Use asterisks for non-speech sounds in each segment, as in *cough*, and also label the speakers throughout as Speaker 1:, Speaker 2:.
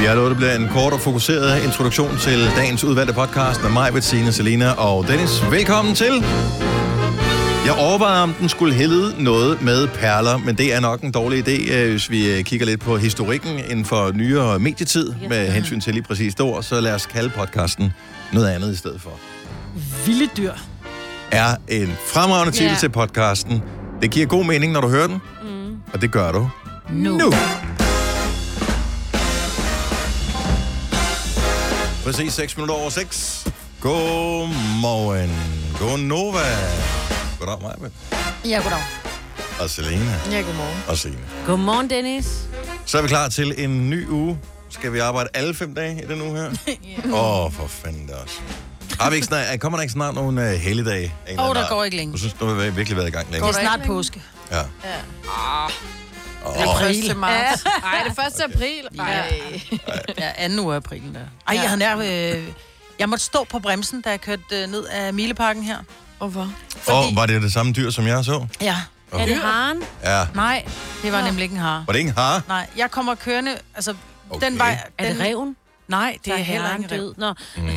Speaker 1: Vi har lovet, at det bliver en kort og fokuseret introduktion til dagens udvalgte podcast med mig, Bettina, Selina og Dennis. Velkommen til! Jeg overvejer, om den skulle hælde noget med perler, men det er nok en dårlig idé, øh, hvis vi øh, kigger lidt på historikken inden for nyere medietid med hensyn til lige præcis det ord, så lad os kalde podcasten noget andet i stedet for.
Speaker 2: Vilde dyr.
Speaker 1: Er en fremragende titel
Speaker 2: Ja.
Speaker 1: til podcasten. Det giver god mening, når du hører den, mm. og det gør du
Speaker 2: Nu.
Speaker 1: nu. Præcis 6 minutter over 6. Godmorgen. Godnova. Goddag, Maja.
Speaker 3: Ja, goddag.
Speaker 1: Og Selena.
Speaker 3: Ja, godmorgen.
Speaker 1: Og Signe.
Speaker 3: Godmorgen, Dennis.
Speaker 1: Så er vi klar til en ny uge. Skal vi arbejde alle fem dage i den uge
Speaker 2: *laughs*
Speaker 1: her? Åh, yeah. oh, for fanden det også. Har vi ikke snart, kommer der ikke snart nogle uh, helligdage? af en eller
Speaker 2: Åh,
Speaker 1: anden
Speaker 2: der
Speaker 1: art?
Speaker 2: går ikke længe.
Speaker 1: Du synes, du har virkelig været i gang længe.
Speaker 2: Det er snart påske.
Speaker 1: Ja.
Speaker 2: Ja.
Speaker 1: Oh.
Speaker 2: April.
Speaker 3: marts.
Speaker 2: Ja.
Speaker 3: Nej, det er 1. april.
Speaker 2: Ja. ja, anden uge af april der. Ej, jeg havde nær... Øh, jeg måtte stå på bremsen, da jeg kørte øh, ned af Mileparken her. Hvorfor?
Speaker 1: Og var det det samme dyr, som jeg så?
Speaker 2: Ja.
Speaker 1: Okay. Er det
Speaker 2: haren?
Speaker 1: Ja.
Speaker 2: Nej, det var nemlig ikke en hare.
Speaker 1: Var det ikke en hare?
Speaker 2: Nej, jeg kommer kørende, altså okay. den vej...
Speaker 4: Er det ræven?
Speaker 2: Nej, det
Speaker 4: Så
Speaker 2: er,
Speaker 4: er
Speaker 2: heller
Speaker 4: haren
Speaker 2: ikke en ræv.
Speaker 4: død. Nå.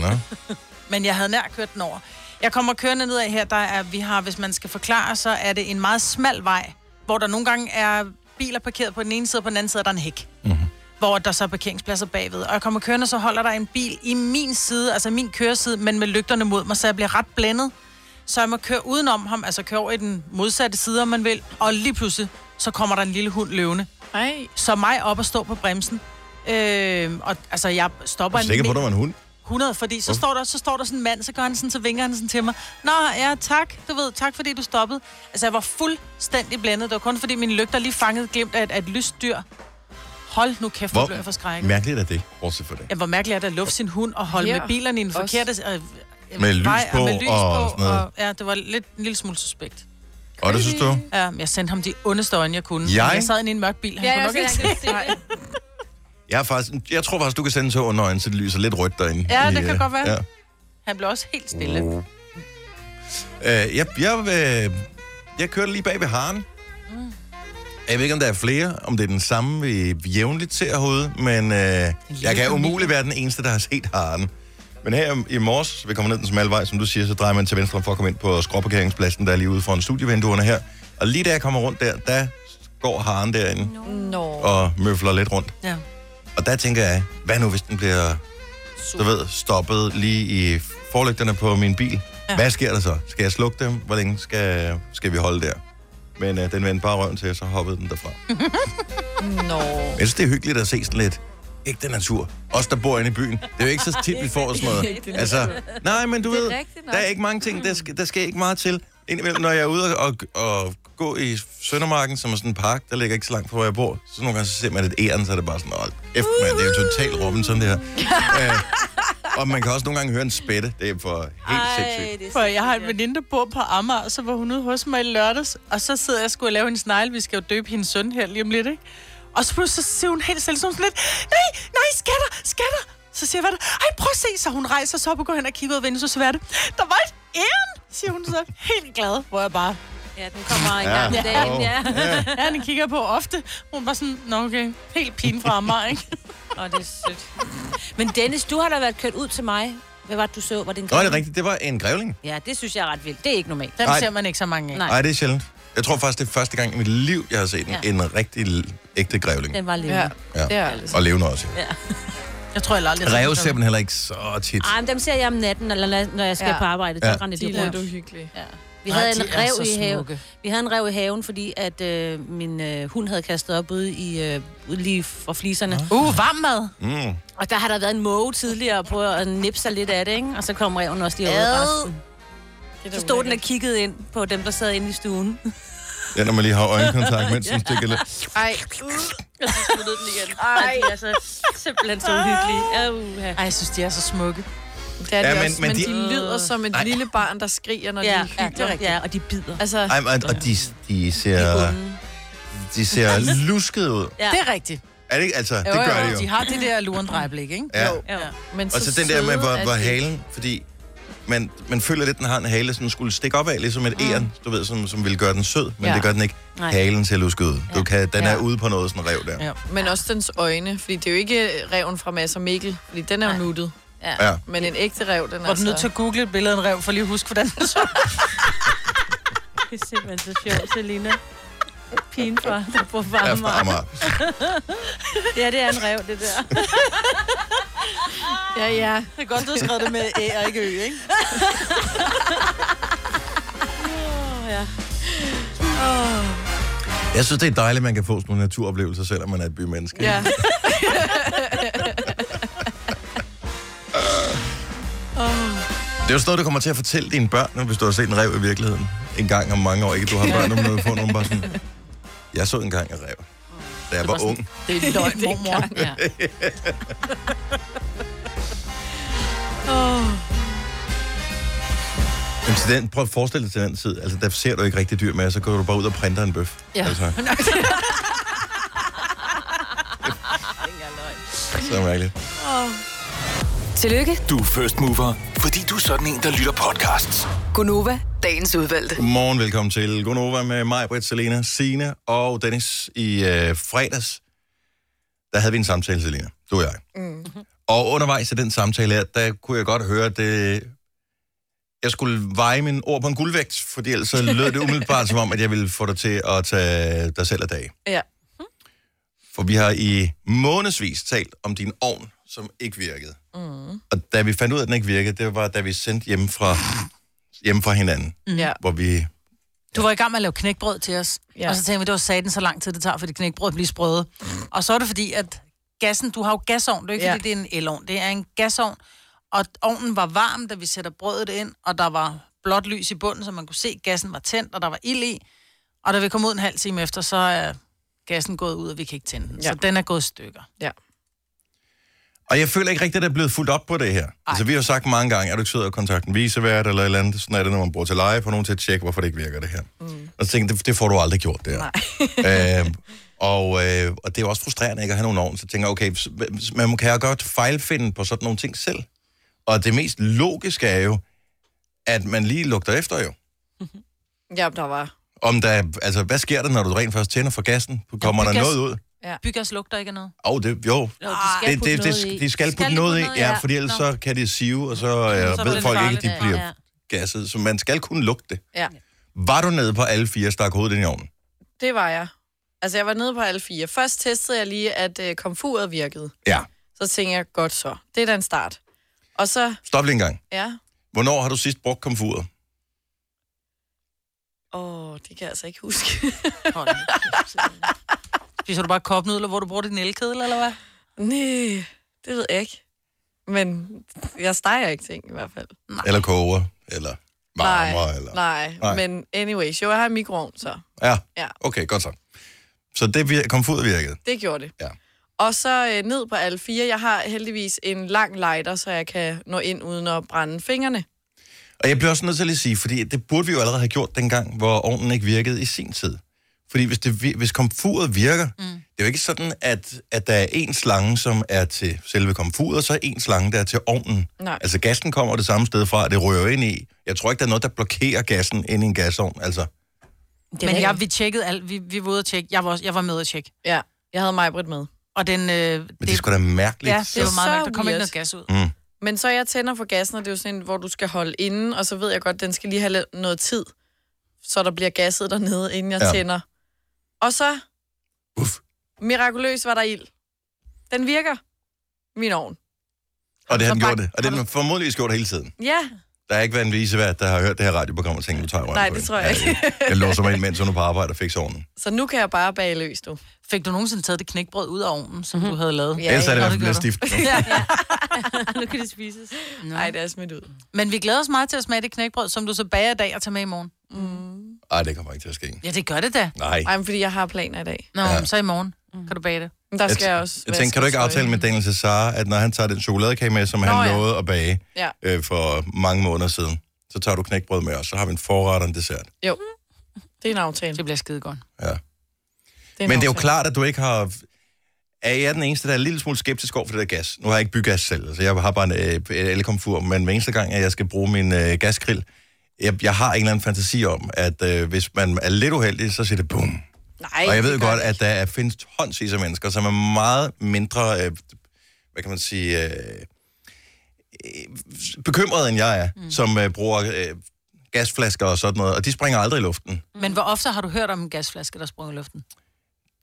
Speaker 1: Nå.
Speaker 2: Men jeg havde nær kørt den over. Jeg kommer kørende nedad her, der er, vi har, hvis man skal forklare, så er det en meget smal vej, hvor der nogle gange er biler parkeret på den ene side, og på den anden side er der en hæk.
Speaker 1: Mhm.
Speaker 2: Mm-hmm. Hvor der så er parkeringspladser bagved. Og jeg kommer kørende, så holder der en bil i min side, altså min køreside, men med lygterne mod mig, så jeg bliver ret blændet. Så jeg må køre udenom ham, altså køre over i den modsatte side, om man vil. Og lige pludselig, så kommer der en lille hund løvende. Ej. Så mig op og stå på bremsen. Øh, og altså, jeg stopper
Speaker 1: Jeg er sikker på, at der var en hund.
Speaker 2: 100, fordi så står, der, så står der sådan en mand, så gør han sådan, så vinker han sådan til mig. Nå, ja, tak, du ved, tak fordi du stoppede. Altså, jeg var fuldstændig blændet. Det var kun fordi mine lygter lige fangede glimt af et, af et lyst dyr. Hold nu kæft, hvor blev jeg forskrækket.
Speaker 1: mærkeligt er det, bortset for det.
Speaker 2: Ja, hvor mærkeligt er det at lufte sin hund og holde
Speaker 3: Ja,
Speaker 2: med bilerne i en
Speaker 3: også.
Speaker 2: forkerte... Øh, øh,
Speaker 1: Med lys
Speaker 2: vej,
Speaker 1: på
Speaker 2: med lys
Speaker 1: og
Speaker 2: på,
Speaker 1: sådan noget.
Speaker 2: Og, ja, det var lidt, en lille smule suspekt.
Speaker 1: Og det synes du?
Speaker 2: Ja, jeg sendte ham de ondeste øjne, jeg kunne.
Speaker 1: Jeg?
Speaker 2: jeg sad inde i en mørk bil. Han
Speaker 3: Ja,
Speaker 2: kunne
Speaker 3: jeg
Speaker 2: nok ikke
Speaker 3: også,
Speaker 2: se.
Speaker 3: jeg kan se det.
Speaker 1: Jeg, er faktisk, jeg tror faktisk, du kan sende til under øjnene, så det lyser lidt rødt derinde.
Speaker 2: *laughs* Ja,
Speaker 1: I,
Speaker 2: det kan
Speaker 1: øh,
Speaker 2: godt være.
Speaker 1: Ja.
Speaker 2: Han blev også helt stille.
Speaker 1: Øh, jeg, jeg, øh, jeg kørte lige bag ved haren.
Speaker 2: Mm.
Speaker 1: Jeg ved ikke, om der er flere, om det er den samme, vi jævnligt ser herude, men øh, jeg kan umuligt være den eneste, der har set haren. Men her i morges, vi kommer ned den smalle vej, som du siger, så drejer man til venstre for at komme ind på skråparkeringspladsen, der er lige ude foran studievinduerne her. Og lige da jeg kommer rundt der, der går haren derinde
Speaker 3: Nå.
Speaker 1: og møfler lidt rundt.
Speaker 2: Ja.
Speaker 1: Og der tænker jeg, hvad nu hvis den bliver du ved, stoppet lige i forlygterne på min bil? Ja. Hvad sker der så? Skal jeg slukke dem? Hvor længe skal, skal vi holde der? Men øh, den vendte bare røven til, og så hoppede den derfra. Men
Speaker 3: Nå.
Speaker 1: jeg synes, det er hyggeligt at se sådan lidt ægte natur. Os, der bor inde i byen. Det er jo ikke
Speaker 3: *laughs*
Speaker 1: så tit, vi får sådan noget. Altså, nej, men du
Speaker 3: Det er
Speaker 1: ved,
Speaker 3: rigtigt nok.
Speaker 1: der er ikke mange ting, der skal, der skal ikke meget til. Indimellem, når jeg er ude og, og gå i Søndermarken, som er sådan en park, der ligger ikke så langt fra, hvor jeg bor, så nogle gange så ser man et æren, så er det bare sådan, åh, F, man, det er jo totalt Robinson, det
Speaker 3: *laughs*
Speaker 1: her. øh, og man kan også nogle gange høre en spætte. Det er for helt sindssygt.
Speaker 2: For jeg har en veninde, der bor på Amager, og så var hun ude hos mig i lørdags, og så sidder jeg og skulle lave en snegle, vi skal jo døbe hendes søn her lige om lidt, ikke? Og så pludselig så siger hun helt selv sådan lidt, nej, nej, skatter, skatter! Så siger jeg, hvad er det? Ej, prøv at se, så hun rejser sig op og går hen og kigger ud af vinduet, så siger jeg, hvad er det? Der var et æren, siger hun så, helt glad, hvor jeg bare,
Speaker 4: Ja, den kommer en gang om dagen, ja.
Speaker 1: ja.
Speaker 2: ja, den kigger jeg på ofte. Hun var sådan, nå okay, helt pin fra Amager, ikke?
Speaker 4: Åh, det er sødt. *laughs* Men Dennis, du har da været kørt ud til mig. Hvad var det, du så? Var det en
Speaker 1: Nå, det er rigtigt. Det var en grævling.
Speaker 4: Ja, det synes jeg er ret vildt. Det er ikke normalt.
Speaker 2: Den
Speaker 1: Ej.
Speaker 2: ser man ikke så mange af.
Speaker 4: Nej.
Speaker 1: Nej, det er sjældent. Jeg tror faktisk, det er første gang i mit liv, jeg har set en,
Speaker 4: Ja.
Speaker 1: ja. en rigtig l- ægte grævling.
Speaker 4: Den var
Speaker 3: Ja,
Speaker 4: levende.
Speaker 1: Ja.
Speaker 3: det er altså.
Speaker 1: Og levende også.
Speaker 2: Jeg tror, jeg aldrig har set
Speaker 1: Ræve
Speaker 2: sådan.
Speaker 1: ser man heller ikke så tit.
Speaker 4: Ej, men dem ser jeg om natten, eller la- når jeg skal
Speaker 3: Ja.
Speaker 4: ja. på arbejde.
Speaker 1: Ja.
Speaker 4: Ja. Rende, de
Speaker 3: De er lidt
Speaker 4: rundt.
Speaker 3: uhyggelige.
Speaker 4: ja. Vi
Speaker 2: Nej,
Speaker 4: havde
Speaker 2: de
Speaker 4: en
Speaker 2: er
Speaker 4: rev
Speaker 2: så
Speaker 4: i haven.
Speaker 2: smukke.
Speaker 4: Vi havde en rev i haven, fordi at øh, min øh, hund havde kastet op ude i øh, ude lige fra fliserne.
Speaker 2: Uh, varm mad.
Speaker 1: Mm.
Speaker 4: Og der har der været en måge tidligere på at nippe sig lidt af det, ikke? Og så kom reven også lige over
Speaker 3: Ad.
Speaker 4: resten. Så stod den og kiggede ind på dem, der sad inde i
Speaker 3: *laughs*
Speaker 4: stuen.
Speaker 1: Ja, når man lige har øjenkontakt, mens den stikker lidt.
Speaker 3: Ej, uh.
Speaker 4: Og så sluttede den igen. Ej, de er så simpelthen så uhyggelige. Uh,
Speaker 2: Ej, jeg synes, de er så smukke.
Speaker 3: det er de
Speaker 1: Ja, men-
Speaker 3: men, også,
Speaker 1: men
Speaker 3: men, de...
Speaker 1: de-
Speaker 3: lyder som et lille barn, der skriger, når de
Speaker 4: ja, ja, det
Speaker 3: hygger.
Speaker 4: er rigtigt. ja, og de bider.
Speaker 3: Altså,
Speaker 1: Ej, men- og de, de ser, de ser luskede ud.
Speaker 4: Ja.
Speaker 2: Det er rigtigt.
Speaker 1: Er det ikke? Altså, det
Speaker 3: jo,
Speaker 1: gør de
Speaker 2: De
Speaker 1: jo.
Speaker 2: har det der lurendrejeblik, ikke?
Speaker 1: Ja.
Speaker 4: Ja.
Speaker 3: men
Speaker 1: Og så den der med,
Speaker 3: søde
Speaker 1: hvor,
Speaker 3: er
Speaker 1: hvor
Speaker 3: de.
Speaker 1: halen, fordi man, man føler lidt, den har en hale, som skulle stikke op af, ligesom et mm. æren, du ved, som, som ville gøre den sød, men ja.
Speaker 3: Ja.
Speaker 1: det gør den ikke.
Speaker 4: Nej.
Speaker 1: Halen ser lusket ud. Du kan, den
Speaker 3: Ja.
Speaker 1: er ude på noget, sådan en rev der.
Speaker 2: Ja.
Speaker 3: Men også dens øjne, fordi det er jo ikke reven fra Mads og Mikkel, fordi den er jo
Speaker 4: Nej.
Speaker 3: nuttet.
Speaker 1: Ja.
Speaker 3: Men en ægte rev, den altså- er
Speaker 2: Var
Speaker 1: altså-
Speaker 2: du nødt til
Speaker 3: så...
Speaker 2: at google et billede af en rev, for lige at huske, hvordan den så?
Speaker 4: *laughs* Det er simpelthen så sjovt, Selina. Pigen for, der bor på
Speaker 1: Ja,
Speaker 4: *laughs*
Speaker 1: fra Amager.
Speaker 4: Ja, det er en rev, det der.
Speaker 3: *laughs* Ja, ja.
Speaker 2: Det er godt, du har skrevet det med æ og ikke ø,
Speaker 3: *laughs*
Speaker 2: ikke?
Speaker 1: Jeg synes, det er dejligt, at man kan få sådan nogle naturoplevelser, selvom man er et bymenneske.
Speaker 3: Ja.
Speaker 4: *laughs*
Speaker 1: Det er jo sådan noget, du kommer til at fortælle dine børn, hvis du har set en rev i virkeligheden. En gang om mange år, ikke? Du har børn, når du får nogen bare sådan... Jeg så engang en rev, da jeg var
Speaker 4: sådan-
Speaker 1: ung.
Speaker 4: *laughs* Det
Speaker 5: *laughs*
Speaker 4: er løgn, mormor. Ja.
Speaker 1: *laughs* Men til den, prøv at forestille dig til den tid. Altså, der ser du ikke rigtig dyr med, så går du bare ud og printer en bøf.
Speaker 3: Ja.
Speaker 4: *laughs*
Speaker 1: Altså, *laughs* så mærkeligt.
Speaker 6: Tillykke,
Speaker 7: Du er first mover, fordi du er sådan en, der lytter podcasts.
Speaker 6: Gunova, dagens udvalgte.
Speaker 1: Godmorgen, velkommen til Gonova med mig, Britt, Selena, Sine og Dennis. I øh, fredags, der havde vi en samtale, Selena, du og jeg. Mm. Og undervejs i den samtale her, der kunne jeg godt høre, at det, jeg skulle veje mine ord på en guldvægt, fordi ellers så lød det umiddelbart som om, at jeg ville få dig til at tage dig selv af dag.
Speaker 3: Ja.
Speaker 1: For vi har i månedsvis talt om din ovn, som ikke virkede. Mm. Og da vi fandt ud af, at den ikke virkede, det var, da vi sendte hjemme fra, hjemme fra hinanden,
Speaker 2: Mm.
Speaker 3: ja.
Speaker 1: hvor vi
Speaker 2: Du var i gang med at lave knækbrød til os, ja.
Speaker 3: Ja.
Speaker 2: og så tænkte vi, det var satan så lang tid, det tager, fordi knækbrød bliver sprøde. Og så er det fordi, at gassen, du har jo gasovn, det er jo ikke ja.
Speaker 3: Ja.
Speaker 2: fordi, det er en elovn, det er en gasovn, og ovnen var varm, da vi sætter brødet ind, og der var blåt lys i bunden, så man kunne se, at gassen var tændt, og der var ild i. Og da vi kom ud en halv time efter, så er gassen gået ud, og vi kan ikke tænde den. Ja.
Speaker 3: Ja.
Speaker 2: Så den er gået i stykker.
Speaker 3: ja.
Speaker 1: Og jeg føler ikke rigtigt, at der er blevet fuldt op på det her. Ej. Altså, vi har jo sagt mange gange, er du ikke sød at kontakte en visevært eller et eller andet? Sådan er det, når man bruger til leje på nogen til at tjekke, hvorfor det ikke virker det her. Mm. Og så tænkte jeg, det, det får du aldrig gjort, det her. Nej. *laughs* øhm, og, øh, og det er jo også frustrerende ikke at have nogen ovn. Så tænker jeg, okay, s- s- man kan jo godt fejlfinde på sådan nogle ting selv. Og det mest logiske er jo, at man lige lugter efter jo.
Speaker 3: ja, der var...
Speaker 1: Om der, altså, hvad sker der, når du rent først tænder for gassen? Kommer
Speaker 2: Ja,
Speaker 1: der
Speaker 2: gas-
Speaker 1: noget ud?
Speaker 2: Byggas lugter ikke af noget.
Speaker 1: Åh, oh, det, jo,
Speaker 4: Jo, de skal
Speaker 1: det,
Speaker 4: putte
Speaker 1: det,
Speaker 4: noget
Speaker 1: det,
Speaker 4: i.
Speaker 1: de skal putte noget i, ja, fordi ellers så kan de sive, og så, øh,
Speaker 2: så er
Speaker 1: ved
Speaker 2: det
Speaker 1: folk ikke,
Speaker 2: farligt,
Speaker 1: at de
Speaker 2: ja.
Speaker 1: bliver gasset. Så man skal kunne lugte det.
Speaker 3: Ja.
Speaker 1: Var du nede på alle fire stak hovedet ind i ovnen?
Speaker 3: Det var jeg. Altså, jeg var nede på alle fire. Først testede jeg lige, at øh, komfuret virkede.
Speaker 1: Ja.
Speaker 3: Så tænkte jeg, godt så. Det er da en start. Og så,
Speaker 1: Stop lige en gang.
Speaker 3: ja.
Speaker 1: Hvornår har du sidst brugt komfuret?
Speaker 3: Åh, det kan jeg altså ikke huske. *laughs*
Speaker 2: Spiser du bare kopnudler, hvor du bruger din elkedel, eller hvad?
Speaker 3: Nej, det ved jeg ikke. Men jeg steger ikke ting i hvert fald.
Speaker 1: Eller koger? Eller varmer? eller...
Speaker 3: nej,
Speaker 1: Nej.
Speaker 3: nej. Men anyways, jo, jeg har en mikroovn, så
Speaker 1: Ja.
Speaker 3: Ja.
Speaker 1: Okay, godt så. Så det vir- komfuret virkede.
Speaker 3: det gjorde det.
Speaker 1: Ja.
Speaker 3: Og så øh, ned på alle fire. Jeg har heldigvis en lang lighter, så jeg kan nå ind uden at brænde fingrene.
Speaker 1: Og jeg bliver også nødt til at lige sige, fordi det burde vi jo allerede have gjort dengang, hvor ovnen ikke virkede i sin tid. Fordi hvis, det, vir- hvis komfuret virker, mm. det er jo ikke sådan, at, at der er en slange, som er til selve komfuret, og så er en slange, der er til ovnen.
Speaker 3: Nej.
Speaker 1: Altså gassen kommer det samme sted fra, og det rører ind i. Jeg tror ikke, der er noget, der blokerer gassen ind i en gasovn. Altså,
Speaker 4: Men
Speaker 2: Men
Speaker 4: jeg,
Speaker 2: jeg, vi tjekkede alt, vi, vi var ude at tjekke, jeg var, også, jeg var med at tjekke.
Speaker 3: Ja, jeg havde mig med.
Speaker 2: Og den, øh, det,
Speaker 4: *laughs*
Speaker 1: men det, er sgu da mærkeligt.
Speaker 2: Ja, det var
Speaker 3: Så
Speaker 2: meget mærkeligt. Der kom ikke
Speaker 3: weird.
Speaker 2: noget gas ud.
Speaker 1: Mm.
Speaker 3: Men så jeg tænder for gassen, og det er jo sådan en, hvor du skal holde inden, og så ved jeg godt, den skal lige have lidt- noget tid, så der bliver gasset dernede, inden jeg
Speaker 1: Ja.
Speaker 3: ja. tænder. Og så,
Speaker 1: Uff.
Speaker 3: mirakuløst var der ild. Den virker, min ovn.
Speaker 1: Og det har den
Speaker 3: Så
Speaker 1: gjort
Speaker 3: bak-
Speaker 1: det. Og det har den formodentlig gjort hele tiden.
Speaker 3: Ja,
Speaker 1: Der er ikke været en visevært, der har hørt det her radioprogram og tænkt, nu tager jeg røven
Speaker 3: Nej,
Speaker 1: på
Speaker 3: det
Speaker 1: hende.
Speaker 3: tror jeg
Speaker 1: Ja, Jeg, jeg låser mig ind, mens hun er på arbejde og fikser ovnen.
Speaker 3: *laughs* så nu kan jeg bare bage løs Mhm. nu.
Speaker 2: Fik du nogensinde taget det knækbrød ud af ovnen, som du havde lavet?
Speaker 1: Ja, Ellers er det i
Speaker 2: Nå,
Speaker 1: hvert fald
Speaker 2: det
Speaker 1: blevet
Speaker 2: gør du.
Speaker 1: stift. nu.
Speaker 4: nu kan det spises.
Speaker 3: Nej, det er smidt ud.
Speaker 2: Men vi glæder os meget til at smage det knækbrød, som du så bager i dag og tager med i morgen.
Speaker 1: Ej, det kommer ikke til at ske.
Speaker 2: Ja, det gør det da.
Speaker 1: Nej.
Speaker 3: Mm. Ej, men fordi jeg har planer i dag. Mm.
Speaker 2: Nå,
Speaker 1: Ja.
Speaker 2: ja. så i morgen kan du bage det.
Speaker 3: Men der
Speaker 1: Jeg,
Speaker 3: skal jeg, også...
Speaker 1: jeg
Speaker 3: vaske
Speaker 1: tænker, kan du ikke
Speaker 3: og
Speaker 1: aftale
Speaker 3: støj.
Speaker 1: med Daniel Cesar, at når han tager den chokoladekage med, som Nå,
Speaker 3: Nå,
Speaker 1: han
Speaker 3: ja.
Speaker 1: lovede at bage
Speaker 3: Ja,
Speaker 1: øh, for mange måneder siden, så tager du knækbrød med os, så har vi en forret og en dessert.
Speaker 3: jo. Det er en aftale.
Speaker 2: Det bliver skide godt.
Speaker 1: Ja.
Speaker 3: Det er en
Speaker 1: Men det er jo
Speaker 3: aftale.
Speaker 1: klart, at du ikke har... er jeg den eneste, der er en lille smule skeptisk over for det der gas. Nu har jeg ikke bygas selv, så jeg har bare en øh, elkomfur, men hver eneste gang, at jeg skal bruge min øh, gasgrill, jeg, jeg har en eller anden fantasi om, at øh, hvis man er lidt uheldig, så siger det bum.
Speaker 3: Nej,
Speaker 1: Og jeg ved
Speaker 3: det gør
Speaker 1: godt,
Speaker 3: det
Speaker 1: at der er, findes tonsvis af mennesker, som er meget mindre, øh, hvad kan man sige, øh, øh, bekymrede end jeg er, mm. som øh, bruger øh, gasflasker og sådan noget, og de springer aldrig i luften.
Speaker 2: Men hvor ofte har du hørt om en gasflaske, der sprang i luften?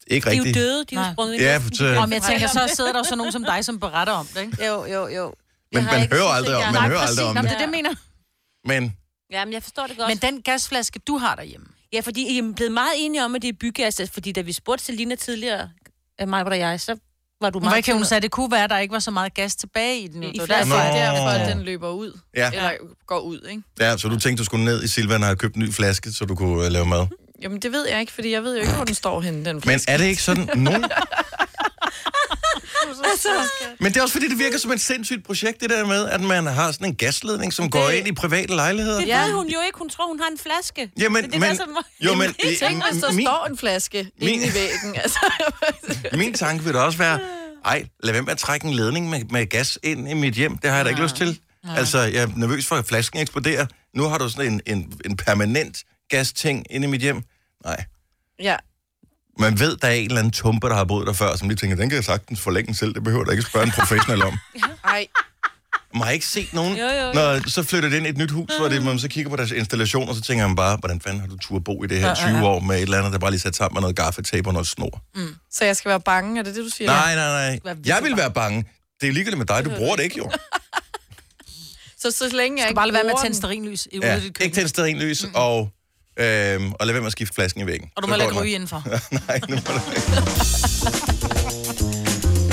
Speaker 1: Ikke
Speaker 4: De er jo
Speaker 1: rigtigt.
Speaker 4: døde, de er jo
Speaker 2: Nej.
Speaker 4: sprunget i
Speaker 1: Ja,
Speaker 4: luften.
Speaker 1: for,
Speaker 2: Om jeg tænker, så sidder der jo så nogen som dig, som beretter om det, ikke?
Speaker 4: Jo, jo, jo.
Speaker 1: Men
Speaker 4: har
Speaker 1: man
Speaker 4: ikke
Speaker 1: hører
Speaker 4: synes,
Speaker 1: aldrig
Speaker 4: at
Speaker 1: om-
Speaker 4: jeg-
Speaker 1: man
Speaker 4: Nej,
Speaker 1: hører
Speaker 4: præcis.
Speaker 1: aldrig om
Speaker 2: Nå, men
Speaker 1: det.
Speaker 2: det er det, jeg mener.
Speaker 1: men
Speaker 4: *laughs* Jamen, jeg forstår det godt.
Speaker 2: Men den gasflaske, du har derhjemme,
Speaker 4: Ja, fordi I er blevet meget enige om, at det er bygas, altså, fordi da vi spurgte Selina tidligere, øh, mig og jeg, så var du
Speaker 2: hun, var
Speaker 4: meget...
Speaker 2: ikke, hun sagde, at det kunne være, at der ikke var så meget gas tilbage i den.
Speaker 3: Mm. Det
Speaker 2: I
Speaker 3: er jo
Speaker 2: flasken.
Speaker 3: derfor,
Speaker 1: Nå.
Speaker 3: derfor, at den løber ud.
Speaker 1: Ja.
Speaker 3: Eller går ud, ikke?
Speaker 1: ja, så du tænkte, du skulle ned i Silvan og have købt en ny flaske, så du kunne øh, lave mad.
Speaker 3: Jamen, det ved jeg ikke, fordi jeg ved jo ikke, hvor den står henne, den
Speaker 1: Men
Speaker 3: flaske.
Speaker 1: er det ikke sådan nogen...
Speaker 3: *laughs* Altså,
Speaker 1: Men det er også fordi, det virker som et sindssygt projekt, det der med, at man har sådan en gasledning, som går ind i private lejligheder.
Speaker 4: Det ved hun jo ikke. Hun tror, hun har en flaske.
Speaker 1: Jamen,
Speaker 4: det, er det
Speaker 1: men,
Speaker 4: der, som...
Speaker 1: jo, men,
Speaker 3: Tænk, hvis der
Speaker 1: min,
Speaker 3: står en flaske
Speaker 1: min-
Speaker 3: inde i væggen.
Speaker 1: *laughs*
Speaker 3: Altså,
Speaker 1: min tanke vil da også være, ej, lad være med at trække en ledning med, med gas ind i mit hjem. Det har jeg da ikke lyst til. Altså, jeg er nervøs for, at flasken eksploderer. Nu har du sådan en, en, en permanent gasting inde i mit hjem. Nej.
Speaker 3: ja.
Speaker 1: Man ved, der er en eller anden tumper, der har boet der før, som lige tænker, den kan jeg sagtens forlænge selv. Det behøver der ikke spørge en professionel
Speaker 4: *laughs*
Speaker 1: om.
Speaker 3: Ej,
Speaker 1: Man har ikke set nogen.
Speaker 4: Jo, jo, jo.
Speaker 1: Når så flytter det ind i et nyt hus, hvor det, man så kigger på deres installation, og så tænker man bare, hvordan fanden har du tur bo i det her 20 år med et eller andet, der bare lige sat sammen med noget gaffetape og noget snor.
Speaker 3: mm. så jeg skal være bange, er det det, du siger?
Speaker 1: Nej, nej, nej. Jeg vil være bange. Det er ligegyldigt med dig, du bruger det ikke jo.
Speaker 3: Så, så længe jeg
Speaker 2: Du
Speaker 3: ikke
Speaker 2: skal bare lade være med at
Speaker 3: bruger
Speaker 2: tænde
Speaker 3: den-
Speaker 2: sterinlys i ude
Speaker 1: Ja,
Speaker 2: i dit
Speaker 1: ikke
Speaker 2: køkken.
Speaker 1: tænd stadig lys, og, øhm, og lad være med at skifte flasken i væggen.
Speaker 2: Og du
Speaker 1: Så
Speaker 2: må heller ikke
Speaker 1: går
Speaker 2: ryge
Speaker 1: den.
Speaker 2: indenfor.
Speaker 1: *laughs* Nej, nu må du ikke.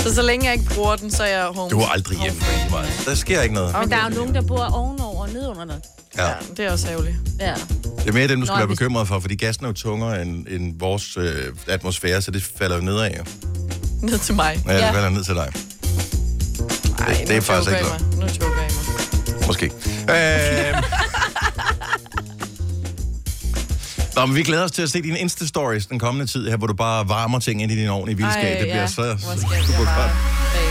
Speaker 3: Så, så længe jeg ikke bruger den, så er jeg
Speaker 2: Oh.
Speaker 3: home.
Speaker 1: Du er aldrig hjemme. Maja. Der sker ikke noget.
Speaker 4: Men der er jo nogen, der bor ovenover og nedunder noget.
Speaker 1: Ja.
Speaker 3: Ja, det er også ærgerligt.
Speaker 4: Ja.
Speaker 1: Det er mere dem, du skal
Speaker 4: Nå,
Speaker 1: være
Speaker 4: hvis-
Speaker 1: bekymret for, fordi gassen er jo tungere end, end vores øh, atmosfære, så det falder jo nedad. Jo.
Speaker 3: Ned til mig.
Speaker 1: Ja, det
Speaker 4: Ja.
Speaker 1: falder ned til
Speaker 3: Ej,
Speaker 1: dig. det er
Speaker 3: nu
Speaker 1: faktisk
Speaker 3: joker
Speaker 1: ikke
Speaker 3: I mig. Nu joker jeg mig.
Speaker 1: Måske. Øh...
Speaker 3: *laughs*
Speaker 1: Nå, men vi glæder os til at se dine Insta-stories den kommende tid her, hvor du bare varmer ting ind i din ovn i vildskab. det bliver
Speaker 3: ja.
Speaker 1: så
Speaker 3: Hvor skal
Speaker 1: *laughs*
Speaker 3: jeg
Speaker 1: super
Speaker 3: bare...
Speaker 1: godt.
Speaker 3: Ej.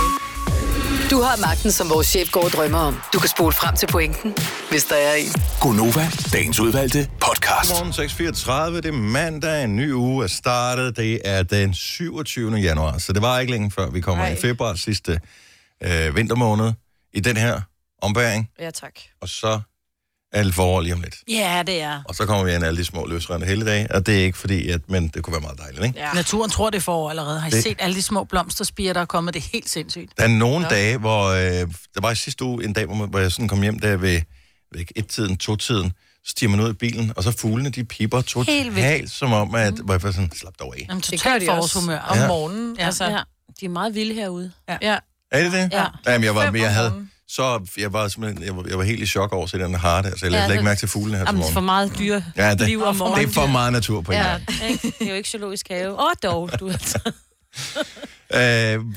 Speaker 6: Du har magten, som vores chef går og drømmer om. Du kan spole frem til pointen, hvis der er en.
Speaker 7: Gonova, dagens udvalgte podcast.
Speaker 1: Morgen 6.34, det er mandag, en ny uge er startet. Det er den 27. januar, så det var ikke længe før vi kommer
Speaker 3: Nej.
Speaker 1: i februar sidste øh, vintermåned i den her ombæring.
Speaker 3: Ja, tak.
Speaker 1: Og så er det forår lige om lidt.
Speaker 2: Ja, det er.
Speaker 1: Og så kommer vi ind af alle de små løsrende helligdage, og det er ikke fordi, at, men det kunne være meget dejligt, ikke?
Speaker 3: Ja.
Speaker 2: Naturen tror, det er forår allerede. Har I
Speaker 1: Det-
Speaker 2: set alle de små blomsterspirer, der er kommet? Det er helt sindssygt.
Speaker 1: Der er nogle ja. dage, hvor... Øh, der var i sidste uge en dag, hvor, man, hvor jeg sådan kom hjem der ved, ved et-tiden, to-tiden. Så stiger man ud i bilen, og så fuglene, de piper
Speaker 2: Helt vildt.
Speaker 1: totalt, som om, at... Hvor jeg bare sådan, slap dog af.
Speaker 2: Jamen,
Speaker 3: Det gør
Speaker 2: totalt
Speaker 3: de også
Speaker 2: forårshumør.
Speaker 3: om
Speaker 1: Ja.
Speaker 3: morgenen.
Speaker 2: Ja.
Speaker 3: Altså,
Speaker 4: ja. De er meget vilde herude.
Speaker 3: ja.
Speaker 1: Er det det?
Speaker 4: Ja.
Speaker 1: Jamen, jeg var,
Speaker 3: Fem
Speaker 1: men
Speaker 3: om
Speaker 1: jeg havde,
Speaker 3: morgenen.
Speaker 1: så jeg var simpelthen, jeg var, jeg var helt i chok over at se den harde, altså jeg lagde
Speaker 4: Ja,
Speaker 1: slet ikke
Speaker 4: det-
Speaker 1: mærke til fuglene her til
Speaker 4: Jamen, for
Speaker 1: morgen.
Speaker 4: meget dyre
Speaker 1: Ja, det,
Speaker 4: liv om morgenen.
Speaker 1: det er for meget natur på en
Speaker 4: Ja,
Speaker 1: gang.
Speaker 4: ikke? det er jo ikke zoologisk have. Åh, oh, dog,
Speaker 2: *laughs*
Speaker 4: du altså.
Speaker 1: Øh,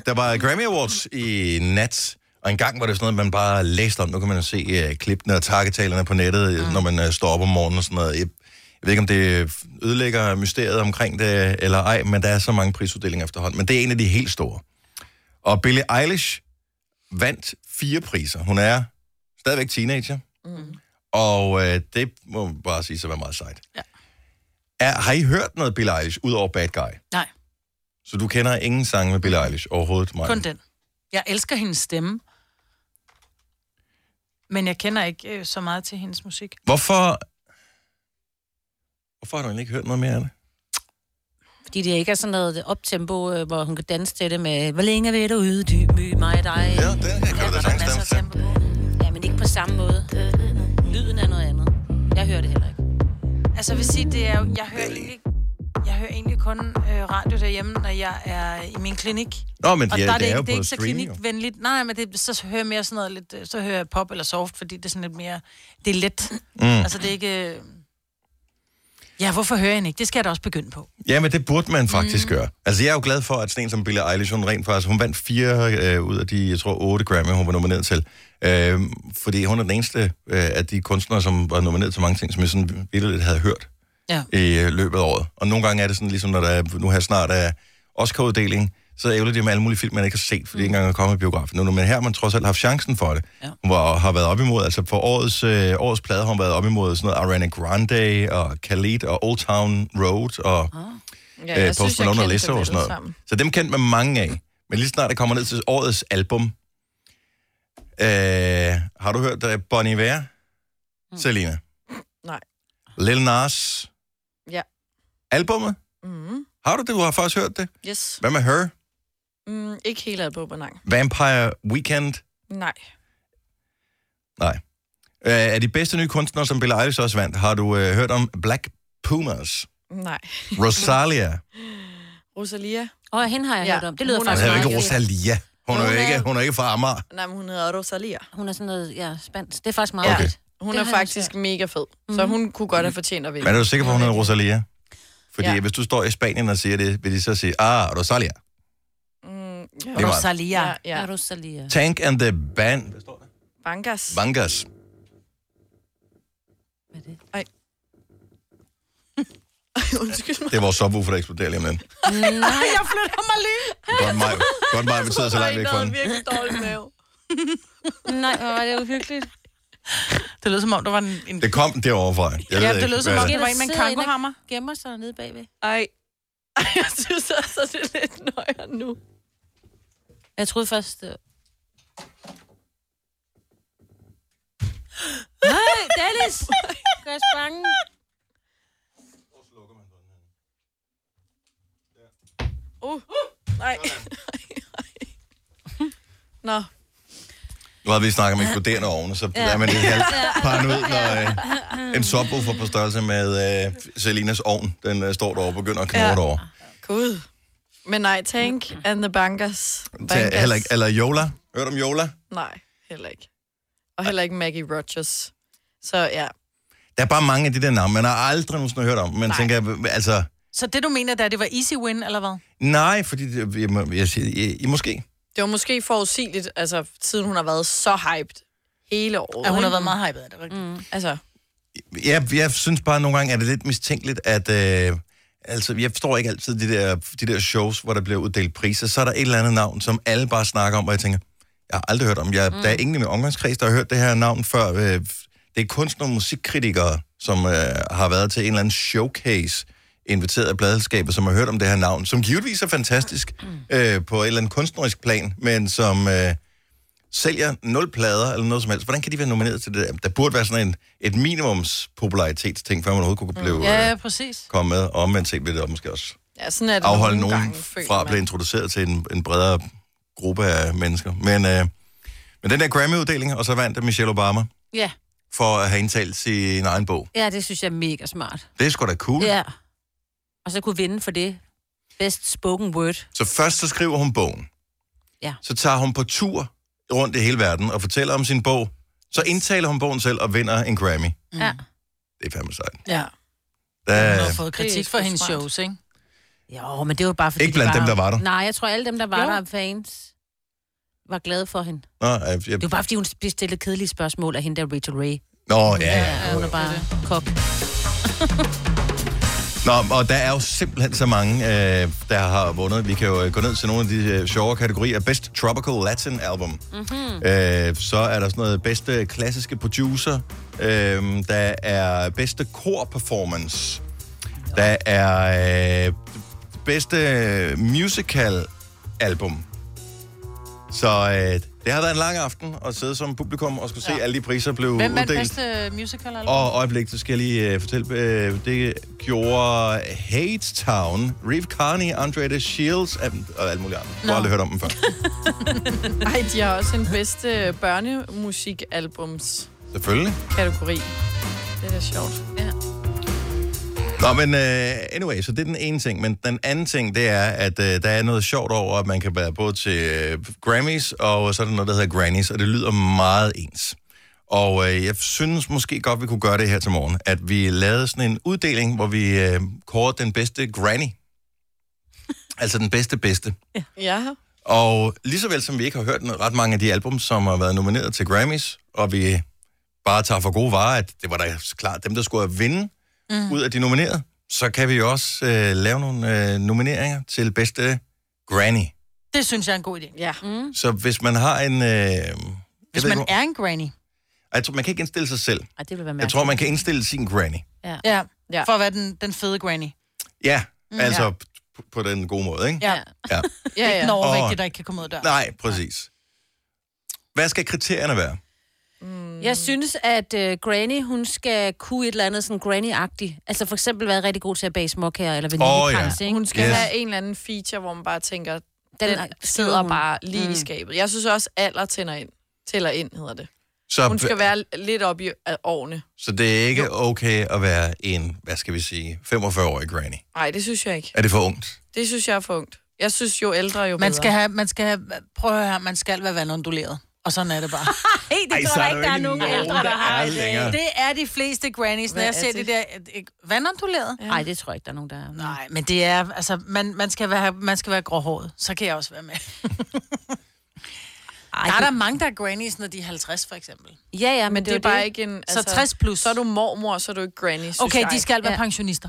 Speaker 1: der var Grammy Awards i nat, og en gang var det sådan noget, man bare læste om. Nu kan man jo se uh, klippene og takketalerne på nettet, mm. når man uh, står op om morgenen og sådan noget. Jeg, jeg ved ikke, om det ødelægger mysteriet omkring det eller ej, men der er så mange prisuddelinger efterhånden. Men det er en af de helt store. Og Billie Eilish vandt fire priser. Hun er stadigvæk teenager. Mm. Og øh, det må man bare sige, så var meget sejt.
Speaker 2: Ja.
Speaker 1: Er, har I hørt noget Billie Eilish, udover Bad Guy?
Speaker 2: Nej,
Speaker 1: Så du kender ingen sange med Billie Eilish overhovedet, Maja?
Speaker 2: kun den. Jeg elsker hendes stemme. Men jeg kender ikke øh, så meget til hendes musik.
Speaker 1: Hvorfor... Hvorfor har du egentlig ikke hørt noget mere af det?
Speaker 4: Fordi det ikke er sådan noget optempo, øh, hvor hun kan danse til det med, hvor længe vil du uddybe mig og dig?
Speaker 1: Ja, den her kan du da sagtens
Speaker 2: masser af
Speaker 1: danse
Speaker 2: tempo
Speaker 1: til.
Speaker 2: på.
Speaker 4: Ja, men ikke på samme måde. Lyden er noget andet. Jeg hører det heller ikke.
Speaker 2: Altså, jeg vil sige, det er jo, jeg hører egentlig, jeg hører egentlig kun øh, radio derhjemme, når jeg er i min klinik.
Speaker 1: Nå, men
Speaker 2: Og
Speaker 1: de,
Speaker 2: ja, der er
Speaker 1: det
Speaker 2: det,
Speaker 1: er
Speaker 2: ikke, det
Speaker 1: jo
Speaker 2: er
Speaker 1: på
Speaker 2: ikke så
Speaker 1: streaming. jo.
Speaker 2: klinikvenligt. Nej, men det, så hører jeg mere sådan noget lidt, øh, så hører jeg pop eller soft, fordi det er sådan lidt mere, det er let. Mm. Altså det er ikke... øh, Ja, hvorfor hører jeg hende ikke? Det skal jeg da også begynde på.
Speaker 1: Ja, men det burde man faktisk mm. gøre. Altså, jeg er jo glad for, at sådan en som Billie Eilish, hun rent faktisk, hun vandt fire øh, ud af de, jeg tror, otte Grammy, hun var nomineret til. Øh, fordi hun er den eneste øh, af de kunstnere, som var nomineret til mange ting, som jeg sådan lidt havde hørt
Speaker 2: Ja.
Speaker 1: i øh, løbet af året. Og nogle gange er det sådan, ligesom når der er, nu her snart er Oscar-uddeling, så ævler de med alle mulige film, man ikke har set, fordi de ikke engang er kommet i biografen. Nu, men her har man trods alt haft chancen for det. Mm. Ja. Hun var, har været op imod, altså for årets, øh, årets plade har hun været op imod sådan noget Ariana Grande og Khalid og Old Town Road og
Speaker 3: Ja,
Speaker 1: ja, øh, Post Malone og
Speaker 3: kendte
Speaker 1: Lizzo
Speaker 3: dem
Speaker 1: og sådan
Speaker 3: alle
Speaker 1: noget.
Speaker 3: sammen.
Speaker 1: Så dem kendte man mange af. Men lige snart det kommer ned til årets album. Øh, har du hørt uh, Bon Iver? Mm. Selina?
Speaker 3: Nej.
Speaker 1: Lil Nas?
Speaker 3: Ja.
Speaker 1: Albummet?
Speaker 3: Mm.
Speaker 1: Har du det? Du har faktisk hørt det.
Speaker 3: Yes.
Speaker 1: Hvad med Her?
Speaker 3: Mm, ikke hele albumet, nej.
Speaker 1: Vampire Weekend?
Speaker 3: Nej.
Speaker 1: Nej. Øh, af de bedste nye kunstnere, som Billie Eilish også vandt, har du øh, hørt om Black Pumas?
Speaker 3: Nej.
Speaker 1: Rosalia?
Speaker 3: *laughs* Rosalia?
Speaker 4: Og hende har jeg
Speaker 3: Ja.
Speaker 4: ja. hørt om. Det lyder
Speaker 3: Hun er
Speaker 1: Altså,
Speaker 4: faktisk
Speaker 1: det er jo
Speaker 4: meget
Speaker 1: ikke
Speaker 4: fedt.
Speaker 1: Rosalia. Hun er jo
Speaker 3: Hun er-
Speaker 1: ikke, hun er ikke fra Amager.
Speaker 3: Nej, men hun hedder Rosalia.
Speaker 4: Hun er sådan noget, ja, spansk. Det er faktisk meget
Speaker 3: Ja.
Speaker 4: ja.
Speaker 1: Okay.
Speaker 4: fedt.
Speaker 3: Hun
Speaker 4: Det
Speaker 3: er
Speaker 4: har jeg Mhm.
Speaker 3: faktisk mega fed. Så hun kunne godt have fortjent at vinde.
Speaker 1: Men er du sikker på, at hun hedder Rosalia? Fordi
Speaker 3: Ja.
Speaker 1: ja. hvis du står i Spanien og siger det, vil de så sige, ah, Rosalia.
Speaker 3: Mm,
Speaker 1: Det
Speaker 3: ja.
Speaker 1: var-
Speaker 2: Rosalia.
Speaker 3: Ja,
Speaker 4: Ja.
Speaker 3: ja.
Speaker 4: Rosalia.
Speaker 1: Tank and the Band. Hvad står der?
Speaker 3: Bangas.
Speaker 1: Bangas.
Speaker 4: Hvad er det?
Speaker 3: *laughs* Undskyld mig.
Speaker 1: Det er vores subwoofer, der eksploderer lige om
Speaker 3: *laughs*
Speaker 1: lidt.
Speaker 2: Ej, jeg flytter mig lige.
Speaker 1: Godt mig, godt mig, vi sidder så langt væk fra
Speaker 3: Jeg
Speaker 1: den.
Speaker 3: virkelig dårlig mave.
Speaker 4: *laughs* Nej, hvor var det uhyggeligt.
Speaker 2: Det lød som om, der var en... en...
Speaker 1: Det kom derovre fra. Jeg
Speaker 2: ja,
Speaker 1: ved
Speaker 2: det lød
Speaker 1: ikke,
Speaker 2: som
Speaker 1: hvad
Speaker 2: om,
Speaker 1: det
Speaker 2: det var en med en
Speaker 4: Sidder inde og-
Speaker 2: kangohammer.
Speaker 4: Gemmer sig nede bagved.
Speaker 3: Ej. Ej, jeg synes også, at det er lidt nøjere nu.
Speaker 4: Jeg troede først... øh, Nej, Dennis! Gør os bange.
Speaker 3: Uh, nej. Nå,
Speaker 1: Nu har vi snakket om eksploderende ovne, så er man lidt halvt
Speaker 4: *laughs*
Speaker 1: paranoid, når øh, en subwoofer på størrelse med øh, Selinas ovn, den øh, står derovre og begynder at knurre
Speaker 3: Ja.
Speaker 1: ja. derovre.
Speaker 3: gud. Men nej, Tank and the Bangas. Bangas.
Speaker 1: Tag, heller ikke, eller Yola. Hørte om Yola?
Speaker 3: Nej, heller ikke. Og heller ikke Maggie Rogers. Så ja,
Speaker 1: Der er bare mange af de der navne, man har aldrig nogensinde hørt om. Man
Speaker 3: Nej.
Speaker 1: Nej. tænker, altså,
Speaker 2: Så det, du mener, det er, det var easy win, eller hvad?
Speaker 1: nej, fordi det, jeg, må- jeg siger, I, I måske.
Speaker 3: det var måske forudsigeligt, altså siden hun har været så hyped hele året.
Speaker 2: At hun har
Speaker 3: ikke?
Speaker 2: været meget hyped, er det rigtigt? Mm.
Speaker 3: Altså,
Speaker 1: jeg, jeg synes bare, at nogle gange er det lidt mistænkeligt, at... Øh, altså, jeg forstår ikke altid de der, de der shows, hvor der bliver uddelt priser. Så er der et eller andet navn, som alle bare snakker om, og jeg tænker, jeg har aldrig hørt om. Jeg, mm. Der er ingen i min omgangskreds, der har hørt det her navn før. Øh, Det er kunstnere og musikkritikere, som øh, har været til en eller anden showcase, inviteret af pladselskabet, som har hørt om det her navn, som givetvis er fantastisk øh, på et eller andet kunstnerisk plan, men som... Øh, sælger nul plader eller noget som helst, hvordan kan de være nomineret til det? der? Der burde være sådan en, et minimums popularitetsting, før man overhovedet kunne
Speaker 3: Mm.
Speaker 1: blive
Speaker 2: Ja,
Speaker 1: ja.
Speaker 2: ja,
Speaker 1: øh,
Speaker 2: præcis.
Speaker 1: komme med, og omvendt set vil det måske også
Speaker 3: ja, sådan er det
Speaker 1: afholde
Speaker 3: nogle
Speaker 1: nogen
Speaker 3: gange, føler
Speaker 1: fra at
Speaker 3: man.
Speaker 1: blive introduceret til en, en bredere gruppe af mennesker. Men, øh, men den der Grammy-uddeling, og så vandt Michelle Obama
Speaker 4: Ja.
Speaker 1: for at have indtalt sin egen bog.
Speaker 4: ja, det synes jeg er mega smart.
Speaker 1: Det er sgu da cool.
Speaker 4: Ja. Og så kunne vinde for det. Best spoken word.
Speaker 1: Så først så skriver hun bogen.
Speaker 4: Ja.
Speaker 1: Så tager hun på tur rundt i hele verden og fortæller om sin bog. Så indtaler hun bogen selv og vinder en Grammy.
Speaker 4: Mm. Ja.
Speaker 1: Det er fandme sejt.
Speaker 2: Ja. Hun
Speaker 1: Der,
Speaker 2: har fået
Speaker 3: Det er
Speaker 2: kritik
Speaker 3: sgu
Speaker 2: for hendes
Speaker 3: smart.
Speaker 2: shows, ikke?
Speaker 4: Jo, men det var bare fordi...
Speaker 1: Ikke blandt
Speaker 4: de
Speaker 1: dem,
Speaker 4: var-
Speaker 1: der var der?
Speaker 4: Nej, jeg tror alle dem, der var
Speaker 2: Jo.
Speaker 4: jo. der fans, var glade for hende.
Speaker 1: Nå, jeg, jeg,
Speaker 4: Det var bare, fordi hun blev stillet kedelige spørgsmål af hende der Rachel Ray.
Speaker 1: nå ja,
Speaker 4: Ja,
Speaker 1: ja.
Speaker 4: hun er bare kok.
Speaker 1: Nå, og der er jo simpelthen så mange, øh, der har vundet. Vi kan jo øh, gå ned til nogle af de øh, sjove kategorier. Best Tropical Latin Album.
Speaker 2: Mhm.
Speaker 1: Mm-hmm. Øh, så er der sådan noget bedste klassiske producer. Øh, der er bedste kor performance. Der er øh, bedste musical album. Så øh, det har været en lang aften at sidde som publikum og skulle se ja. alle de priser blev
Speaker 2: Hvem vandt
Speaker 1: uddelt.
Speaker 2: bedste musical? Eller?
Speaker 1: Og øjeblik, så skal jeg lige øh, fortælle, øh, det gjorde Hate Town, Reeve Carney, Andre the Shields og, og alle mulige andre. Du har aldrig hørt om dem før.
Speaker 3: Ej, de har også en bedste børnemusikalbums
Speaker 1: Selvfølgelig.
Speaker 3: kategori. Det er da sjovt. Ja.
Speaker 1: Nå, men uh, anyway, så det er den ene ting. Men den anden ting, det er, at uh, der er noget sjovt over, at man kan være både til uh, Grammys, og så er der noget, der hedder Grannies, og det lyder meget ens. Og uh, jeg synes måske godt, vi kunne gøre det her til morgen, at vi lavede sådan en uddeling, hvor vi uh, kårede den bedste granny. altså den bedste bedste.
Speaker 3: Ja.
Speaker 1: Og lige så vel som vi ikke har hørt noget- ret mange af de album, som har været nomineret til Grammys, og vi bare tager for gode varer, at det var da klart dem, der skulle have vinde mm. ud af de nominerede, så kan vi jo også øh, lave nogle øh, nomineringer til bedste granny.
Speaker 2: Det synes jeg er en god idé.
Speaker 3: Ja. Mm.
Speaker 1: Så hvis man har en... Øh, jeg
Speaker 2: Hvis
Speaker 1: ved
Speaker 2: man
Speaker 1: ikke,
Speaker 2: er en granny.
Speaker 1: hvor- jeg tror, man kan ikke indstille sig selv.
Speaker 4: Ej, det vil være
Speaker 1: Jeg
Speaker 4: mærkeligt.
Speaker 1: tror, man kan indstille sin granny.
Speaker 4: Ja.
Speaker 2: Ja.
Speaker 3: Ja.
Speaker 2: ja. For at være den, den fede granny.
Speaker 1: Ja, altså p- på den gode måde, ikke?
Speaker 2: Ja.
Speaker 1: Ja.
Speaker 3: Ja,
Speaker 2: ja.
Speaker 3: ja.
Speaker 2: Den overvægtige,
Speaker 1: Og-
Speaker 2: der ikke kan komme ud af døren.
Speaker 1: Nej, præcis. Hvad skal kriterierne være?
Speaker 4: Jeg synes, at øh, Granny, hun skal kunne et eller andet sådan granny-agtigt. Altså for eksempel være rigtig god til at bage småkager eller vaniljekrans, oh, ja.
Speaker 3: Hun skal
Speaker 1: Yes.
Speaker 3: yes. have en eller anden feature, hvor man bare tænker,
Speaker 4: Den
Speaker 3: den,
Speaker 4: er- sidder
Speaker 3: sidder
Speaker 4: hun.
Speaker 3: bare lige mm. i skabet. Jeg synes også, alder tænder ind. Tæller ind, hedder det.
Speaker 1: Så,
Speaker 3: Hun skal være lidt op i øh, årene.
Speaker 1: så det er ikke okay at være en, hvad skal vi sige, 45-årig granny.
Speaker 3: Nej, det synes jeg ikke.
Speaker 1: Er det for ungt?
Speaker 3: Det synes jeg er for ungt. Jeg synes, jo ældre, jo bedre.
Speaker 2: Man skal have, man skal have, prøv at høre her, man skal være vandunduleret. Og sådan er det
Speaker 3: *laughs*
Speaker 2: bare.
Speaker 4: Hey, det
Speaker 1: Ej, så
Speaker 4: tror
Speaker 1: er
Speaker 4: jeg
Speaker 1: der
Speaker 4: ikke, der
Speaker 1: jo
Speaker 4: er
Speaker 1: ikke
Speaker 4: nogen
Speaker 1: nogen,
Speaker 4: ældre, der
Speaker 1: der
Speaker 4: har
Speaker 1: er
Speaker 4: i dag.
Speaker 1: længere.
Speaker 2: det er de fleste grannies, når
Speaker 3: Hvad
Speaker 2: jeg
Speaker 3: er
Speaker 2: ser
Speaker 3: det?
Speaker 2: det der øh, vandunduleret.
Speaker 4: Nej, det tror jeg ikke, der er nogen, der er.
Speaker 2: Nej, men det er, altså, man, man, skal være, man skal være gråhåret. Så kan jeg også
Speaker 3: *laughs*
Speaker 2: være med. Ej, der er der mange, der er grannies, når de er 50, for eksempel.
Speaker 4: Ja, ja, men,
Speaker 3: Men det, er
Speaker 4: jo
Speaker 3: bare ikke en...
Speaker 2: Altså, så 60 plus.
Speaker 3: Så er du mormor, så er du ikke granny, synes
Speaker 2: okay,
Speaker 3: jeg.
Speaker 2: de skal være
Speaker 4: Ja.
Speaker 2: pensionister.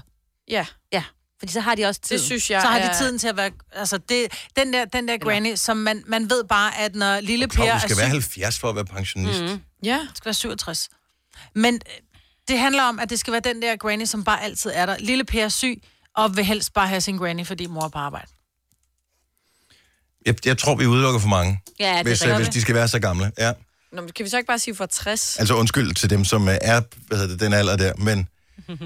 Speaker 3: Ja,
Speaker 4: Ja, fordi så har de også tid.
Speaker 3: det synes jeg
Speaker 2: Så har
Speaker 3: er-
Speaker 2: de tiden til at være... Altså, det, den der, den der granny, som man, man ved bare, at når lille Per
Speaker 1: Nå,
Speaker 2: er
Speaker 1: du skal
Speaker 2: syg,
Speaker 1: være 70 for at være pensionist. Mm.
Speaker 3: Ja,
Speaker 2: skal være 67. Men øh, det handler om, at det skal være den der granny, som bare altid er der. Lille Per er syg, og vil helst bare have sin granny, fordi mor er på arbejde.
Speaker 1: Jeg, jeg tror, vi udelukker for mange,
Speaker 4: Ja, det er
Speaker 1: hvis, øh,
Speaker 4: rigtigt.
Speaker 1: hvis de skal være så gamle. Ja.
Speaker 3: Nå, men kan vi så ikke bare sige for 60?
Speaker 1: Altså undskyld til dem, som øh, er hvad hedder det, den alder der,
Speaker 4: *laughs*
Speaker 1: men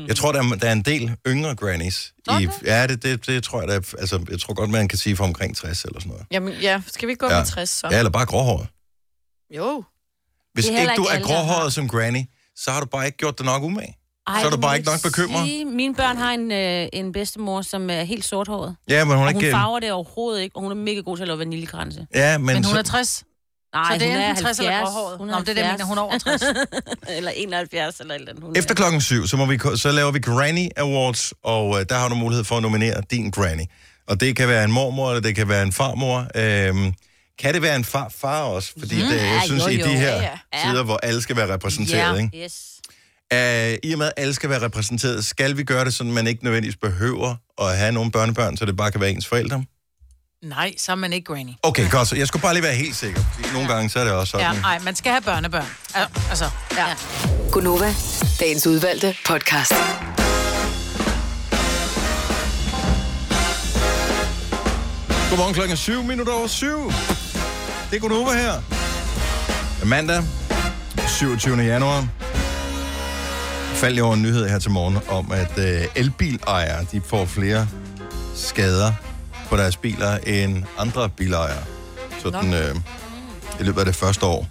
Speaker 1: jeg tror, der er, der er en del yngre grannies. I, ja, det, det, det tror jeg, der, er- altså, jeg tror godt, man kan sige for omkring 60 eller sådan noget.
Speaker 3: Jamen, ja, skal vi ikke gå
Speaker 1: Ja.
Speaker 3: med 60 så?
Speaker 1: Ja, eller bare gråhåret.
Speaker 3: Jo.
Speaker 1: Hvis
Speaker 4: Det er
Speaker 1: ikke
Speaker 4: heller
Speaker 1: du
Speaker 4: ikke
Speaker 1: er
Speaker 4: alle, der har.
Speaker 1: gråhåret som granny, så har du bare ikke gjort dig nok umage. så er
Speaker 4: du
Speaker 1: du bare
Speaker 4: må
Speaker 1: ikke nok bekymret.
Speaker 4: sige- Mine børn har en, øh, en bedstemor, som er helt sorthåret.
Speaker 1: Ja, men hun er
Speaker 4: Og hun
Speaker 1: ikke... øh,
Speaker 4: farver det overhovedet ikke, og hun er mega god til at lave vaniljekranse.
Speaker 1: Ja, men,
Speaker 2: Men hun er
Speaker 1: så,
Speaker 2: 60,
Speaker 4: Nej,
Speaker 2: så det
Speaker 4: hun
Speaker 2: er
Speaker 4: er
Speaker 2: enten 60 eller
Speaker 4: 70.
Speaker 2: gråhåret.
Speaker 4: Hun
Speaker 2: Nå,
Speaker 4: er
Speaker 2: men det er det, jeg mener, hun er over 60.
Speaker 4: 70. *laughs* eller 71, eller et eller andet. Hun
Speaker 1: efter klokken syv, så, må vi, ko- så laver vi Granny Awards, og øh, der har du mulighed for at nominere din granny. Og det kan være en mormor, eller det kan være en farmor. Øhm, kan det være en far, far også? Fordi mm, det, jeg
Speaker 4: ja,
Speaker 1: synes,
Speaker 4: jo,
Speaker 1: i
Speaker 4: jo.
Speaker 1: de her
Speaker 3: Ja,
Speaker 4: ja.
Speaker 1: tider, hvor alle skal være repræsenteret, ikke?
Speaker 4: Ja, yes.
Speaker 1: Uh, I og med, at alle skal være repræsenteret, skal vi gøre det sådan, man ikke nødvendigvis behøver at have nogle børnebørn, så det bare kan være ens forældre?
Speaker 2: Nej, så er man ikke granny.
Speaker 1: Okay, godt. Så jeg skulle bare lige være helt sikker. Fordi nogle gange, så er det også
Speaker 2: Ja,
Speaker 1: sådan.
Speaker 2: nej, man skal have børnebørn. Al- Altså, ja. ja.
Speaker 6: Gunova, dagens udvalgte podcast.
Speaker 1: Godmorgen klokken 7 minutter over 7. Det er Gunova her. Mandag, 27. januar. Faldt jeg over en nyhed her til morgen om, at øh, elbilejere de får flere skader på deres biler end andre bilejere. Sådan øh, i løbet af det første år,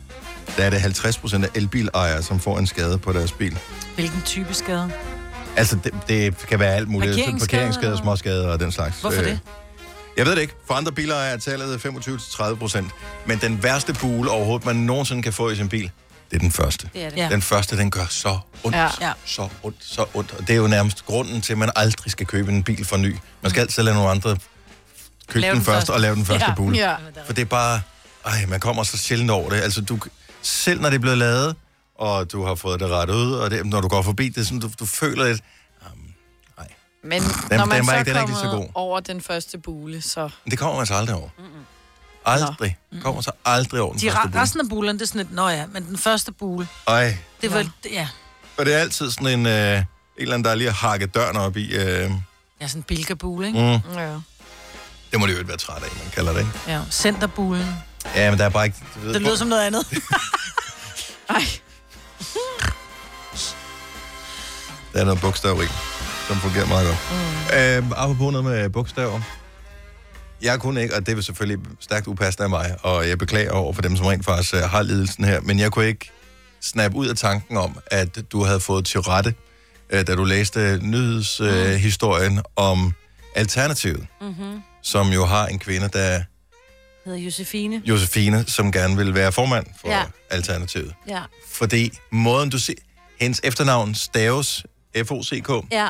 Speaker 1: der er det 50 procent af elbilejere, som får en skade på deres bil.
Speaker 2: Hvilken type skade?
Speaker 1: Altså, det, det kan være alt muligt.
Speaker 2: Parkeringsskader,
Speaker 1: Parkeringsskader,
Speaker 2: eller?
Speaker 1: småskader og den slags.
Speaker 2: Hvorfor
Speaker 1: Øh,
Speaker 2: det?
Speaker 1: Jeg ved det ikke. For andre biler er tallet 25-30 procent. Men den værste bule overhovedet, man nogensinde kan få i sin bil, det er den første.
Speaker 4: Det er det.
Speaker 2: Ja.
Speaker 1: Den første, den gør så ondt,
Speaker 3: Ja.
Speaker 1: ja. så ondt, så ondt. Og det er jo nærmest grunden til, at man aldrig skal købe en bil for ny. Man skal altid lade nogle andre købe
Speaker 2: Lave
Speaker 1: den,
Speaker 2: den
Speaker 1: først
Speaker 2: første.
Speaker 1: og lave den første
Speaker 2: Ja.
Speaker 1: bule.
Speaker 3: Ja.
Speaker 1: For det er bare... Ej, man kommer så sjældent over det. Altså, du, selv når det er blevet lavet, og du har fået det rettet ud, og det, når du går forbi det, er sådan, du, du føler lidt...
Speaker 3: Men
Speaker 1: Den-
Speaker 3: når man
Speaker 1: den var
Speaker 3: så
Speaker 1: ikke- den er ikke lige så
Speaker 3: kommet
Speaker 1: god.
Speaker 3: over den første bule, så...
Speaker 1: Men det kommer man så aldrig over. Aldrig. Kommer så aldrig over den
Speaker 2: De
Speaker 1: første
Speaker 2: re-
Speaker 1: bule.
Speaker 2: resten af bulerne, det er sådan et, nå ja, men den første bule,
Speaker 1: Ej,
Speaker 2: det var, ja,
Speaker 1: Og det er altid sådan en, øh, en eller anden, der lige har hakket døren op i. Øh,
Speaker 2: ja sådan en bilkabule, ikke?
Speaker 1: mm,
Speaker 3: Ja.
Speaker 1: det må det jo ikke være træt af, man kalder det, ikke?
Speaker 2: Ja, centerbulen.
Speaker 1: Ja, men der er bare ikke... Du ved,
Speaker 2: Det lyder som noget
Speaker 1: *laughs*
Speaker 2: andet.
Speaker 3: Ej,
Speaker 1: Der er noget bogstav i, som fungerer meget godt. Mm. Øh, apropos noget med bogstaver. Jeg kunne ikke, og det er selvfølgelig stærkt upassende af mig, og jeg beklager over for dem, som rent faktisk øh, har lidelsen her, men jeg kunne ikke snappe ud af tanken om, at du havde fået til rette, øh, da du læste nyhedshistorien øh, historien om Alternativet, mm-hmm. som jo har en kvinde, der
Speaker 4: Mhm. Hedder Josefine.
Speaker 1: Josefine, som gerne vil være formand for ja.
Speaker 4: Ja.
Speaker 1: Alternativet.
Speaker 4: Ja.
Speaker 1: Fordi måden, du ser... Hendes efternavn staves F-O-C-K,
Speaker 4: Ja.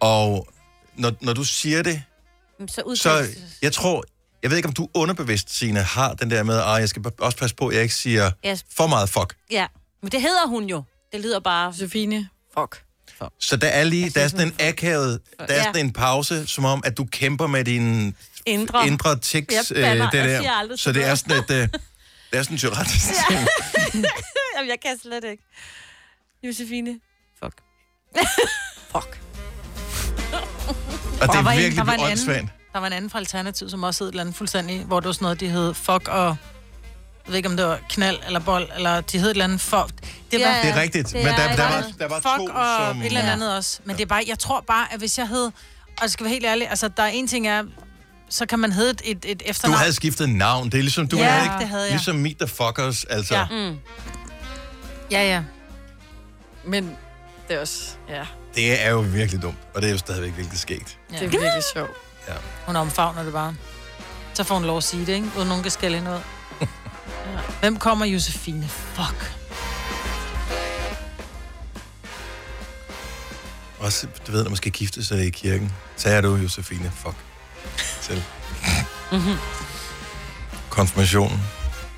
Speaker 1: og når, når du siger det,
Speaker 4: Så
Speaker 1: så
Speaker 4: udtales...
Speaker 1: jeg tror... Jeg ved ikke, om du underbevidst, Signe, har den der med, at jeg skal også passe på, at jeg ikke siger
Speaker 4: Yes.
Speaker 1: for meget fuck.
Speaker 4: Ja. Men det hedder hun jo. Det lyder bare...
Speaker 3: Josefine, fuck.
Speaker 1: Så der er lige, der er sådan en akavet, der er
Speaker 4: Ja.
Speaker 1: sådan en pause, som om, at du kæmper med din
Speaker 4: Indre.
Speaker 1: indre tics,
Speaker 4: Jeg
Speaker 1: øh,
Speaker 4: bander,
Speaker 1: det
Speaker 4: jeg
Speaker 1: der.
Speaker 4: siger aldrig
Speaker 1: så det er sådan et, øh, det er sådan en Tourette. Ja.
Speaker 4: *laughs* Jamen, jeg kan slet ikke. Josefine. Fuck. Fuck.
Speaker 1: Og det
Speaker 2: Der var
Speaker 1: er
Speaker 2: en-
Speaker 1: virkelig
Speaker 2: der var en anden.
Speaker 1: åndssvagt.
Speaker 2: Der var en anden fra Alternativ, som også hed et eller andet fuldstændig, hvor det var sådan noget, de hed fuck og... Jeg ved ikke, om det var knald eller bold, eller de hed et eller andet fuck. Det var
Speaker 4: Ja,
Speaker 1: Det er rigtigt,
Speaker 4: Det
Speaker 1: men der,
Speaker 4: er
Speaker 1: der,
Speaker 4: et
Speaker 1: var,
Speaker 4: andet.
Speaker 1: der var
Speaker 2: fuck
Speaker 1: to,
Speaker 2: og
Speaker 1: som...
Speaker 2: et eller andet også. Men det er bare, jeg tror bare, at hvis jeg hed... Og jeg skal være helt ærlig, altså der er en ting er, så kan man hedde et, et, et
Speaker 1: Du
Speaker 2: efternavn.
Speaker 1: havde skiftet navn, det er ligesom, du
Speaker 2: Ja,
Speaker 1: havde ikke,
Speaker 2: det havde jeg.
Speaker 1: ligesom Meet the Fuckers, altså.
Speaker 2: Ja.
Speaker 4: Mm.
Speaker 2: Ja, ja.
Speaker 3: Men det er også... Ja,
Speaker 1: Det er jo virkelig dumt, og det er jo stadigvæk virkelig skægt.
Speaker 2: ja.
Speaker 3: det er virkelig sjovt.
Speaker 2: Hun omfavner det bare. Så får hun lov at sige det, ikke? Uden nogen kan skælde
Speaker 3: *laughs*
Speaker 2: hende ud. Hvem kommer Josefine? Fuck.
Speaker 1: Også, du ved, når man skal gifte sig i kirken, så er du Josefine, fuck, til. Konfirmationen.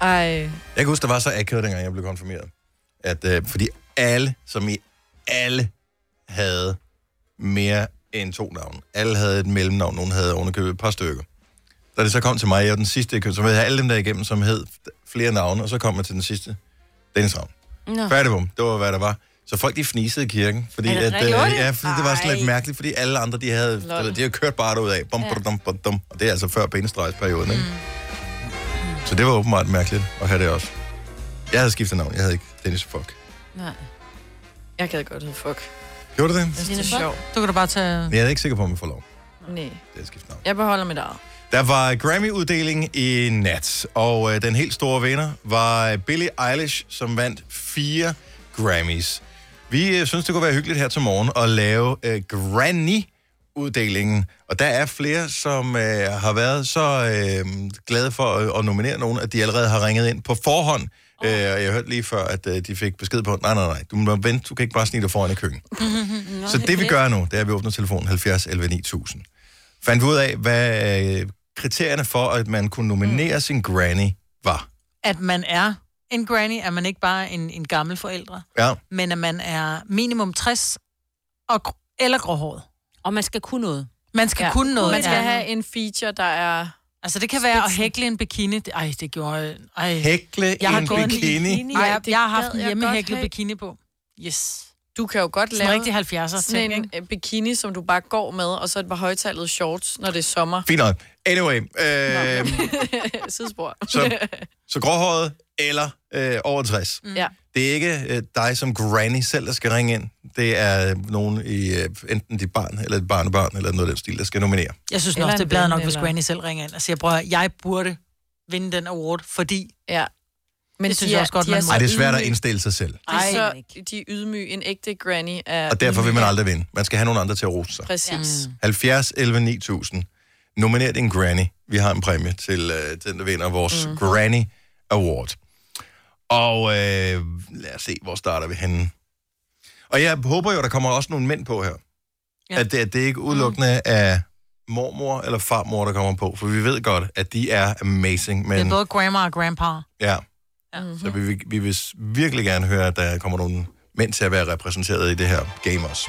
Speaker 3: Ej,
Speaker 1: Jeg kan huske, der var så akavet, dengang jeg blev konfirmeret. At, øh, fordi alle, som i alle, havde mere end to navne. Alle havde et mellemnavn, nogen havde ovenikøbet et par stykker. Da det så kom til mig, jeg var den sidste, jeg købte, så havde jeg alle dem der igennem, som hed flere navne, og så kom jeg til den sidste, Dennis Ravn.
Speaker 4: Nå.
Speaker 1: Færdigbom, det var, hvad der var. Så folk, de fnisede i kirken, fordi,
Speaker 4: Er det
Speaker 1: at, øh,
Speaker 4: rigtigt? Gjorde de?
Speaker 1: ja, fordi det var sådan lidt
Speaker 4: Ej.
Speaker 1: mærkeligt, fordi alle andre, de havde, du ved, de havde kørt bare derud af. Bum,
Speaker 4: Ja.
Speaker 1: bum, bum, bum, og det er altså før benestregsperioden, ikke?
Speaker 4: Mm.
Speaker 1: Så det var åbenbart mærkeligt at have det også. Jeg havde skiftet navn, jeg havde ikke Dennis Fuck.
Speaker 4: Nej.
Speaker 3: jeg gad godt hedde fuck.
Speaker 1: Gjorde du det?
Speaker 3: Jeg synes, det
Speaker 4: Signe
Speaker 3: er
Speaker 4: Fuck?
Speaker 3: sjovt.
Speaker 2: Du kan da bare tage...
Speaker 1: Men jeg er ikke sikker på, om jeg får lov
Speaker 3: Nej,
Speaker 1: til at skifte navn.
Speaker 3: jeg beholder mit eget.
Speaker 1: Der var Grammy-uddeling i nat, og øh, den helt store vinder var øh, Billie Eilish, som vandt fire Grammys. Vi øh, synes, det kunne være hyggeligt her til morgen at lave øh, Granny-uddelingen. Og der er flere, som øh, har været så øh, glade for at, at nominere nogen, at de allerede har ringet ind på forhånd. Øh, og jeg hørte lige før, at øh, de fik besked på, nej, nej, nej, du må vente, du kan ikke bare snige dig foran i køkkenet. Så det vi gør nu, det er, at vi åbner telefonen 70 11 9000. Fandt vi ud af, hvad øh, kriterierne for, at man kunne nominere mm. sin granny var.
Speaker 2: At man er en granny, at man ikke bare er en, en gammel forældre,
Speaker 1: Ja,
Speaker 2: men at man er minimum 60 og, gr- eller gråhåret.
Speaker 4: Og man skal kunne noget.
Speaker 2: Man skal ja. kunne noget.
Speaker 3: Man skal
Speaker 2: ja.
Speaker 3: have en feature, der er...
Speaker 2: Altså, det kan være at hækle en bikini. Det- Ej, det gjorde... Ej.
Speaker 1: hækle
Speaker 2: Jeg har
Speaker 1: en
Speaker 2: gået en
Speaker 1: bikini.
Speaker 3: Ej,
Speaker 2: jeg,
Speaker 3: det
Speaker 2: jeg har
Speaker 3: gad
Speaker 2: haft en
Speaker 3: jeg
Speaker 2: hjemmehæklet
Speaker 3: godt have.
Speaker 2: bikini på. Yes.
Speaker 3: Du kan jo godt
Speaker 2: Sådan
Speaker 3: lave
Speaker 2: rigtig 70'er ting,
Speaker 3: sådan
Speaker 2: ikke?
Speaker 3: en øh, bikini, som du bare går med, og så et par højtalede shorts, når det er
Speaker 2: *laughs*
Speaker 3: sommer.
Speaker 1: Fint nok. Anyway, øh,
Speaker 3: Sidespor.
Speaker 1: så, så gråhåret eller øh, over 60.
Speaker 3: *laughs*
Speaker 1: Mm.
Speaker 3: Ja.
Speaker 1: Det er ikke øh, dig som granny selv, der skal ringe ind. Det er øh, nogen i øh, enten dit barn, eller et barnebarn, eller noget af den stil, der skal nominere.
Speaker 2: Jeg synes
Speaker 3: Eller
Speaker 2: nok, det er
Speaker 3: en
Speaker 2: bladet
Speaker 3: ven,
Speaker 2: nok, hvis
Speaker 3: eller-
Speaker 2: Granny selv ringer ind og siger, bror, jeg burde vinde den award, fordi...
Speaker 3: ja. Men
Speaker 2: Det synes
Speaker 3: de
Speaker 2: jeg
Speaker 3: er-
Speaker 2: også godt,
Speaker 3: de
Speaker 2: man må.
Speaker 3: så
Speaker 1: Ej, det er svært at
Speaker 3: ydmyge.
Speaker 1: indstille sig selv.
Speaker 3: De er
Speaker 4: Ej,
Speaker 3: så, de er ydmyge. En ægte granny er
Speaker 1: Og derfor vil man
Speaker 3: ydmyg.
Speaker 1: aldrig vinde. Man skal have nogen andre til at rose sig.
Speaker 3: Præcis.
Speaker 1: 70 11 9000. Nominer din granny. Vi har en præmie til øh, den, der vinder vores
Speaker 2: Mhm.
Speaker 1: mm. Granny Award. Og øh, lad os se, hvor starter vi henne. Og jeg håber jo, der kommer også nogle mænd på her. Ja.
Speaker 2: Ja. Mhm.
Speaker 1: At det, at det ikke udelukkende mm. er mormor eller farmor, der kommer på. For vi ved godt, at de er amazing.
Speaker 2: Det er
Speaker 1: Men
Speaker 2: både grandma og grandpa.
Speaker 1: ja,
Speaker 2: Ja.
Speaker 3: Mhm.
Speaker 1: så vi, vil- vi vil s- virkelig gerne høre, at der kommer nogle mænd til at være repræsenteret i det her game også.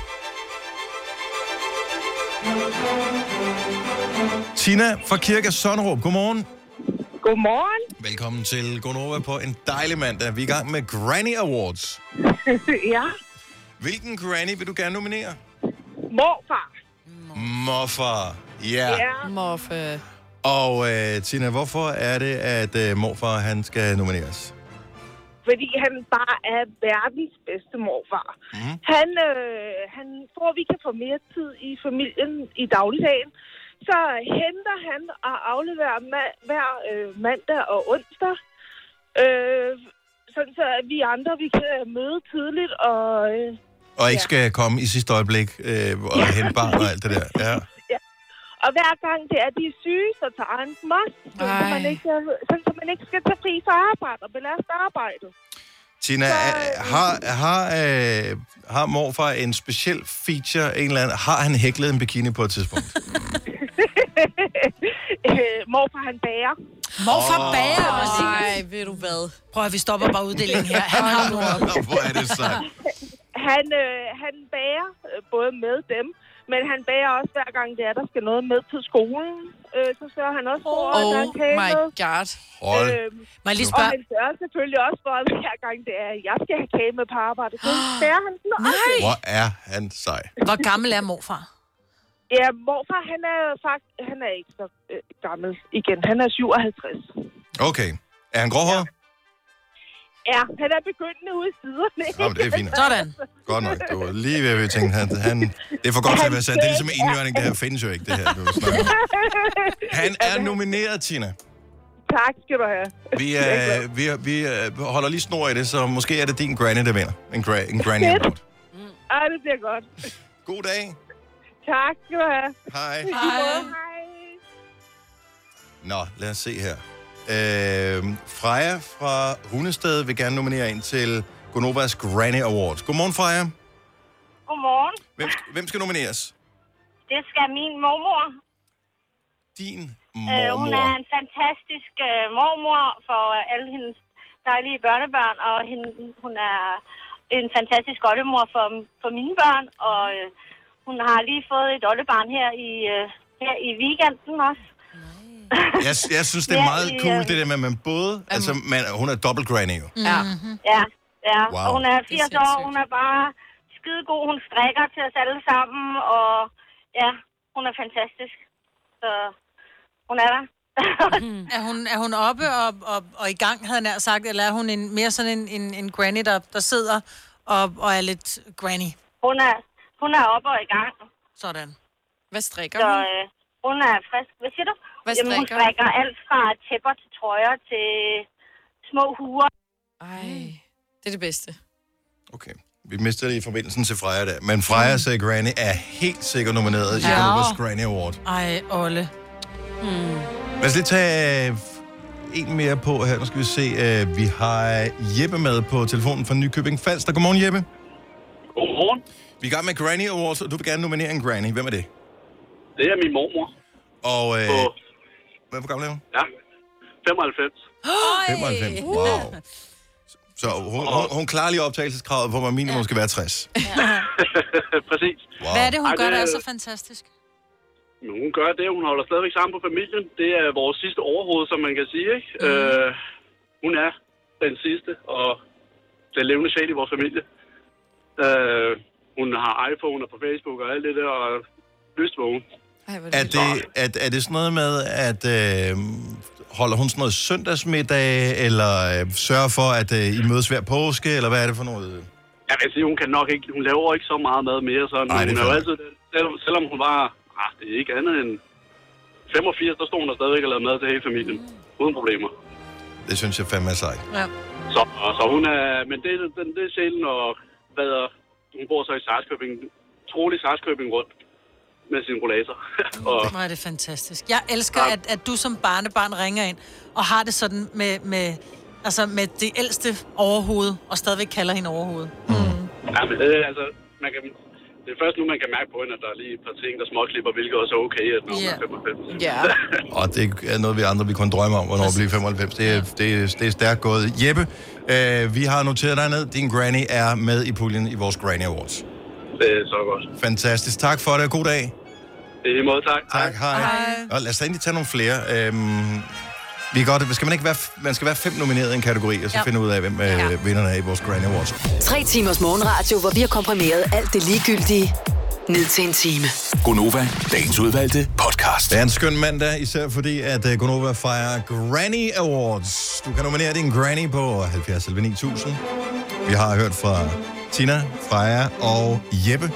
Speaker 1: Tina fra Kirke Sønderup, godmorgen.
Speaker 8: Godmorgen.
Speaker 1: Velkommen til Gonova på en dejlig mandag. Vi er i gang med Granny Awards.
Speaker 8: *laughs* ja,
Speaker 1: Hvilken granny vil du gerne nominere?
Speaker 8: morfar.
Speaker 1: Morfar. Ja. Yeah.
Speaker 8: Ja.
Speaker 3: Morfe.
Speaker 1: Og øh, Tina, hvorfor er det, at øh, morfar han skal nomineres?
Speaker 8: Fordi han bare er verdens bedste morfar.
Speaker 1: Mhm.
Speaker 8: Mm. Han, øh, han tror, vi kan få mere tid i familien i dagligdagen. Så henter han og afleverer ma- hver øh, mandag og onsdag. Øh, sådan så at vi andre vi kan møde tidligt og... Øh,
Speaker 1: Og ikke
Speaker 8: Ja.
Speaker 1: skal komme i sidste øjeblik øh, og
Speaker 8: Ja.
Speaker 1: hente barn og alt det
Speaker 8: *laughs*
Speaker 1: der. Ja.
Speaker 8: og hver gang det er, de er syge, så tager han dem også, sådan, så
Speaker 3: Ej.
Speaker 8: man ikke, sådan, så man ikke skal tage fri fra arbejde og belaste arbejdet.
Speaker 1: Tina, øh, har, har, øh, har morfar en speciel feature, en eller anden, har han hæklet en bikini på et tidspunkt?
Speaker 8: *laughs* øh, morfar, han bager.
Speaker 2: Morfar bager også.
Speaker 3: Nej, ved du hvad?
Speaker 2: Prøv at vi stopper bare uddelingen her. Han har nu
Speaker 1: Hvor er det sejt.
Speaker 8: *laughs* Han, øh, han bærer øh, både med dem, men han bærer også hver gang, det er, der skal noget med til skolen. Øh, så sørger han også for, oh, at der
Speaker 3: Oh
Speaker 8: er kage
Speaker 3: my
Speaker 8: med.
Speaker 3: god.
Speaker 1: Hold.
Speaker 8: Øhm,
Speaker 2: Må jeg lige
Speaker 8: og
Speaker 2: spørge,
Speaker 8: han sørger selvfølgelig også for, at hver gang det er, jeg skal have kage med på arbejde.
Speaker 2: *gasps*
Speaker 8: Så bærer han den også.
Speaker 1: Hvor er han sej.
Speaker 2: hvor gammel er morfar?
Speaker 8: Ja, morfar, han er faktisk... Han er ikke så øh, gammel igen. Han er 57.
Speaker 1: Okay. Er han gråhåret?
Speaker 8: Ja, han er begyndende ude i siderne.
Speaker 1: Ja. men det er fint.
Speaker 2: Sådan.
Speaker 1: Godt nok. Det var lige ved, at vi tænkte, han, han, det er for godt til at være sandt. Det er ligesom indjørning. Det her findes jo ikke, det her. Du snakker om. han er nomineret, Tina.
Speaker 8: *laughs* tak skal du have.
Speaker 1: Vi,
Speaker 8: Jeg er glad.
Speaker 1: øh, vi, vi øh, holder lige snor i det, så måske er det din granny, der vinder. En, gra- en granny award.
Speaker 8: Mm. Ej, det bliver godt.
Speaker 1: God dag.
Speaker 8: Tak skal du have.
Speaker 1: Hej.
Speaker 8: Hej.
Speaker 1: Nå, lad os se her. Øh, Freja fra Hundested vil gerne nominere en til Gonovas Granny Awards. Godmorgen, Freja.
Speaker 8: Godmorgen.
Speaker 1: Hvem, hvem skal nomineres?
Speaker 8: Det skal min mormor.
Speaker 1: Din
Speaker 8: Øh, hun er
Speaker 1: mormor.
Speaker 8: en fantastisk øh, mormor for øh, alle hendes dejlige børnebørn, og hende, hun er en fantastisk oldemor for, for mine børn, og øh, hun har lige fået et oldebarn her i, øh, her i weekenden også.
Speaker 1: Jeg, jeg synes, det er
Speaker 8: Ja,
Speaker 1: meget
Speaker 8: i,
Speaker 1: cool,
Speaker 8: øh,
Speaker 1: det der med, at man både... Altså, man, hun er dobbelt granny jo.
Speaker 3: Ja.
Speaker 8: Mm-hmm. Ja, ja.
Speaker 1: Wow.
Speaker 8: og hun er
Speaker 3: Det
Speaker 8: 80
Speaker 3: er
Speaker 8: år,
Speaker 3: sindssygt.
Speaker 8: hun er bare skidegod, hun strikker til os alle sammen, og ja, hun er fantastisk. Så hun er der.
Speaker 2: Mm. Er hun, er hun oppe og, og, og i gang, havde jeg nær sagt, eller er hun en, mere sådan en, en, en granny, der, der sidder og, og er lidt granny?
Speaker 8: hun, er, hun er oppe og i gang,
Speaker 2: Sådan.
Speaker 3: Hvad strikker
Speaker 8: så
Speaker 3: hun?
Speaker 8: øh, hun er frisk. Hvad siger du?
Speaker 3: Hvad
Speaker 8: Jamen, hun
Speaker 3: strikker hun?
Speaker 8: strikker alt fra tæpper til trøjer til små huer.
Speaker 3: Ej, det er det bedste.
Speaker 1: Okay. Vi mistede lige forbindelsen til Freja der. Men Freja sagde, Granny er helt sikkert nomineret i
Speaker 2: Ja.
Speaker 1: Europas Granny Award.
Speaker 2: Ej, Olle. Hmm.
Speaker 1: Lad os lige tage øh, en mere på her. Nu skal vi se. øh, Vi har Jeppe med på telefonen fra Nykøbing Falster. Godmorgen, Jeppe.
Speaker 9: Godmorgen.
Speaker 1: Vi er i gang med Granny Awards, og du vil gerne nominere en Granny. Hvem er det?
Speaker 9: Det er min mormor
Speaker 1: Og øh,
Speaker 9: på
Speaker 1: hvad hvor gammel er hun?
Speaker 9: ja, 95.
Speaker 1: 95. Wow. Så hun, hun, hun klarer lige optagelseskravet, hvor man minimum skal være 60.
Speaker 9: Præcis.
Speaker 1: Wow.
Speaker 2: Hvad er det, hun
Speaker 9: Ej,
Speaker 2: gør, der
Speaker 9: det-
Speaker 2: er så fantastisk?
Speaker 9: Men hun gør det, hun holder stadigvæk sammen på familien. Det er vores sidste overhoved, som man kan sige. Ikke? Mm. Øh, hun er den sidste og den levende sjæl i vores familie. Øh, hun har iPhone og på Facebook og alt det der, og lystvågen.
Speaker 3: Ej, hvor er
Speaker 1: Er
Speaker 3: det...
Speaker 1: det, er, er det sådan noget med, at øh, holder hun sådan noget søndagsmiddag, eller øh, sørger for, at øh, I mødes hver påske, eller hvad er det for noget?
Speaker 9: Jeg vil sige, hun kan nok ikke, hun laver ikke så meget mad mere, så
Speaker 1: Nej, det er
Speaker 9: hun er jo
Speaker 1: fair.
Speaker 9: altid, den- selvom, selvom hun var, ah, det er ikke andet end 85, der stod hun der stadigvæk og lavede mad til hele familien. Uden problemer.
Speaker 1: Det synes jeg fandme er sejt.
Speaker 9: Så, og så hun er, men det, er- den, det er sjældent, og hvad er, hun bor så i Sarskøbing, trolig Sarskøbing rundt med sin rollator. *laughs* og
Speaker 2: Hvor er det fantastisk. Jeg elsker, at, at du som barnebarn ringer ind og har det sådan med, med, altså med det ældste overhoved, og stadigvæk kalder hende overhoved.
Speaker 9: ja, men det, er altså, man kan, det er først nu, man kan mærke på hende, at der er lige et par ting, der småklipper, hvilket også er okay, at når hun er 95.
Speaker 2: Ja.
Speaker 3: Ja.
Speaker 1: Og det er noget, vi andre vi kun drømmer om, hvornår vi bliver 95. Det er, det, er, det er stærkt gået. Jeppe, øh, vi har noteret dig ned. Din granny er med i puljen i vores Granny Awards.
Speaker 9: *laughs* Det er så godt.
Speaker 1: Fantastisk. Tak for det, og god dag.
Speaker 9: Det er i måde, tak.
Speaker 1: Tak, hej. hej. Og lad os da endelig tage nogle flere. Øhm, vi er godt, skal man, ikke være, f- man skal være fem nomineret i en kategori, og så ja. finde ud af, hvem øh, vinderne er i vores Granny Awards.
Speaker 6: Tre timers morgenradio, hvor vi har komprimeret alt det ligegyldige ned til en time.
Speaker 7: Gonova, dagens udvalgte podcast.
Speaker 1: Det er en skøn mandag, især fordi, at øh, Gonova fejrer Granny Awards. Du kan nominere din granny på 70 11 9000. Vi har hørt fra Tina, Freja og Jeppe.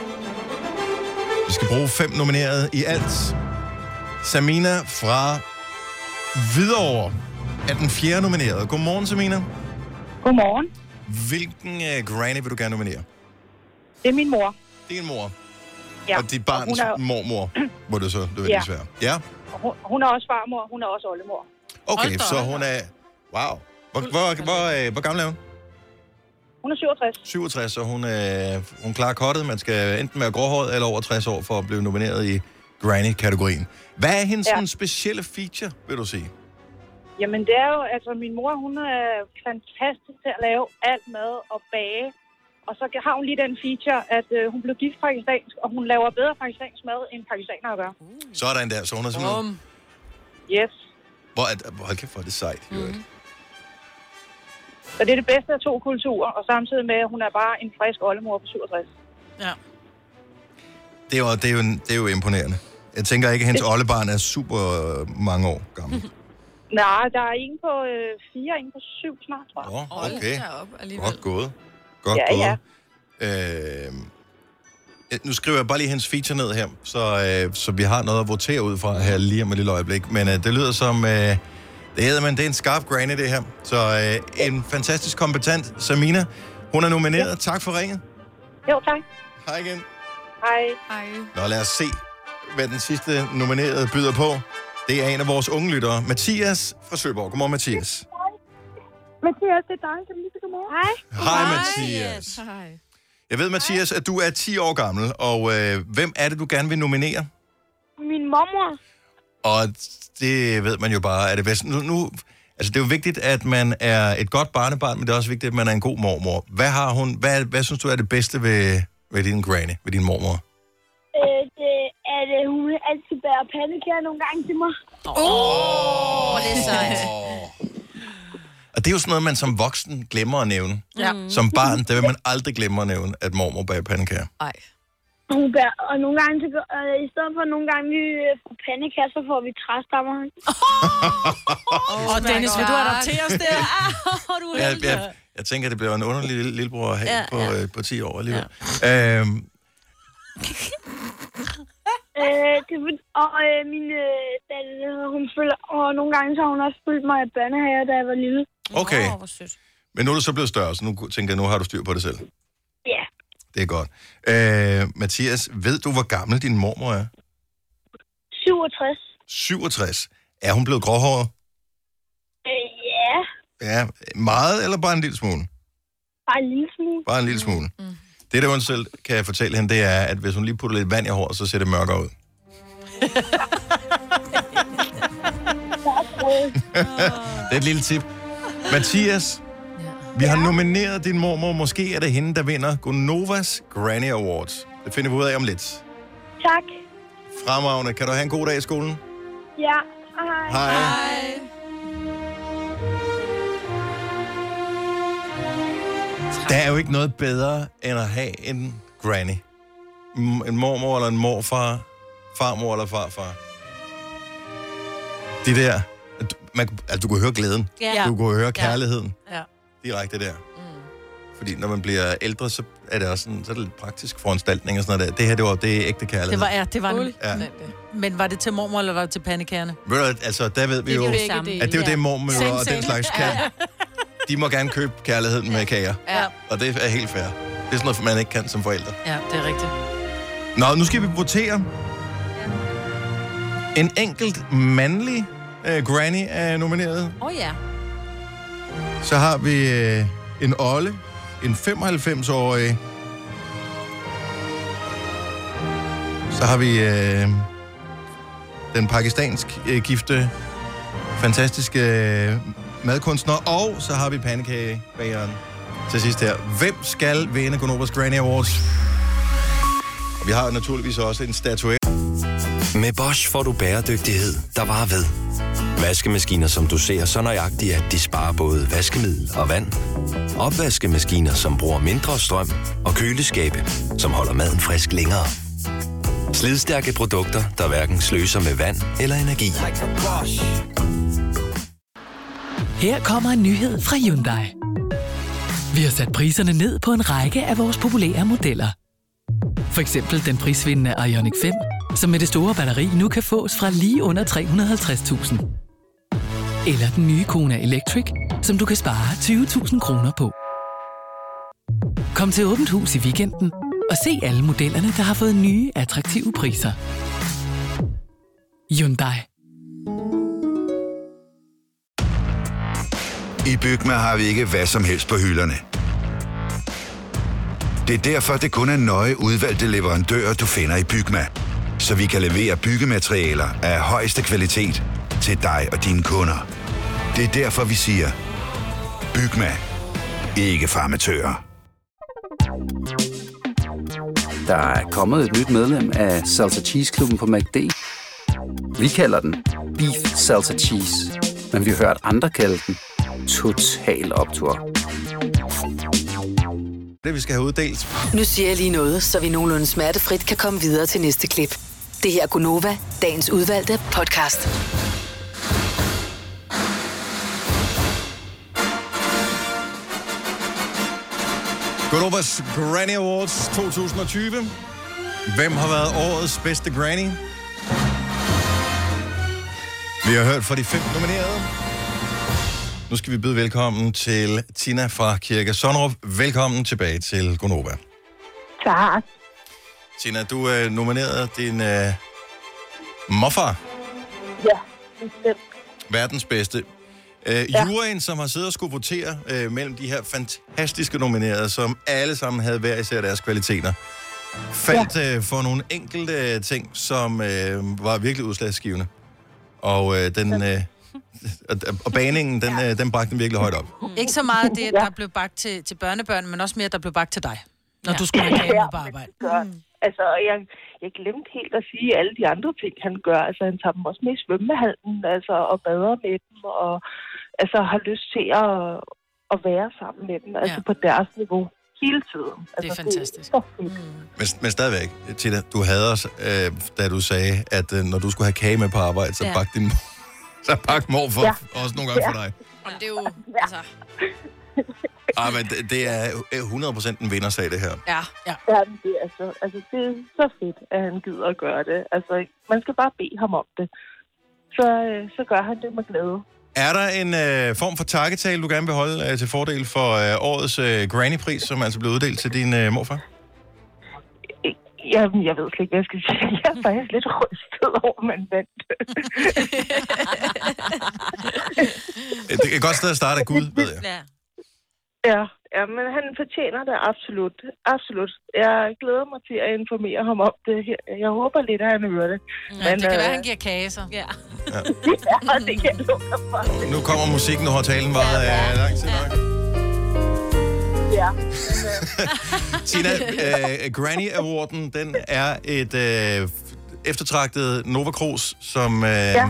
Speaker 1: Vi skal bruge fem nominerede i alt. Samina fra Hvidovre er den fjerde nominerede. Godmorgen, Samina.
Speaker 8: Godmorgen.
Speaker 1: Hvilken øh, granny vil du gerne nominere?
Speaker 8: Det er min mor.
Speaker 1: Din mor
Speaker 8: Ja.
Speaker 1: og dit barns
Speaker 8: Og hun er-
Speaker 1: mormor, må det så
Speaker 8: Ja.
Speaker 1: nødvendigvis være. Ja.
Speaker 8: Og Hun, hun er også farmor, hun er også oldemor.
Speaker 1: Okay,
Speaker 2: Hold da
Speaker 1: så
Speaker 2: op.
Speaker 1: hun er... Wow. Hvor, hvor, hvor, øh, hvor gammel er hun?
Speaker 8: Hun er 67.
Speaker 1: 67, så hun, øh, hun klarer kottet. Man skal enten være gråhåret eller over 60 år for at blive nomineret i Granny-kategorien. Hvad er hendes
Speaker 8: Ja.
Speaker 1: ja. specielle feature, vil du sige?
Speaker 8: Jamen, det er jo, altså min mor, hun er fantastisk til at lave alt mad og bage Og så har hun lige den feature, at øh, hun blev gift pakistansk, og hun laver bedre pakistansk mad, end pakistanere gør.
Speaker 1: Sådan der, så hun er sådan noget.
Speaker 3: Bum.
Speaker 8: Yes. Mm-hmm.
Speaker 1: Hvor er, hold kæft, hvor er det sejt. Mm.
Speaker 8: Så det er det bedste af to kulturer, og samtidig med, at hun er bare en frisk oldemor på 67.
Speaker 2: Ja.
Speaker 1: Det, er, jo- det, er jo, det er jo imponerende. Jeg tænker ikke, at hendes oldebarn er super øh, mange år gammel.
Speaker 8: Nej, der er en på øh, fire, en på syv snart, tror jeg.
Speaker 1: Åh, oh,
Speaker 3: Hold
Speaker 1: okay.
Speaker 3: da op alligevel.
Speaker 1: Godt gået. Godt
Speaker 8: Ja, ja.
Speaker 1: gået. Ja. Øh, nu skriver jeg bare lige hendes feature ned her, så, øh, så vi har noget at votere ud fra her lige om et lille øjeblik. Men øh, det lyder som... Øh, det hedder, men det er en skarp granny, det her. Så øh, en fantastisk kompetent Samina. Hun er nomineret. Tak for ringet.
Speaker 8: Jo, tak.
Speaker 1: Hej igen.
Speaker 8: Hej.
Speaker 3: Ej.
Speaker 1: Nå, lad os se, hvad den sidste nominerede byder på. Det er en af vores unge lyttere, Mathias fra Søborg. Godmorgen, Mathias.
Speaker 8: Mathias, det er dig, som lige godmorgen. Hej.
Speaker 1: Hej, Mathias.
Speaker 3: Hej.
Speaker 1: Jeg ved, Mathias, at du er 10 år gammel, og øh, hvem er det, du gerne vil nominere?
Speaker 8: Min mormor.
Speaker 1: Og det ved man jo bare, er det bedst. Nu, nu, altså, det er jo vigtigt, at man er et godt barnebarn, men det er også vigtigt, at man er en god mormor. Hvad har hun, hvad, hvad synes du er det bedste ved, ved din granny, ved din mormor?
Speaker 8: Øh, det er, at hun altid bærer pandekager nogle gange til mig.
Speaker 4: Åh, det er sejt.
Speaker 1: Og det er jo sådan noget, man som voksen glemmer at nævne.
Speaker 3: Ja.
Speaker 1: Som barn, der vil man aldrig glemme at nævne, at mormor bager pandekager.
Speaker 3: Ej.
Speaker 8: Hun bærer, og nogle gange, så, gør- øh, i stedet for nogle gange, vi øh, får pandekager, så får vi træstammer.
Speaker 2: Og Dennis, vil du adoptere os
Speaker 8: *laughs*
Speaker 2: der?
Speaker 4: Åh, du er
Speaker 1: Jeg, jeg, jeg tænker, det bliver en underlig lille, lillebror at have ja, på, ja. Øh, på 10 år alligevel. Ja. Øhm,
Speaker 8: Øh, det, er for- og øh, min øh, datter, hun følger, og nogle gange, så har hun også fulgt mig i børnehave, da jeg var lille.
Speaker 1: okay,
Speaker 4: Åh, hvor sødt.
Speaker 1: men nu er du så blevet større, så nu tænker jeg, nu har du styr på det selv.
Speaker 8: Ja.
Speaker 1: Det er godt. Øh, Mathias, ved du, hvor gammel din mormor er?
Speaker 8: 67.
Speaker 1: 67. Er hun blevet gråhåret?
Speaker 8: Øh, ja,
Speaker 1: Ja, meget eller bare en lille smule?
Speaker 8: bare en lille smule.
Speaker 1: Bare en lille smule. Mm. Det, der hun selv kan fortælle hende, det er, at hvis hun lige putter lidt vand i håret, så ser det mørkere ud. *laughs* det er et lille tip. Mathias, vi har nomineret din mormor. Måske er det hende, der vinder Gonovas Granny Awards. Det finder vi ud af om lidt.
Speaker 8: Tak.
Speaker 1: Fremragende. Kan du have en god dag i skolen?
Speaker 8: Ja, hej.
Speaker 1: Hej. Hej. Der er jo ikke noget bedre end at have en granny. M- En mormor eller en morfar. Farmor eller farfar. De der. at du- Man, altså, du kunne høre glæden.
Speaker 4: Ja. Mm.
Speaker 1: Du kunne høre kærligheden.
Speaker 2: Ja.
Speaker 1: Direkte der. Fordi når man bliver ældre, så er det også sådan, så er det lidt praktisk foranstaltning og sådan noget der. Det her, det var det er ægte kærlighed.
Speaker 2: Det var, ja, det var en,
Speaker 1: Ja.
Speaker 2: Men var det til mormor, eller var det til pandekagerne?
Speaker 1: Ved du, hvad, altså, der ved vi jo...
Speaker 3: Begge
Speaker 4: samme.
Speaker 3: dele.
Speaker 1: At det er jo
Speaker 4: Ja.
Speaker 1: det, mormøder og den slags
Speaker 2: *laughs*
Speaker 1: kan. De må gerne købe kærligheden med kager.
Speaker 3: Ja.
Speaker 1: Og det er helt fair. Det er sådan noget, man ikke kan som forældre.
Speaker 2: Ja, det er rigtigt.
Speaker 1: Nå, nu skal vi votere. En enkelt mandlig øh, granny er nomineret.
Speaker 4: Åh, ja.
Speaker 1: Så har vi øh, en Olle, en 95-årig. Så har vi øh, den pakistansk øh, gifte, fantastiske øh, madkunstner. Og så har vi pandekagebageren til sidst her. Hvem skal vinde Gonobas Granny Awards? Og vi har naturligvis også en statuette.
Speaker 10: Med Bosch får du bæredygtighed, der varer ved. Vaskemaskiner, som du ser så nøjagtigt, at de sparer både vaskemiddel og vand. Opvaskemaskiner, som bruger mindre strøm. Og køleskabe, som holder maden frisk længere. Slidstærke produkter, der hverken sløser med vand eller energi.
Speaker 11: *laughs* Her kommer en nyhed fra Hyundai. Vi har sat priserne ned på en række af vores populære modeller. For eksempel den prisvindende Ioniq 5, som med det store batteri nu kan fås fra lige under 350.000. Eller den nye Kona Electric, som du kan spare 20.000 kroner på. Kom til Åbent Hus i weekenden og se alle modellerne, der har fået nye, attraktive priser. Hyundai.
Speaker 7: I Bygma har vi ikke hvad som helst på hylderne. Det er derfor, det kun er nøje udvalgte leverandører, du finder i Bygma. Så vi kan levere byggematerialer af højeste kvalitet til dig og dine kunder. Det er derfor, vi siger, Bygma. Ikke farmatører.
Speaker 12: Der er kommet et nyt medlem af Salsa Cheese Klubben på MACD. Vi kalder den Beef Salsa Cheese, men vi har hørt andre kalde den Total Optor.
Speaker 1: Det, vi skal have uddelt.
Speaker 6: Nu siger jeg lige noget, så vi nogenlunde smertefrit kan komme videre til næste klip. Det her er Gunova, dagens udvalgte podcast.
Speaker 1: Godovas Granny Awards 2020. Hvem har været årets bedste granny? Vi har hørt fra de fem nominerede. Nu skal vi byde velkommen til Tina fra Kirke Sonnerup. Velkommen tilbage til Gonova.
Speaker 13: Tak.
Speaker 1: Tina, du øh, nominerede din øh, morfar,
Speaker 13: Ja, bestemt.
Speaker 1: verdens bedste. Øh,
Speaker 13: Ja.
Speaker 1: juryen, som har siddet og skulle votere øh, mellem de her fantastiske nominerede, som alle sammen havde hver især deres kvaliteter, faldt øh, for nogle enkelte øh, ting, som øh, var virkelig udslagsgivende. Og, øh, den, øh, og, og baningen, den, øh, den bragte den virkelig højt op.
Speaker 2: Ikke så meget det, at der blev bagt til, til børnebørn, men også mere, at der blev bagt til dig, når ja. du skulle have
Speaker 13: Ja,
Speaker 2: ja. på arbejde.
Speaker 13: Mm. Altså, og jeg, jeg glemte helt at sige alle de andre ting, han gør. Altså, han tager dem også med i svømmehallen, altså, og bader med dem, og altså, har lyst til at, at være sammen med dem, altså på deres niveau hele tiden. Altså, det er fantastisk. Det,
Speaker 1: Men, men stadigvæk, Tina, du havde os, øh, da du sagde, at øh, når du skulle have kage med på arbejde, så
Speaker 3: Ja.
Speaker 1: ja. bagte din mor, *laughs* så bagte mor for, ja. også nogle gange ja. for dig.
Speaker 3: Og det
Speaker 13: *laughs*
Speaker 3: er jo, altså,
Speaker 1: Ah, men det, det er øh, 100% en vindersag, det her.
Speaker 3: ja.
Speaker 13: ja. ja men det, er altså, altså, det er så fedt, at han gider at gøre det. Altså, man skal bare bede ham om det. Så, øh, så gør han det med glæde.
Speaker 1: Er der en øh, form for takketale, du gerne vil holde øh, til fordel for øh, årets øh, Granny-pris, som altså blev uddelt til din øh, morfar?
Speaker 13: Jamen, jeg ved slet ikke, hvad jeg skal sige. Jeg er faktisk lidt rystet over, at man vandt.
Speaker 1: Øh, Det er et godt sted at starte af Gud, ved jeg.
Speaker 2: Ja.
Speaker 13: Ja, ja, men han fortjener det absolut. Absolut. Jeg glæder mig til at informere ham om det her. Jeg håber lidt, at han hører det. øh, Ja,
Speaker 2: Men,
Speaker 8: øh,
Speaker 2: det kan være,
Speaker 13: *laughs*
Speaker 2: han giver kage, så. Ja.
Speaker 13: ja, det kan jeg lukke dig for.
Speaker 1: Nu kommer musikken, og talen var øh, lang tid nok.
Speaker 13: Ja.
Speaker 1: *laughs*
Speaker 13: *laughs*
Speaker 1: Tina, øh, Granny Awarden, den er et øh, eftertragtet Nova Cruz, som øh, ja.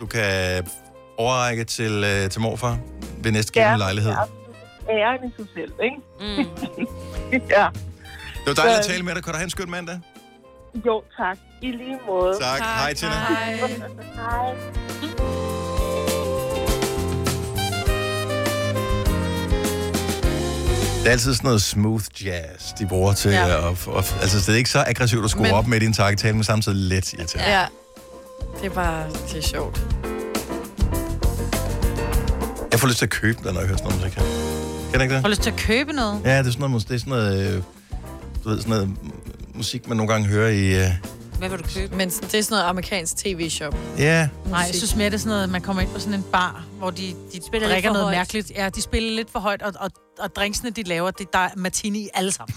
Speaker 1: du kan overrække til, øh, til morfar ved næste gældende lejlighed.
Speaker 13: Ja, absolut. Æren i sig selv, ikke? Mm. *laughs* ja.
Speaker 1: Det var dejligt at tale med dig. Kan du have en skøn mandag?
Speaker 13: Jo, tak. I lige måde.
Speaker 1: Tak. Tak. Hej, Tina. Hej.
Speaker 13: *laughs* Hej.
Speaker 1: Det er altid sådan noget smooth jazz, de bruger til. Ja. Og, og, altså, det er ikke så aggressivt at skrue
Speaker 3: Men-
Speaker 1: op med din takketale, men samtidig let irriterende.
Speaker 3: ja. Det er bare, det er sjovt.
Speaker 1: Jeg får lyst til at købe den, når jeg hører sådan noget musik her. Kan jeg ikke
Speaker 2: Har
Speaker 1: det?
Speaker 2: du lyst til at købe noget?
Speaker 1: Ja, det er sådan noget, mus- det er sådan noget, øh, du ved, sådan noget musik, man nogle gange hører i... Øh,
Speaker 2: Hvad vil du købe?
Speaker 3: Men det er sådan noget amerikansk tv-shop.
Speaker 1: ja,
Speaker 2: Nej, jeg synes mere, det er sådan noget, at man kommer ind på sådan en bar, hvor de, de spiller
Speaker 3: lidt
Speaker 2: drikker
Speaker 3: for
Speaker 2: noget
Speaker 3: højt.
Speaker 2: mærkeligt. Ja, de spiller lidt for højt, og, og, og drinksene, de laver, det, der er martini i alle sammen.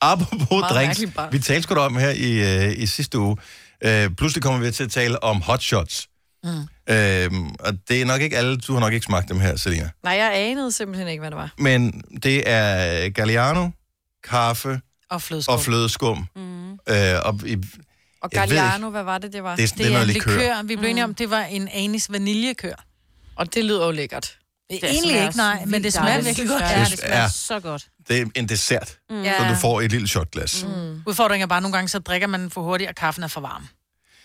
Speaker 1: apropos
Speaker 2: Meget
Speaker 1: drinks.
Speaker 2: mærkeligt bare.
Speaker 1: Vi talte sgu da om her i, øh, i sidste uge. Øh, pludselig kommer vi til at tale om hotshots.
Speaker 3: Mm.
Speaker 1: Øhm, og det er nok ikke alle, du har nok ikke smagt dem her, Selina.
Speaker 3: Nej, jeg anede simpelthen ikke, hvad det var.
Speaker 1: Men det er Galliano, kaffe
Speaker 2: Og flødeskum.
Speaker 1: og flødeskum.
Speaker 3: Mm.
Speaker 1: Øh, og i,
Speaker 3: Og
Speaker 1: Jeg ved
Speaker 3: Galliano, hvad var det, det var?
Speaker 1: Det er sådan- Det det er er noget
Speaker 2: likør.
Speaker 1: likør.
Speaker 2: Vi blev enige om, det var en anis vaniljekør.
Speaker 3: Og det lyder jo lækkert.
Speaker 2: Det er egentlig ikke, nej, men det smager virkelig godt.
Speaker 1: Ja, det smager Ja.
Speaker 2: så godt.
Speaker 1: det er en dessert,
Speaker 2: Mm.
Speaker 1: mm.
Speaker 2: Ja.
Speaker 1: så du får et lille shotglas. Mm.
Speaker 2: Mm. Udfordringen er bare, at nogle gange så drikker man for hurtigt, og kaffen er for varm.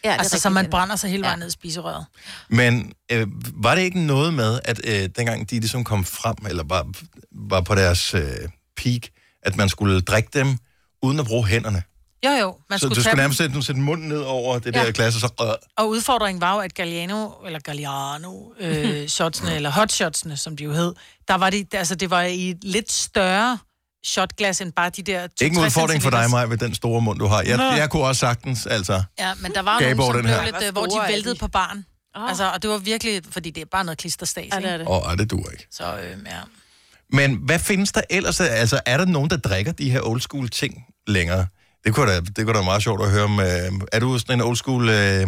Speaker 2: Ja,
Speaker 4: er
Speaker 2: altså, så
Speaker 4: rigtigt,
Speaker 2: man
Speaker 4: den-
Speaker 2: brænder sig hele vejen ned i spiserøret.
Speaker 1: Men øh, var det ikke noget med, at øh, dengang de ligesom kom frem, eller var, var på deres øh, peak, at man skulle drikke dem uden at bruge hænderne?
Speaker 2: Jo, jo. Man
Speaker 1: så
Speaker 2: skulle
Speaker 1: du
Speaker 2: tage
Speaker 1: skulle
Speaker 2: dem.
Speaker 1: nærmest sætte, sætte munden ned over det
Speaker 2: Ja.
Speaker 1: ja. der glas, og så... Øh,
Speaker 2: Og udfordringen var jo, at Galliano, eller Galliano,
Speaker 1: *laughs*
Speaker 2: øh, shotsene, eller hotshotsene, som de jo hed, der var de, altså, det var i et lidt større shotglas, end bare de der...
Speaker 1: ikke en
Speaker 2: 60
Speaker 1: udfordring for dig,
Speaker 2: centiliters.
Speaker 1: Maja, med den store mund, du har. Jeg,
Speaker 2: Nå.
Speaker 1: jeg kunne også sagtens, altså...
Speaker 2: Ja, men der var jo
Speaker 1: Gabe
Speaker 2: nogen,
Speaker 1: over
Speaker 2: som
Speaker 1: den
Speaker 2: blev
Speaker 1: her.
Speaker 2: lidt,
Speaker 1: Hvor
Speaker 2: øh, hvor de
Speaker 3: store er
Speaker 2: væltede på barn. Altså, og det var virkelig, fordi det er bare noget klisterstas, ja, det er det.
Speaker 1: Åh, oh, det duer ikke.
Speaker 2: Så, øh, ja.
Speaker 1: Men hvad findes der ellers? Altså, er der nogen, der drikker de her old school ting længere? Det kunne da, det kunne da være meget sjovt at høre om. Øh, er du sådan en old school øh,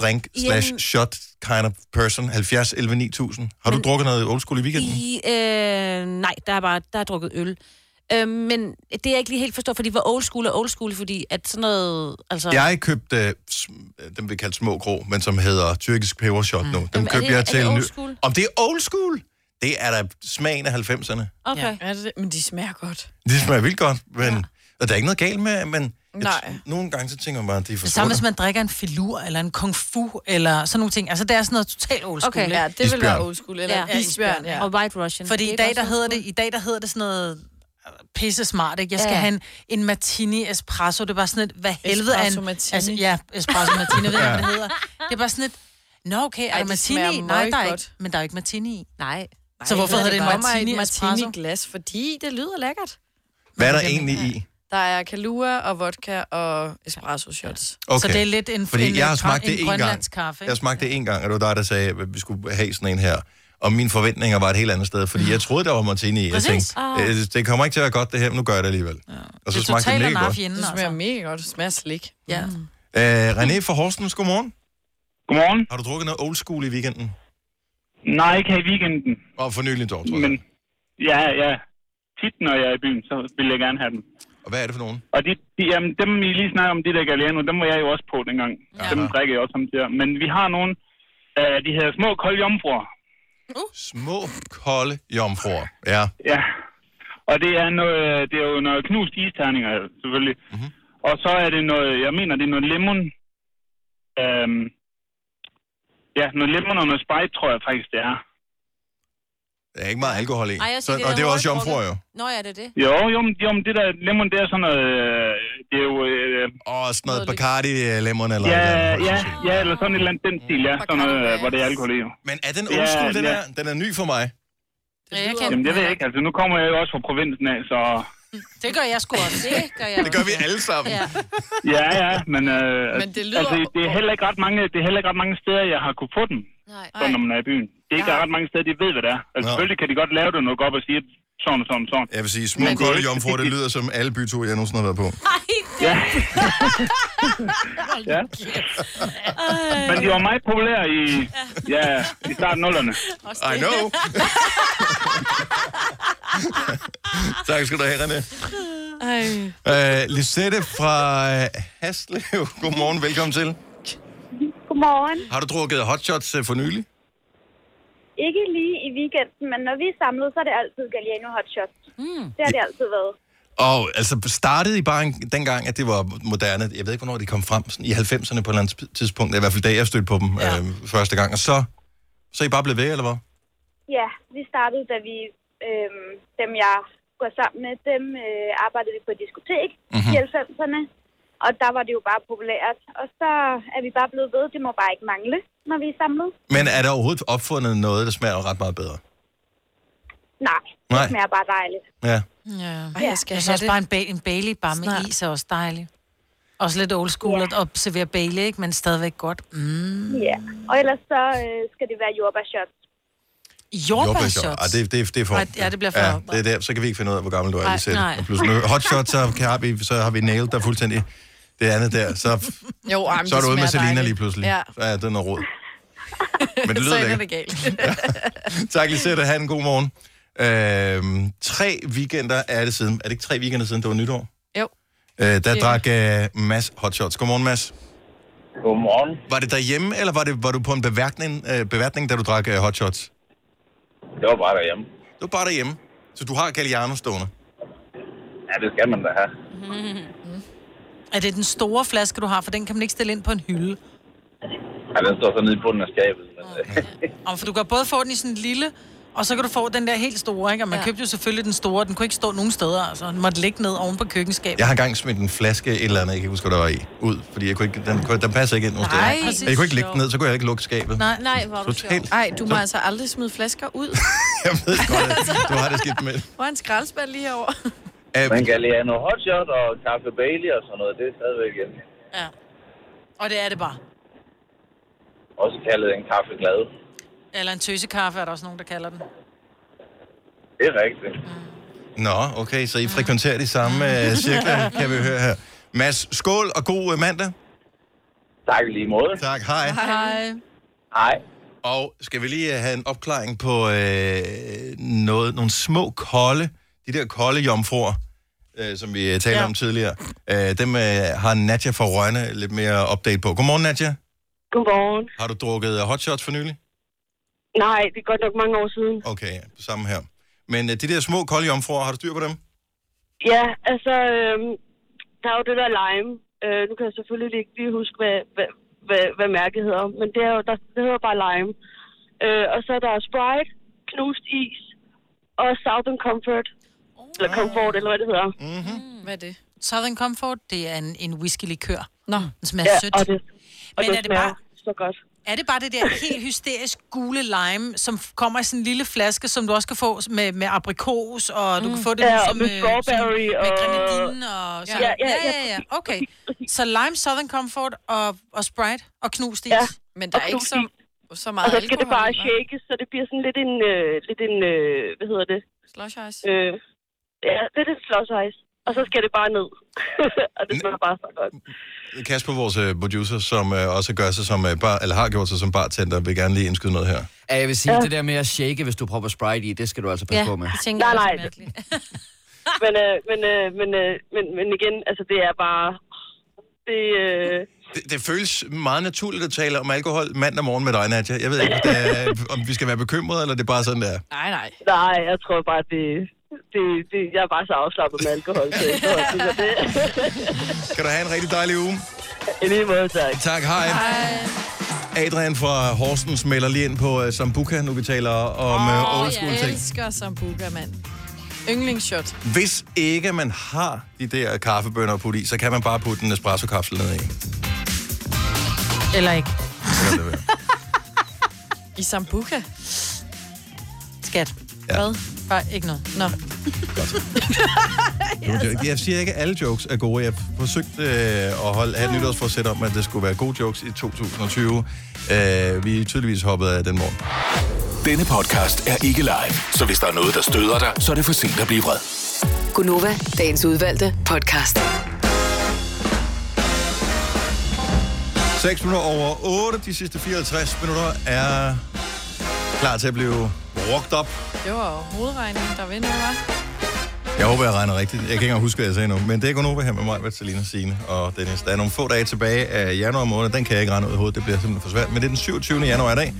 Speaker 1: drink slash shot kind of person? 70, 11, 9000. Har du drukket noget old school i weekenden?
Speaker 4: I, øh, nej, der er bare der er drukket øl. Øh, men det er jeg ikke lige helt forstår, fordi hvor old school er old school, fordi at sådan noget... Altså,
Speaker 1: Jeg købte øh, sm- dem, vi kaldte små grå, men som hedder tyrkisk pebershot nu. Dem
Speaker 4: Mm. Jamen, er
Speaker 1: købte
Speaker 4: det- er
Speaker 1: jeg
Speaker 4: det
Speaker 1: til...
Speaker 4: old
Speaker 1: ny-
Speaker 4: school?
Speaker 1: Om det er old school? Det er da smagen af 90'erne.
Speaker 4: Okay.
Speaker 3: Ja, er det det? Men de smager godt.
Speaker 1: Det smager vildt godt, men... Ja. Og der er ikke noget galt med, men... jeg
Speaker 2: Nej.
Speaker 1: t- Nogle gange så tænker man bare, at de er for
Speaker 2: Det samme,
Speaker 1: sorte.
Speaker 2: hvis man drikker en filur, eller en kung fu, eller sådan nogle ting. Altså, det er sådan noget totalt old school,
Speaker 4: Okay.
Speaker 2: ikke?
Speaker 4: Ja, det vil være Isbjørn. old school, eller- ja,
Speaker 2: isbjørn, ja.
Speaker 4: Og White Russian. Det
Speaker 2: Fordi
Speaker 4: er
Speaker 2: i
Speaker 4: ikke
Speaker 2: dag,
Speaker 4: også
Speaker 2: der
Speaker 4: old
Speaker 2: hedder det, i dag, der hedder det sådan noget øh, pisse smart, ikke? Jeg skal
Speaker 4: Ja.
Speaker 2: ja. have en, en martini espresso. Det er bare sådan et, hvad helvede er
Speaker 4: Espresso
Speaker 2: en...
Speaker 4: martini.
Speaker 2: Altså, ja, espresso martini, jeg ved
Speaker 4: Ja.
Speaker 2: ikke, hvad det hedder. Det er bare sådan et... Nå, okay, er
Speaker 3: Ej,
Speaker 2: der
Speaker 3: det
Speaker 2: martini?
Speaker 3: smager
Speaker 2: i? Nej, der er
Speaker 3: møggodt.
Speaker 2: ikke, men der er jo ikke martini i.
Speaker 4: Nej.
Speaker 2: Så hvorfor hedder det en martini,
Speaker 3: martini
Speaker 2: espresso?
Speaker 3: glas? Fordi det lyder lækkert.
Speaker 1: Hvad er der egentlig i?
Speaker 3: Der er kalua og vodka og espresso shots.
Speaker 1: Okay.
Speaker 2: Så det er lidt en-
Speaker 1: Fordi
Speaker 2: en-
Speaker 1: jeg har
Speaker 2: en-
Speaker 1: smagt
Speaker 2: en
Speaker 1: det en gang.
Speaker 2: grønlandsk kaffe, ikke?
Speaker 1: Jeg smagte det en gang, og det var dig, der sagde, at vi skulle have sådan en her. Og mine forventninger var et helt andet sted, fordi jeg troede, der var martini i. Jeg
Speaker 3: Præcis.
Speaker 1: tænkte, øh, det kommer ikke til at være godt det her, men nu gør jeg det alligevel. Ja. Og så smagte det mega godt.
Speaker 3: Det smager altså. mega godt. Det smager slik. Ja. Mm.
Speaker 1: Øh, René fra Horsens, godmorgen.
Speaker 14: Godmorgen.
Speaker 1: Har du drukket noget old school i weekenden?
Speaker 14: Nej, ikke her i weekenden.
Speaker 1: Og for nylig dog, tror jeg.
Speaker 14: Men ja, ja. Tit, når jeg er i byen, så vil jeg gerne have dem.
Speaker 1: Og hvad er det for nogen?
Speaker 14: Og de, de, jamen, dem, I lige snakker om, de der Galliano, dem var jeg jo også på dengang. Ja. Dem drikker jeg også om der. Men vi har nogle, øh, de hedder små kolde jomfruer.
Speaker 1: Små kolde jomfruer, ja.
Speaker 14: Ja. Og det er, noget, det er jo noget knust isterninger, selvfølgelig.
Speaker 1: Mhm.
Speaker 14: Mm-hmm. Og så er det noget, jeg mener, det er noget lemon. Øhm, ja, noget lemon og noget sprite, tror jeg faktisk, det er.
Speaker 1: Der er ikke meget alkohol i.
Speaker 4: Ej, jeg siger,
Speaker 1: så, og det er jo også jomfruer, jo.
Speaker 4: Nå, ja, det er det.
Speaker 14: Jo, jo, men, jo, men det der lemon, det er sådan noget... øh, Det er jo... Øh,
Speaker 1: og sådan noget Bacardi øh, lemon eller
Speaker 14: ja,
Speaker 1: et eller andet,
Speaker 14: ja,
Speaker 1: højst
Speaker 14: ja, eller sådan et eller andet den stil, ja. Sådan noget, øh, hvor det er alkohol i. jo.
Speaker 1: Men er den old school, den der? Den er ny for mig.
Speaker 2: Jeg kan...
Speaker 14: Jamen, det ved jeg ikke. Altså, nu kommer jeg jo også fra provinsen af, så...
Speaker 2: Det gør jeg sgu også. Det gør, jeg
Speaker 1: Det gør vi alle sammen.
Speaker 2: Ja.
Speaker 14: Ja, ja, men... Øh,
Speaker 2: Men det lyder-
Speaker 14: Altså, det er heller ikke ret mange, det er heller ikke ret mange steder, jeg har kunne få den, sådan, når man er i byen. Det er ikke ret mange steder, de ved, hvad det er. Altså, selvfølgelig kan de godt lave det noget op og sige, at sådan, sådan, sådan.
Speaker 1: Jeg vil sige, små kolde jomfruer, det lyder som alle byture, jeg nogensinde har været på.
Speaker 14: Ja. *laughs*
Speaker 2: *laughs*
Speaker 14: ja. Men de var meget populære i, ja, i starten af nullerne.
Speaker 1: I know. tak skal du have, René.
Speaker 3: Ej.
Speaker 1: Uh, Lisette fra øh, Haslev. Godmorgen, velkommen til.
Speaker 15: Godmorgen.
Speaker 1: Har du drukket hotshots øh, for nylig?
Speaker 15: Ikke lige i weekenden, men når vi er samlet, så er det altid Galliano Hot Shots. Mm. Det har det altid været.
Speaker 1: Og altså startede I bare en- dengang, at det var moderne. Jeg ved ikke, hvornår de kom frem. Sådan I 90'erne på et eller andet sp- tidspunkt. I hvert fald da jeg stødte på dem ja. øh, første gang. Og så, så er I bare blevet ved, eller hvad?
Speaker 15: Ja, vi startede, da vi, øhm, dem jeg går sammen med, dem øh, arbejdede vi på et diskotek
Speaker 1: Mhm.
Speaker 15: mm-hmm. i 90'erne. Og der var det jo bare populært. Og så er vi bare blevet ved. Det må bare ikke mangle, når vi er samlet.
Speaker 1: Men er der overhovedet opfundet noget, der smager ret meget bedre?
Speaker 15: Nej, Nej.
Speaker 1: Nej.
Speaker 15: det smager bare dejligt.
Speaker 1: Ja.
Speaker 2: Ja.
Speaker 3: Ej, jeg skal
Speaker 2: jeg
Speaker 3: have
Speaker 2: synes også
Speaker 3: det.
Speaker 2: bare en, ba- en Bailey bare med
Speaker 3: Snart.
Speaker 2: is er også dejlig. Også lidt old school at observere Bailey, ikke? men stadigvæk godt. Mm.
Speaker 15: Ja, og ellers så øh, skal det være jordbærshots.
Speaker 2: Jordbærshots.
Speaker 1: Ej, det, det, det er for...
Speaker 2: Ej, ja, det bliver for-
Speaker 1: ja, det er der, så kan vi ikke finde ud af, hvor gammel du er,
Speaker 2: Nej,
Speaker 1: Lisette.
Speaker 2: nej.
Speaker 1: Og plus nu, hotshot, så, kan, har vi, så har vi nailed dig fuldstændig. Det andet der, så,
Speaker 3: Jo, ej, men
Speaker 1: så er
Speaker 3: det
Speaker 1: du ude med
Speaker 3: smager
Speaker 1: Selina
Speaker 3: dejligt.
Speaker 1: lige pludselig.
Speaker 3: Ja.
Speaker 1: Så er det noget råd. Men
Speaker 3: *laughs*
Speaker 1: det
Speaker 3: så
Speaker 1: lyder
Speaker 3: ender
Speaker 1: lækkert.
Speaker 3: det galt.
Speaker 1: Tak, Lisette. Ha' en god morgen. Øhm, tre weekender er det siden. Er det ikke tre weekender siden, det var nytår?
Speaker 3: *laughs* Jo.
Speaker 1: Øh, der
Speaker 3: Det er
Speaker 1: drak øh, Mads hotshots. Godmorgen, Mads.
Speaker 16: Godmorgen.
Speaker 1: Var det derhjemme, eller var, det, var du på en beværtning, øh, beværtning da du drak øh, hotshots?
Speaker 16: Det var bare derhjemme.
Speaker 1: Det var bare derhjemme. Så du har Galliano stående?
Speaker 16: Ja, det skal man da have.
Speaker 2: Er det den store flaske, du har? For den kan man ikke stille ind på en hylde.
Speaker 16: Ja, den står så nede i bunden af skabet. Men, okay.
Speaker 2: Og for du kan både få den i sådan en lille, og så kan du få den der helt store, ikke? Og man ja. købte jo selvfølgelig den store. Den kunne ikke stå nogen steder, altså. Den måtte ligge ned oven på køkkenskabet.
Speaker 1: Jeg har engang smidt en flaske et eller andet, jeg kan ikke huske, hvad der var i, ud, fordi jeg kunne ikke, den, kunne- den passer ikke ind nogen
Speaker 3: Nej,
Speaker 1: steder.
Speaker 3: præcis.
Speaker 1: Jeg kunne ikke lægge den ned, så kunne jeg ikke lukke skabet.
Speaker 3: Nej, nej, hvor er du
Speaker 1: Totalt. sjov.
Speaker 3: Ej, du må
Speaker 1: Så-
Speaker 3: altså aldrig smide flasker
Speaker 1: *laughs*
Speaker 3: ud.
Speaker 1: Jeg ved godt, at du har *laughs* det skidt med.
Speaker 3: Hvor er en skraldespand lige herovre? *laughs*
Speaker 16: Men Galliano Hotshot og Kaffe Bailey og sådan noget, det er stadigvæk en,
Speaker 2: Og det er det bare.
Speaker 16: også kaldet en kaffeglade.
Speaker 2: Eller en tøsekaffe er der også nogen, der kalder den.
Speaker 16: Det er rigtigt.
Speaker 1: Nå, okay, så I frekventerer de samme øh, cirkler, kan vi høre her. Mads, skål og god øh, mandag.
Speaker 16: Tak i lige måde.
Speaker 1: Tak, hej.
Speaker 2: Hej.
Speaker 16: Hej.
Speaker 1: Og skal vi lige øh, have en opklaring på øh, noget, nogle små kolde, de der kolde jomfruer, øh, som vi øh, talte ja. om tidligere. Øh, dem øh, har Nadja fra Rønne lidt mere update på. Godmorgen, Nadja.
Speaker 5: Godmorgen.
Speaker 1: Har du drukket øh, hotshots for nylig?
Speaker 5: Nej, det er godt nok mange år siden.
Speaker 1: Okay, samme her. Men øh, de der små kolde jomfruer, har du styr på dem?
Speaker 5: Ja, altså, øhm, der er jo det der lime. Øh, nu kan jeg selvfølgelig ikke lige huske, hvad, hvad, hvad, hvad mærket hedder, men det, er jo, der, det hedder bare lime. Øh, og så er der Sprite, knust is og Southern Comfort. Eller Comfort, eller hvad det hedder.
Speaker 2: Mm-hmm.
Speaker 4: Hmm.
Speaker 2: Hvad er det? Southern Comfort, det er en, en whisky-likør. Nå. Den smager
Speaker 5: Ja,
Speaker 2: sødt.
Speaker 5: og det- og
Speaker 2: Men
Speaker 5: det
Speaker 2: er det
Speaker 5: smager
Speaker 2: bare...
Speaker 5: så godt.
Speaker 2: Er det bare det der helt hysterisk gule lime, som f- kommer i sådan en lille flaske, som du også kan få med, med aprikos, og du
Speaker 3: Mm.
Speaker 2: kan få det
Speaker 5: Ja,
Speaker 2: nu
Speaker 5: og
Speaker 2: som,
Speaker 5: med
Speaker 2: øh,
Speaker 5: strawberry
Speaker 2: som,
Speaker 5: og-
Speaker 2: med grenadinen og sådan.
Speaker 5: Ja, ja, ja,
Speaker 2: Okay, så lime, Southern Comfort og, og Sprite og knust is.
Speaker 5: Ja,
Speaker 3: Men der
Speaker 5: og
Speaker 3: er ikke
Speaker 5: knust
Speaker 3: så, så meget
Speaker 5: og så skal det bare
Speaker 3: alkohol i, hva'?
Speaker 5: shakes, så det bliver sådan lidt en, øh, lidt en øh, hvad hedder det?
Speaker 3: Slush ice.
Speaker 5: Øh, ja, det er en slush ice. Og så skal det bare ned. *laughs* og det smager bare så godt.
Speaker 1: Kasper, vores øh, producer, som øh, også gør sig som, øh, bar, eller har gjort sig som bartender, vil gerne lige indskyde noget her.
Speaker 17: Ja, jeg vil sige,
Speaker 5: Ja.
Speaker 17: ja. det der med at shake, hvis du propper Sprite i, det skal du altså passe på med.
Speaker 5: nej, nej.
Speaker 18: *laughs*
Speaker 5: men, øh, men, øh, men, øh, men, men igen, altså det er bare... Det, øh,
Speaker 1: Det, det føles meget naturligt at tale om alkohol mandag morgen med dig, Nadja. Jeg ved ikke, om,
Speaker 5: *laughs*
Speaker 1: det er, om vi skal være bekymrede, eller det er bare sådan, der.
Speaker 5: nej, nej. Nej, jeg tror bare, det, det, det, jeg er bare så afslappet med alkohol. Så jeg tror, det er det.
Speaker 1: Kan du have en rigtig dejlig uge?
Speaker 5: I lige måde, tak.
Speaker 1: Tak, hej. Adrian fra Horsens melder lige ind på uh, Sambuca, nu vi taler om oh, old school
Speaker 3: jeg
Speaker 1: ting.
Speaker 3: elsker sambuca, mand. Yndlingsshot.
Speaker 1: Hvis ikke man har de der kaffebønner at putte i, så kan man bare putte en espresso-kapsel ned i.
Speaker 2: Eller ikke.
Speaker 3: *laughs* I sambuca?
Speaker 2: Skat.
Speaker 1: Ja.
Speaker 3: Hvad?
Speaker 2: Bare ikke noget. Nå.
Speaker 3: *laughs*
Speaker 1: Det var en joke. Jeg siger ikke, at alle jokes er gode. Jeg forsøgte øh, at holde af et nytårsforsæt om, at det skulle være gode jokes i 2020. Øh, vi er tydeligvis hoppet af den morgen.
Speaker 19: Denne podcast er ikke live, så hvis der er noget, der støder dig, så er det for sent at blive vred.
Speaker 6: Gunova, dagens udvalgte podcast.
Speaker 1: 6 minutter over 8. De sidste 54 minutter er klar til at blive brugt op.
Speaker 3: Det var jo hovedregningen, der vinder, hva'?
Speaker 1: Jeg håber, jeg regner rigtigt. Jeg kan ikke engang huske, hvad jeg sagde nu. Men det er kun over her med mig, med Selina Signe og Dennis. Der er nogle få dage tilbage af januar måned. Den kan jeg ikke regne ud i hovedet. Det bliver simpelthen for svært. Men det er den 27. januar i dag.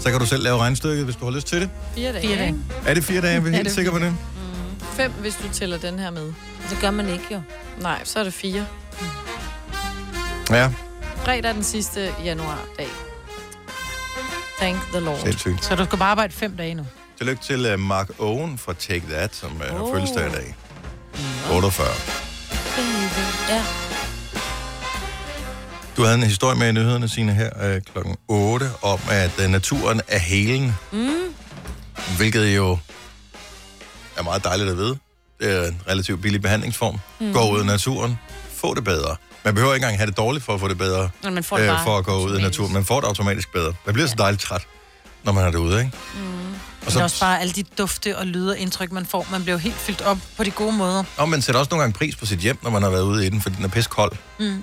Speaker 1: Så kan du selv lave regnstykket, hvis du har lyst til det.
Speaker 3: Fire dage. Fire dage.
Speaker 1: Er det fire dage? Er vi
Speaker 3: *laughs* Ja,
Speaker 1: helt
Speaker 3: det er Mm.
Speaker 1: sikre på det?
Speaker 3: Fem, hvis du tæller den her med.
Speaker 4: Det gør man ikke, jo.
Speaker 3: Nej, så er det fire.
Speaker 1: Ja.
Speaker 3: Fredag er den sidste januar dag. Thank the Lord.
Speaker 1: Sindssygt.
Speaker 2: Så du skal bare arbejde fem dage nu.
Speaker 1: Tillykke til øh, Mark Owen fra Take That, som øh, har fødselsdag i dag. 48.
Speaker 4: Ja.
Speaker 1: Du havde en historie med i nyhederne, Signe, her øh, klokken 8, om at øh, naturen er helen,
Speaker 4: Mm.
Speaker 1: hvilket jo er meget dejligt at vide. Det er en relativt billig behandlingsform.
Speaker 4: Mm.
Speaker 1: Mm. Gå ud i naturen, få det bedre. Man behøver ikke engang have det dårligt for at få det bedre, øh,
Speaker 4: Når man får det bare
Speaker 1: for at gå ud i naturen. Man får det automatisk bedre. Man bliver så dejligt træt, når man er derude, ikke?
Speaker 2: Mm. Og så...
Speaker 1: Og så-
Speaker 2: Men også bare alle de dufte og lyde og indtryk, man får. Man bliver jo helt fyldt op på de gode måder.
Speaker 1: Og man sætter også nogle gange pris på sit hjem, når man har været ude i den, fordi den er pisse kold.
Speaker 2: Mm.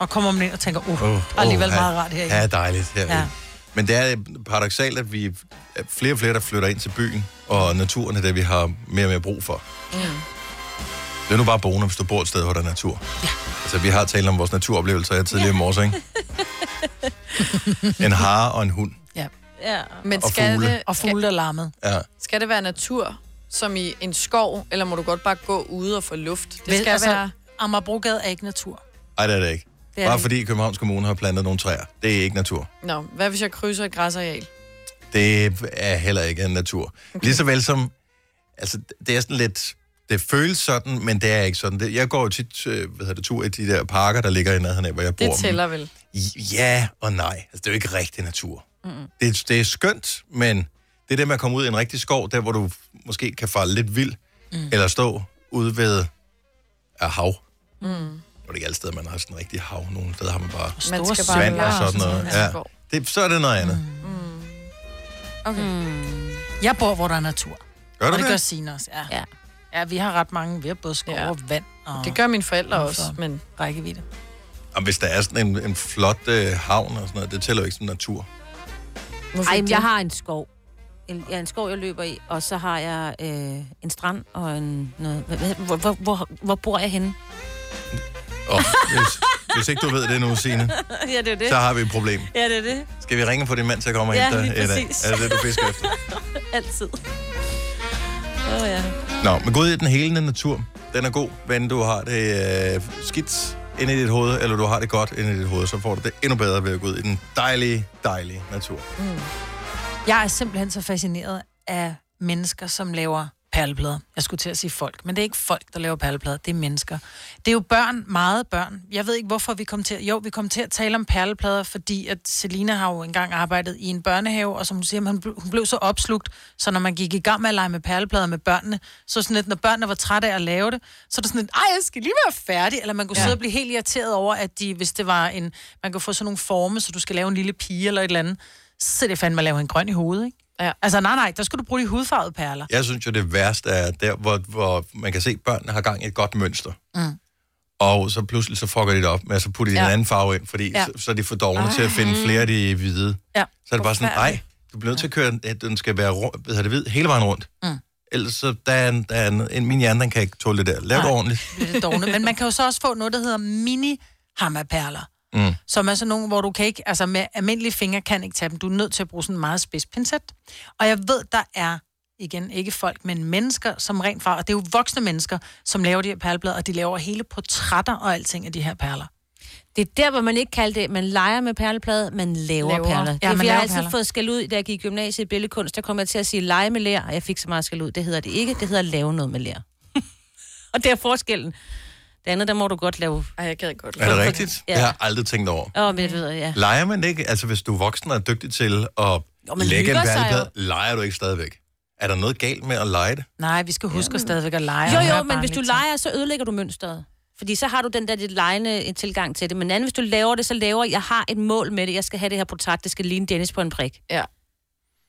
Speaker 2: Og kommer man ind og tænker, uh,
Speaker 1: Åh,
Speaker 2: oh, alligevel
Speaker 1: åh,
Speaker 2: meget
Speaker 1: ja.
Speaker 2: rart her.
Speaker 1: Ja, dejligt her.
Speaker 2: Ja.
Speaker 1: Ja. Men det er paradoxalt, at vi er flere og flere, der flytter ind til byen, og naturen er det, vi har mere og mere brug for.
Speaker 2: Mm.
Speaker 1: Det er nu bare boende, hvis du bor et sted, hvor der er natur. Ja. Altså, vi har talt om vores naturoplevelser her tidligere i morges, ikke? en hare og en hund.
Speaker 2: Ja.
Speaker 3: Ja. Men
Speaker 1: Og
Speaker 3: skal
Speaker 1: fugle.
Speaker 3: det,
Speaker 2: Og fugle, der larmede.
Speaker 1: Ja.
Speaker 3: skal det være natur, som i en skov, eller må du godt bare gå ude og få luft? Det
Speaker 2: Vel,
Speaker 3: skal
Speaker 2: altså,
Speaker 3: være...
Speaker 2: Amagerbrogade er ikke natur.
Speaker 1: Ej, det er det ikke.
Speaker 3: Det er
Speaker 1: bare
Speaker 3: det
Speaker 1: fordi Københavns Kommune har plantet nogle træer. Det er ikke natur.
Speaker 3: Nå, hvad hvis jeg krydser et græsareal?
Speaker 1: Det er heller ikke en natur. Okay. Lige så vel som, altså det er sådan lidt, det føles sådan, men det er ikke sådan. Det, jeg går jo tit, øh, hvad hedder det, tur i de der parker, der ligger i nærheden af, hvor jeg bor.
Speaker 3: Det tæller vel.
Speaker 1: Men- Ja og nej. Altså det er jo ikke rigtig natur. Det, det er skønt, men det er det med at komme ud i en rigtig skov, der hvor du måske kan falde lidt vild, mm. eller stå ude ved af hav.
Speaker 3: Mm.
Speaker 1: Det er ikke alle steder, man har sådan en rigtig hav. Nogle steder har man
Speaker 3: Man
Speaker 1: bare
Speaker 3: skal
Speaker 1: store
Speaker 3: bare
Speaker 1: svand
Speaker 3: være
Speaker 1: og sådan noget.
Speaker 2: sådan en
Speaker 1: Ja.
Speaker 2: skov.
Speaker 1: Det, så er det noget andet.
Speaker 2: Okay. Mm. Jeg bor, hvor der er natur.
Speaker 1: Gør du
Speaker 2: og det?
Speaker 1: det?
Speaker 2: gør Signe også, ja. ja. Ja, vi har ret mange. Vi har både skov ja. og vand. Og
Speaker 3: Det gør mine forældre også, men...
Speaker 2: Rækkevidde.
Speaker 1: Og hvis der er sådan en, en flot øh, havn og sådan noget, det tæller jo ikke som natur.
Speaker 4: Ej, men jeg har en skov. En, ja, en skov, jeg løber i, og så har jeg øh, en strand og en... Noget, hvor, hvor, hvor, hvor, hvor bor jeg henne?
Speaker 1: Oh, hvis, hvis ikke du ved det nu, Signe,
Speaker 4: *laughs* ja, det er det.
Speaker 1: så har vi et problem.
Speaker 4: Ja, det er det.
Speaker 1: Skal vi ringe på din mand til at komme og
Speaker 4: Ja,
Speaker 1: hente dig?
Speaker 4: lige
Speaker 1: Eller
Speaker 4: præcis.
Speaker 1: Er det det, du fisker efter?
Speaker 4: Altid. Åh, oh, ja.
Speaker 1: Nå, men gå ud i den helende natur. Den er god, hvad end du har det øh, skidt inde i dit hoved, eller du har det godt inde i dit hoved, så får du det endnu bedre ved at gå ud i den dejlige, dejlige natur.
Speaker 2: Mm. Jeg er simpelthen så fascineret af mennesker, som laver perleplader. Jeg skulle til at sige folk, men det er ikke folk, der laver perleplader, det er mennesker. Det er jo børn, meget børn. Jeg ved ikke, hvorfor vi kom til at... Jo, vi kom til at tale om perleplader, fordi at Selina har jo engang arbejdet i en børnehave, og som du siger, hun blev, hun blev så opslugt, så når man gik i gang med at lege med perleplader med børnene, så sådan lidt, når børnene var trætte af at lave det, så er det sådan lidt, ej, jeg skal lige være færdig, eller man kunne ja. sidde og blive helt irriteret over, at de, hvis det var en... Man kunne få sådan nogle forme, så du skal lave en lille pige eller et eller andet, så er det fandme at lave en grøn i hovedet, ikke? Ja. Altså, nej, nej, der skulle du bruge de hudfarvede perler.
Speaker 1: Jeg synes jo, det værste er der, hvor, hvor man kan se, at børnene har gang i et godt mønster.
Speaker 2: Mm.
Speaker 1: Og så pludselig så fucker de det op med at så putte ja.
Speaker 2: Ja.
Speaker 1: en anden farve ind, fordi
Speaker 2: Ja.
Speaker 1: ja. så, så er de for dogne til at finde flere af de hvide.
Speaker 2: Ja.
Speaker 1: Så er det bare sådan, nej, du bliver nødt til at køre, den- at den skal være rundt, hvad hedder det, hvid hele vejen rundt.
Speaker 2: Mm.
Speaker 1: Ellers så der er, en, der er en, en, min hjerne, den kan ikke tåle det der. Lav det
Speaker 2: Nej.
Speaker 1: ordentligt.
Speaker 2: Bliver det dogne. Men man kan jo så også få noget, der hedder mini hammerperler.
Speaker 1: Mm.
Speaker 2: som er sådan nogle, hvor du kan ikke, altså med almindelige fingre kan ikke tage dem. Du er nødt til at bruge sådan en meget spids pincet. Og jeg ved, der er, igen, ikke folk, men mennesker, som rent fra, og det er jo voksne mennesker, som laver de her perleblad, og de laver hele portrætter og alting af de her perler.
Speaker 4: Det er der, hvor man ikke kalder det, man leger med perleplade, man laver,
Speaker 2: Laver.
Speaker 4: laver. perler.
Speaker 2: Ja,
Speaker 4: Ja, det,
Speaker 2: man
Speaker 4: man jeg
Speaker 2: laver
Speaker 4: har altid
Speaker 2: perler.
Speaker 4: fået skal ud, da jeg gik i gymnasiet i billedkunst, der kom jeg til at sige lege med lær, og jeg fik så meget skal ud. Det hedder det ikke, det hedder lave noget med lær. *laughs* og det er forskellen. Det andet, der må du godt lave.
Speaker 3: Ej, jeg gad godt.
Speaker 1: Er det rigtigt? Ja.
Speaker 4: Ja.
Speaker 1: Jeg
Speaker 4: Åh,
Speaker 1: har aldrig tænkt over.
Speaker 4: ja. oh, men det ved jeg, ja.
Speaker 1: Leger man ikke? Altså, hvis du er voksen og er dygtig til at jo,
Speaker 4: man
Speaker 1: lægge en
Speaker 4: hygger sig
Speaker 1: perleplade, leger du ikke stadigvæk? Er der noget galt med at lege det?
Speaker 2: Nej, vi skal huske ja. stadigvæk at lege.
Speaker 4: Jo, jo, men hvis du leger, så ødelægger du mønstret. Fordi så har du den der lidt lejende tilgang til det. Men anden, hvis du laver det, så laver jeg har et mål med det. Jeg skal have det her portræt, det skal ligne Dennis på en prik.
Speaker 3: Ja.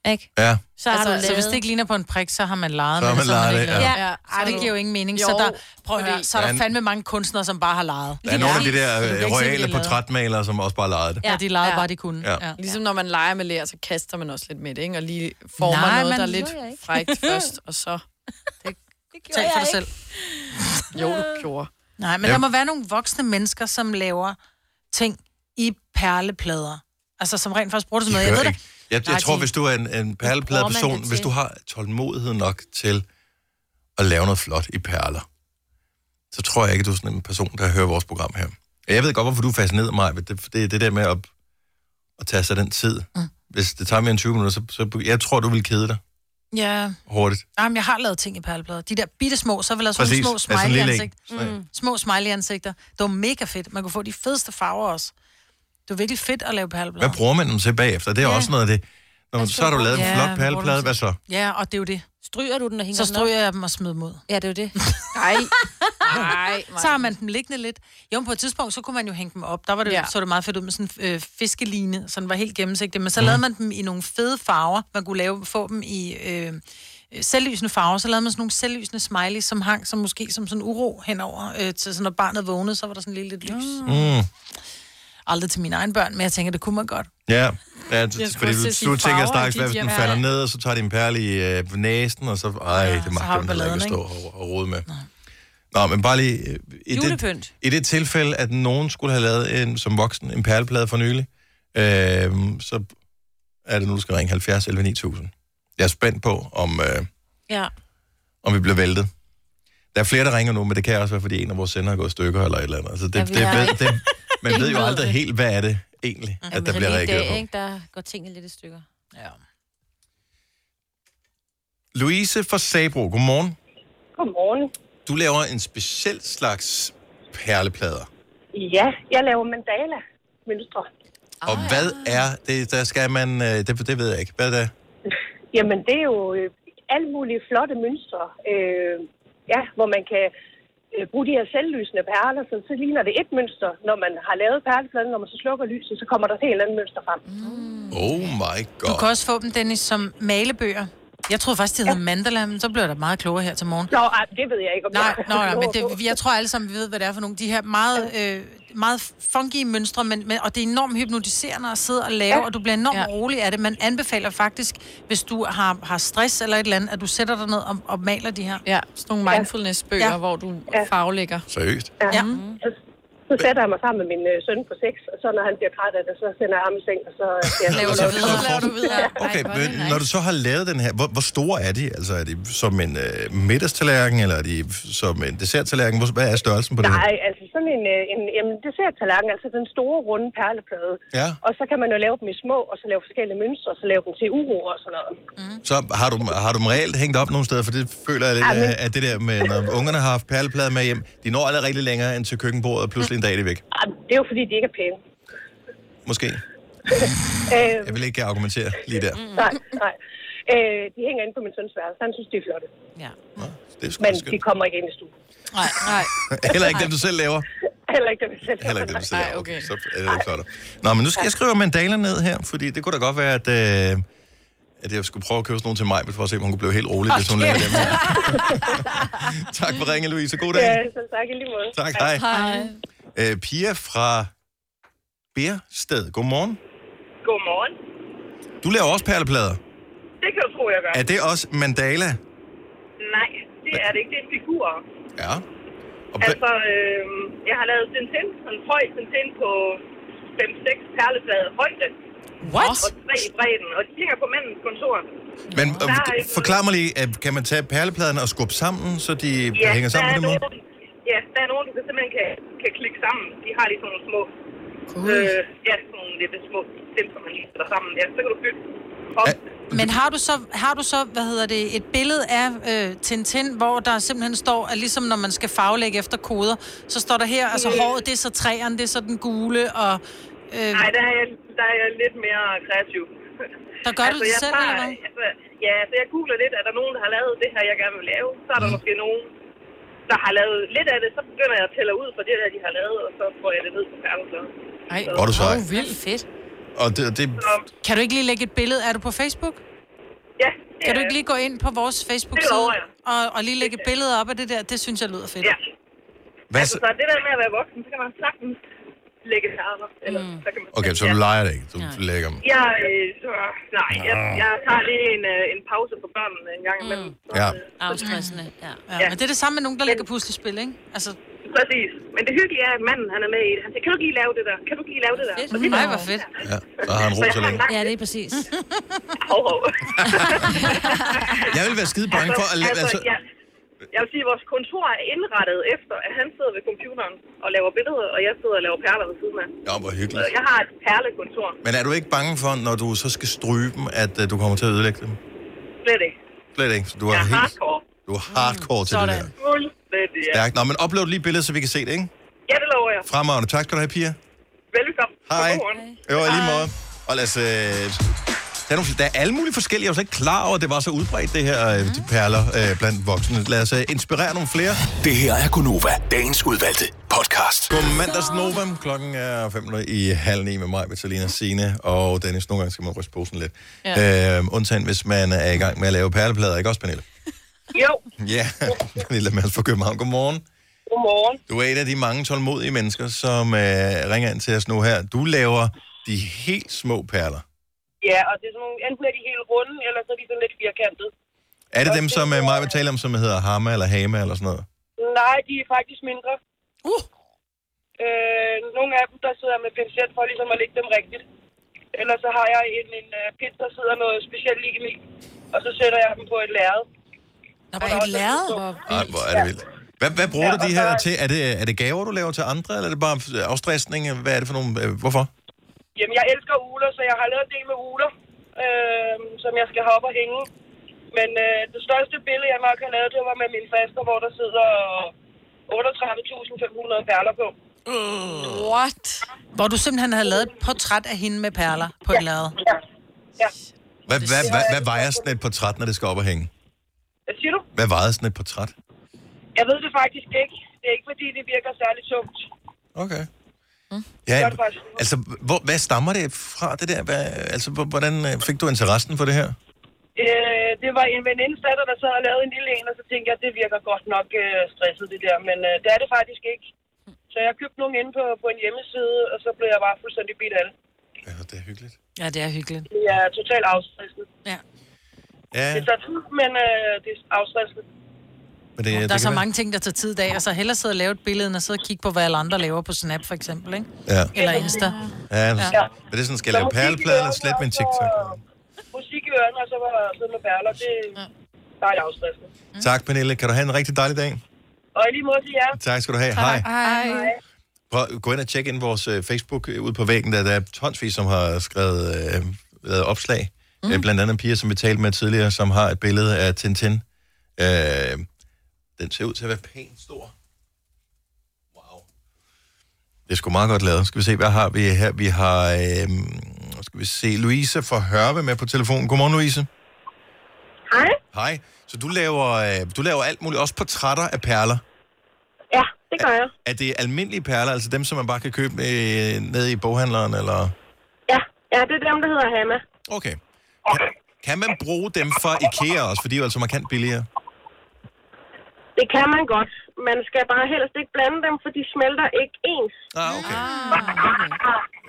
Speaker 4: Ikke?
Speaker 1: Ja.
Speaker 4: Så har
Speaker 2: altså,
Speaker 4: du
Speaker 2: så
Speaker 4: lavet-
Speaker 2: hvis det ikke ligner på en prik, så har man leget
Speaker 1: Så har
Speaker 2: med
Speaker 1: man
Speaker 2: så
Speaker 1: leget
Speaker 2: ikke
Speaker 1: det,
Speaker 2: lavet
Speaker 1: ja.
Speaker 4: Ja.
Speaker 2: Ej, det giver jo ingen mening. Jo, så
Speaker 4: Jo,
Speaker 2: der, prøv at høre, så er
Speaker 1: Der er
Speaker 2: der
Speaker 1: en-
Speaker 2: fandme mange kunstnere, som bare har leget.
Speaker 1: Der er nogle af de der
Speaker 2: Så du kan
Speaker 1: øh,
Speaker 2: ikke se, hvad de har
Speaker 1: royale
Speaker 2: lavet.
Speaker 1: portrætmalere, som også bare legede det.
Speaker 2: Ja, de legede bare, de kunne.
Speaker 1: Ja. Ja.
Speaker 3: Ligesom når man leger med lær, så kaster man også lidt med det, ikke? Og lige former
Speaker 2: Nej,
Speaker 3: noget,
Speaker 2: man-
Speaker 3: der er
Speaker 2: Det gjorde jeg
Speaker 3: lidt
Speaker 2: ikke. *laughs*
Speaker 3: frækt først, og så... Det, det
Speaker 2: Tal for dig selv.
Speaker 3: Jo, du gjorde.
Speaker 2: Nej, men
Speaker 3: Ja.
Speaker 2: der må være nogle voksne mennesker, som laver ting i perleplader. Altså, som rent faktisk bruger det som noget. Jeg ved
Speaker 1: Gør
Speaker 2: det.
Speaker 1: ikke. Jeg,
Speaker 2: Nej,
Speaker 1: jeg tror,
Speaker 2: de-
Speaker 1: hvis du er en, en perleplade
Speaker 2: bruger man
Speaker 1: person,
Speaker 2: det
Speaker 1: hvis
Speaker 2: til.
Speaker 1: du har tålmodighed nok til at lave noget flot i perler, så tror jeg ikke, du er sådan en person, der hører vores program her. Og Jeg ved godt, hvorfor du fascinerer mig, men det, det er det der med at, at tage sig den tid. Mm. Hvis det tager mere end 20 minutter, så, så jeg tror, du vil kede dig
Speaker 2: Ja.
Speaker 1: hurtigt.
Speaker 2: Nej, men jeg har lavet ting i perleplader. De der bitte små, så vil der
Speaker 1: Præcis.
Speaker 2: sådan nogle
Speaker 1: Ja,
Speaker 2: små
Speaker 1: sådan en
Speaker 2: smiley
Speaker 1: lille
Speaker 2: ansigt.
Speaker 1: en. Sådan
Speaker 2: Mm. Små smiley ansigter. Det var mega fedt. Man kunne få de fedeste farver også. Det var virkelig fedt at lave perleplader.
Speaker 1: Hvad bruger man dem til bagefter? Det er
Speaker 2: Ja.
Speaker 1: ja. også noget af det. Når, man- så har du lavet en
Speaker 2: Altså, Ja,
Speaker 1: flot
Speaker 2: men bruger
Speaker 1: perleplade,
Speaker 2: du
Speaker 1: hvad så?
Speaker 2: Ja, og det er jo det.
Speaker 4: Stryger du den og hænger
Speaker 2: Så stryger jeg dem og smider dem ud.
Speaker 4: Ja, det er jo det.
Speaker 2: *laughs*
Speaker 3: Nej. Nej.
Speaker 2: Så har man dem liggende lidt. Jo, men på et tidspunkt, så kunne man jo hænge dem op. Der var det, ja.
Speaker 3: Ja.
Speaker 2: så det meget fedt ud med sådan en øh, fiskeline, så den var helt gennemsigtig. Men så
Speaker 3: Mm.
Speaker 1: Mhm.
Speaker 2: lavede man dem i nogle fede farver. Man kunne lave, få dem i øh, øh, selvlysende farver. Så lavede man sådan nogle selvlysende smileys, som hang som måske som sådan uro henover. Øh, til sådan, når barnet vågnede, så var der sådan lidt, lidt lys.
Speaker 1: Mm.
Speaker 2: Aldrig til mine egne børn, men jeg tænker, det kunne man godt.
Speaker 1: Ja, ja
Speaker 2: skulle også
Speaker 1: fordi
Speaker 2: til
Speaker 1: du,
Speaker 2: at sige
Speaker 1: du tænker
Speaker 2: farver,
Speaker 1: straks,
Speaker 2: de
Speaker 1: hvad hvis den
Speaker 2: diamant-
Speaker 1: falder ned, og så tager de en perle i øh, næsen, og så, ej, ja, det
Speaker 2: har
Speaker 1: magter
Speaker 2: du
Speaker 1: man heller ikke at
Speaker 2: balladen,
Speaker 1: stå og, og rode med. Nå, men bare lige... øh, I det,
Speaker 4: Julepynt.
Speaker 1: I det tilfælde, at nogen skulle have lavet en, som voksen en perleplade for nylig, øh, så er det nu, du skal ringe 70 11 9000. Jeg er spændt på, om, øh,
Speaker 4: Ja.
Speaker 1: om vi bliver væltet. Der er flere, der ringer nu, men det kan også være, fordi en af vores sender er gået i stykker eller et eller andet. Altså, det,
Speaker 4: Ja,
Speaker 1: ja,
Speaker 4: vi
Speaker 1: det,
Speaker 4: har-
Speaker 1: ved, det, man
Speaker 4: Ingen
Speaker 1: ved jo
Speaker 4: ved
Speaker 1: aldrig
Speaker 4: det.
Speaker 1: helt, hvad er det egentlig, at der bliver reageret på.
Speaker 4: Ikke? Der går tingene lidt i stykker.
Speaker 2: Ja.
Speaker 1: Louise fra Sabro, godmorgen.
Speaker 18: Godmorgen.
Speaker 1: Du laver en speciel slags perleplader.
Speaker 18: Ja, jeg laver mandala mønstre.
Speaker 1: Og hvad er det, der skal man... øh, Det, det ved jeg ikke. Hvad er det?
Speaker 18: Jamen, det er jo øh, alle mulige flotte mønstre, øh, ja, hvor man kan øh, bruge de her selvlysende perler, så, så ligner det et mønster, når man har lavet perlepladen, når man så slukker lyset, så kommer der et helt andet mønster frem.
Speaker 1: Oh my
Speaker 2: Du kan
Speaker 1: god.
Speaker 2: også få dem, Dennis, som malebøger. Jeg troede faktisk, det hed ja. mandala, men så blev der meget klogere her til morgen.
Speaker 18: Nå, ej, det ved jeg ikke, om
Speaker 2: Nej,
Speaker 18: jeg *laughs*
Speaker 2: nå, nej, men det, jeg tror alle sammen, vi ved, hvad det er for nogle. De her meget øh, meget funky mønstre, men, men, og det er enormt hypnotiserende at sidde og lave, ja. og du bliver enormt ja. rolig af det. Man anbefaler faktisk, hvis du har, har stress eller et eller andet, at du sætter dig ned og, og maler de her.
Speaker 3: Ja, sådan nogle mindfulness-bøger, ja. hvor du ja. faglægger.
Speaker 1: Seriøst?
Speaker 18: Ja. ja. Så, så sætter jeg mig sammen med min øh, søn på seks, og så når han bliver træt af det, så sender jeg ham i seng, og så øh, skal jeg
Speaker 3: laver
Speaker 18: du
Speaker 3: videre. Laver du videre.
Speaker 1: Okay, men når du så har lavet den her, hvor, hvor store er de? Altså er de som en øh, middagstallerken, eller er de som en desserttallerken? Hvor, hvad er størrelsen på det her?
Speaker 18: Nej, altså sådan en, øh, en jamen, desserttallerken, altså den store runde perleplade.
Speaker 1: Ja.
Speaker 18: Og så kan man jo lave dem i små, og så lave forskellige mønstre, og så lave dem til uro og sådan noget.
Speaker 1: Så har du, dem- har du dem reelt hængt op nogle steder, for det føler jeg lidt, øh,
Speaker 18: Ja, men-
Speaker 1: at- at det der med, når ungerne har haft perleplader med hjem, de når aldrig rigtig længere end til køkkenbordet, og pludselig en dag er de væk.
Speaker 18: Ej, det er jo fordi, de ikke er pæne.
Speaker 1: Måske.
Speaker 18: Øh,
Speaker 1: Jeg vil ikke argumentere lige der.
Speaker 18: nej, nej. Øh, de hænger inde på min søns værelse. Han synes, de er flotte.
Speaker 2: Ja.
Speaker 1: Det er sgu
Speaker 18: Men
Speaker 1: da skønt.
Speaker 18: de kommer ikke ind i stuen.
Speaker 2: Nej, nej.
Speaker 1: *laughs* Heller ikke dem, du selv laver.
Speaker 18: Heller ikke dem, jeg selv.
Speaker 1: Heller ikke dem, du selv laver.
Speaker 18: okay.
Speaker 1: Så er det ikke flot. Nå, men nu skal jeg skrive mandaler ned her, fordi det kunne da godt være, at, øh, at jeg skulle prøve at købe sådan nogle til mig, for at se, om hun kunne blive helt rolig, hvis hun
Speaker 18: Okay.
Speaker 1: lavede dem her. *laughs* tak for ringen, Louise. God dag.
Speaker 18: Ja, så tak i lige måde.
Speaker 1: Tak, *laughs* hej. Øh, Pia fra Bærsted. Godmorgen.
Speaker 20: Godmorgen.
Speaker 1: Du laver også perleplader.
Speaker 20: Det kan du tro, jeg gør.
Speaker 1: Er det også mandala?
Speaker 20: Nej, det er det ikke. Det er figurer.
Speaker 1: Ja.
Speaker 20: Altså, øh, jeg har lavet Tintin, sådan en høj Tintin på 5-6 perleplader højde.
Speaker 2: What?
Speaker 20: Og tre i bredden, og de hænger på mandens kontor.
Speaker 1: Men
Speaker 20: Der
Speaker 1: øh,
Speaker 20: er ikke-
Speaker 1: forklar mig lige, øh, kan man tage perlepladerne og skubbe sammen, så de
Speaker 20: Ja,
Speaker 1: hænger sammen
Speaker 20: der
Speaker 1: på
Speaker 20: er
Speaker 1: den måde?
Speaker 20: nogen, Ja, der er nogen, du kan simpelthen kan, kan klikke sammen. De har lige sådan nogle små...
Speaker 2: Cool.
Speaker 20: Øh, ja, sådan nogle lidt små stil, som man lige sætter sammen. Ja, så kan du bytte.
Speaker 2: Men har du så, har du så hvad hedder det, et billede af øh, Tintin, hvor der simpelthen står, at ligesom når man skal farvelægge efter koder, så står der her, altså
Speaker 20: Mm.
Speaker 2: håret, det er så træerne, det er så den gule, og... Øh,
Speaker 20: Nej, der er, jeg, der er jeg lidt mere kreativ.
Speaker 2: Der gør du det
Speaker 20: jeg
Speaker 2: selv,
Speaker 20: tager-
Speaker 2: eller hvad?
Speaker 20: Altså, ja, så jeg googler lidt, er der nogen, der har lavet det her, jeg gerne vil lave? Så
Speaker 1: Mm.
Speaker 20: er der måske nogen, der har lavet lidt af det, så begynder jeg at tælle ud fra det der, de har lavet, og så får jeg det ned på perlepladen.
Speaker 3: Ej,
Speaker 1: Hvor er du sej.
Speaker 2: Åh, vildt fedt.
Speaker 1: Og det, det,
Speaker 2: Kan du ikke lige lægge et billede? Er du på Facebook?
Speaker 20: Ja.
Speaker 2: Kan du
Speaker 20: er
Speaker 2: ikke lige gå ind på vores
Speaker 20: Det
Speaker 2: Facebook-side
Speaker 20: lover jeg.
Speaker 2: og, og lige lægge et billede op af det der? Det synes jeg lyder fedt.
Speaker 20: Ja.
Speaker 1: hvad
Speaker 20: Altså,
Speaker 1: så?
Speaker 20: så det der med at være voksen, så kan man sagtens lægge det her, eller
Speaker 2: Mm.
Speaker 20: så kan man...
Speaker 1: Okay, så du leger det ikke. Du lægger dem.
Speaker 20: Jeg, øh, så, nej, jeg,
Speaker 1: Ah.
Speaker 20: jeg tager lige en, øh, en pause for børnene en gang imellem. øh,
Speaker 1: Ja.
Speaker 2: Afstressende, ja. ja. Men det er det samme med nogen, der lægger puslespil, ikke? Altså,
Speaker 20: Præcis. Men det hyggelige er, at manden han er med i det. Han siger, kan du ikke lige lave det der? Kan du ikke lige lave det der? Og det
Speaker 2: nej, hvor fedt.
Speaker 1: Ja, så har han ro så længe.
Speaker 4: Ja, det er præcis.
Speaker 20: Hov, hov.
Speaker 1: Jeg vil være skide bange for at lave...
Speaker 20: altså,
Speaker 1: Altså,
Speaker 20: jeg, jeg vil sige, at vores kontor er indrettet efter, at han sidder ved computeren og laver billeder, og jeg sidder og laver perler ved siden af.
Speaker 1: ja, hvor
Speaker 20: Så
Speaker 1: hyggeligt.
Speaker 20: jeg har et perlekontor.
Speaker 1: Men er du ikke bange for, når du så skal stryge dem, at øh, du kommer til at ødelægge dem?
Speaker 20: Slet ikke.
Speaker 1: Slet ikke. Så du
Speaker 20: Jeg
Speaker 1: er
Speaker 20: er
Speaker 1: helt...
Speaker 20: hardcore.
Speaker 1: Du er hardcore til det der.
Speaker 20: Fuldstændig, ja.
Speaker 1: Stærkt. Nå, men upload lige billedet, så vi kan se det, ikke?
Speaker 20: Ja, det lover jeg.
Speaker 1: Fremragende. Tak skal du have, Pia.
Speaker 20: Velkommen.
Speaker 1: Hej.
Speaker 20: Godmorgen.
Speaker 1: Jo, i lige måde. Og lad os... Øh, der, er nogle, der er alle mulige forskellige. Jeg var slet ikke klar over, at det var så udbredt, det her øh, de perler øh, blandt voksne. Lad os øh, inspirere nogle flere.
Speaker 19: Det her er Gunova, dagens udvalgte podcast.
Speaker 1: God mandags Nova. Klokken er 5 i halv ni med mig, Vitalina Sine og Dennis. Nogle gange skal man ryste posen lidt. Ja.
Speaker 21: Ja.
Speaker 1: Øh, undtagen hvis man er i gang med at lave perleplader, ikke også, Pernille?
Speaker 20: Jo,
Speaker 1: Ja, *laughs* Pernille Mads fra København. Godmorgen.
Speaker 20: godmorgen.
Speaker 1: Du er et af de mange tålmodige mennesker, som øh, ringer ind til os nu her. Du laver de helt små perler.
Speaker 20: Ja, og det er sådan nogle, enten er de helt runde, eller så er de sådan lidt firkantede.
Speaker 1: Er det dem, som øh, mig vil tale om, som hedder Hama eller Hama eller sådan noget?
Speaker 20: Nej, de er faktisk mindre.
Speaker 2: Uh!
Speaker 20: Øh, nogle af dem, der sidder jeg med pincet for ligesom at lægge dem rigtigt. Ellers så har jeg en, en uh, pind, der sidder noget specielt lim i, og så sætter jeg dem på et lærred.
Speaker 2: Nå, på et lærred?
Speaker 1: Ej, hvor er det vildt. Hvad, hvad bruger
Speaker 20: Ja,
Speaker 1: ja, du
Speaker 20: og
Speaker 1: de her
Speaker 20: der-
Speaker 1: til? Er det, er det gaver, du laver til andre, eller er det bare øh, afstressning? Hvad er det for nogle... Øh, hvorfor?
Speaker 20: Jamen, jeg elsker uler, så jeg har lavet en del med uler, øh, som jeg skal have op og hænge. Men øh, det største billede, jeg nok har lavet, det var med min faster, hvor der sidder 38.500 perler på.
Speaker 2: What? Hvor du simpelthen har lavet et portræt af hende med perler på et lærred.
Speaker 1: Hvad, hvad, hvad, hvad vejer sådan et portræt, når det skal op og hænge?
Speaker 20: Hvad siger du?
Speaker 1: Hvad vejer sådan et portræt?
Speaker 20: Jeg ved det faktisk ikke. Det er ikke, fordi det virker særlig tungt.
Speaker 1: Okay. Ja, altså, hvor, hvad stammer det fra, det der? Hvad, altså, hvor- hvordan øh, fik du interessen for det her?
Speaker 20: Øh, det var en venindes datter, der så havde lavet en lille en, og så tænkte jeg, det virker godt nok øh, stresset det der, men øh, det er det faktisk ikke. Så jeg købte nogle inde på, på en hjemmeside, og så blev jeg bare fuldstændig bidt af det.
Speaker 2: Ja, det er hyggeligt.
Speaker 20: Det er totalt afstressende.
Speaker 2: Ja.
Speaker 1: Ja,
Speaker 20: Det tager tid, men øh, det er afstressende.
Speaker 1: men det,
Speaker 2: Der er
Speaker 1: det
Speaker 2: så
Speaker 1: kan
Speaker 2: mange ting, der tager tid af, og så hellere sidde og lave et billede, end at sidde og kigge på, hvad alle andre laver på Snap, for eksempel, ikke?
Speaker 1: Være,
Speaker 2: Eller Insta.
Speaker 1: ja, ja.
Speaker 2: Ja.
Speaker 1: Men det er sådan, skal jeg lave perleplade eller slet min TikTok?
Speaker 20: Musik i ørerne, og så var sidde med perler, det er dejligt afstressende.
Speaker 1: Tak, Pernille. Kan du have en rigtig dejlig dag?
Speaker 20: Og i lige måde til jer.
Speaker 1: Tak skal du have. Hej.
Speaker 20: Hej.
Speaker 1: Prøv, gå ind og tjek ind vores øh, Facebook øh, ude på væggen, der, der er tonsvis, som har skrevet øh, lavet opslag. Mm. Øh, blandt andet en pige, som vi talte med tidligere, som har et billede af Tintin. Øh, den ser ud til at være pænt stor. Wow. Det er sgu meget godt lavet. Skal vi se, hvad har vi her? Vi har, øh, skal vi se, Louise fra Hørve med på telefonen. Godmorgen, Louise.
Speaker 21: Hej.
Speaker 1: Hej. Så du laver, øh, du laver alt muligt, også portrætter af perler.
Speaker 21: Ja, det gør jeg.
Speaker 1: Er det almindelige perler, altså dem, som man bare kan købe øh, nede i boghandleren, eller...
Speaker 21: Ja, det er dem, der hedder Hanna.
Speaker 1: Okay. Kan, kan man bruge dem fra IKEA også, for de er jo altså markant billigere?
Speaker 21: Det kan man godt. Man skal bare helst ikke blande dem, for de smelter ikke ens.
Speaker 1: Ah, okay.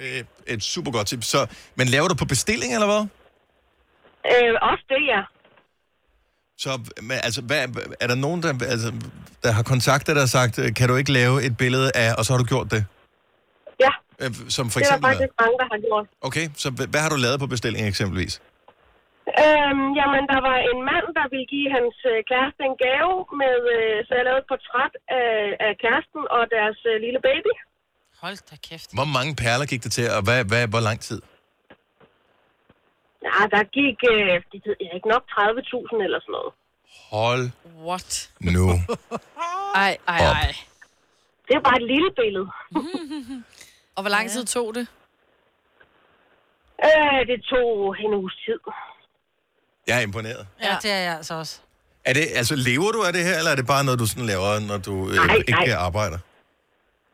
Speaker 1: Øh, et super godt tip. Så, men laver du på bestilling, eller hvad?
Speaker 21: Øh, også det, ja.
Speaker 1: Så men, altså, hvad, er der nogen, der, altså, der har kontaktet dig og sagt, øh, kan du ikke lave et billede af, og så har du gjort det?
Speaker 21: Ja.
Speaker 1: Øh, Som for
Speaker 21: det er
Speaker 1: eksempel...
Speaker 21: der faktisk mange, der har gjort.
Speaker 1: Okay, så hvad hvad har du lavet på bestilling eksempelvis?
Speaker 21: Øhm, jamen, der var en mand, der ville give hans øh, kæreste en gave, med, øh, så jeg lavede et portræt af, af kæresten og deres øh, lille baby.
Speaker 2: Hold da kæft.
Speaker 1: Hvor mange perler gik det til, og hvad, hvad, hvor lang tid?
Speaker 21: Ja, der gik, øh, det ved jeg ikke nok, 30.000 eller sådan noget.
Speaker 1: Hold
Speaker 3: What?
Speaker 1: nu
Speaker 3: *laughs* Ej, ej, ej.
Speaker 21: Det er bare et lille billede.
Speaker 3: *laughs* og hvor lang tid tog det?
Speaker 21: Øh, det tog en uges tid.
Speaker 1: Jeg er imponeret.
Speaker 2: Ja, det er jeg altså også.
Speaker 1: Er det, altså, lever du af det her, eller er det bare noget, du sådan laver, når du øh,
Speaker 21: Nej,
Speaker 1: ikke
Speaker 21: nej.
Speaker 1: arbejder?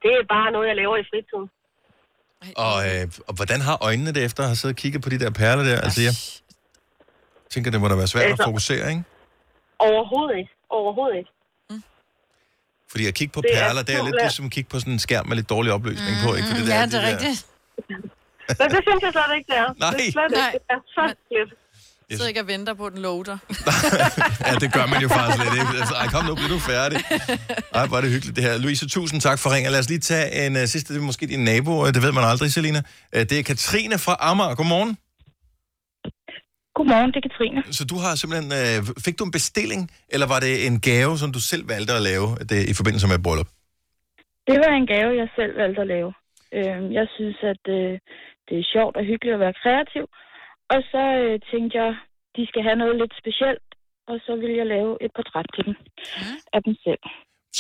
Speaker 21: Det er bare noget, jeg laver i fritiden.
Speaker 1: Og, øh, og hvordan har øjnene det efter at have siddet og kigget på de der perler der? Altså, jeg tænker, det må da være svært at
Speaker 21: Altså-
Speaker 1: fokusere, ikke?
Speaker 21: Overhovedet ikke. Overhovedet ikke.
Speaker 1: Fordi at kigge på
Speaker 21: Det er
Speaker 1: perler, det er lidt
Speaker 21: simpelthen-
Speaker 1: ligesom at kigge på sådan en skærm med lidt dårlig opløsning på, ikke?
Speaker 3: Mm,
Speaker 1: Fordi
Speaker 21: Mm. ja,
Speaker 1: er
Speaker 21: det er
Speaker 1: de der-
Speaker 21: rigtigt. *laughs* Men det synes jeg slet ikke, det er.
Speaker 1: Nej.
Speaker 21: Det er slet ikke. Det er så lidt.
Speaker 3: Jeg sidder ikke og venter på, at den loader.
Speaker 1: Ja, det gør man jo faktisk lidt, ikke? Altså, ej, kom nu, bliv nu færdig. Ej, hvor er det hyggeligt det her. Louise, tusind tak for ringen. Lad os lige tage en uh, sidste, det er måske din nabo, øh, det ved man aldrig, Selina. Uh, det er Katrine fra Amager. Godmorgen.
Speaker 22: Godmorgen, det er Katrine.
Speaker 1: Så du har simpelthen, uh, fik du en bestilling, eller var det en gave, som du selv valgte at lave øh, det, i forbindelse med et bryllup?
Speaker 22: Det var en gave, jeg selv valgte at lave. Øhm, Jeg synes, at øh, det er sjovt og hyggeligt at være kreativ. Og så øh, tænkte jeg, de skal have noget lidt specielt. Og så ville jeg lave et portræt til dem. Af dem selv.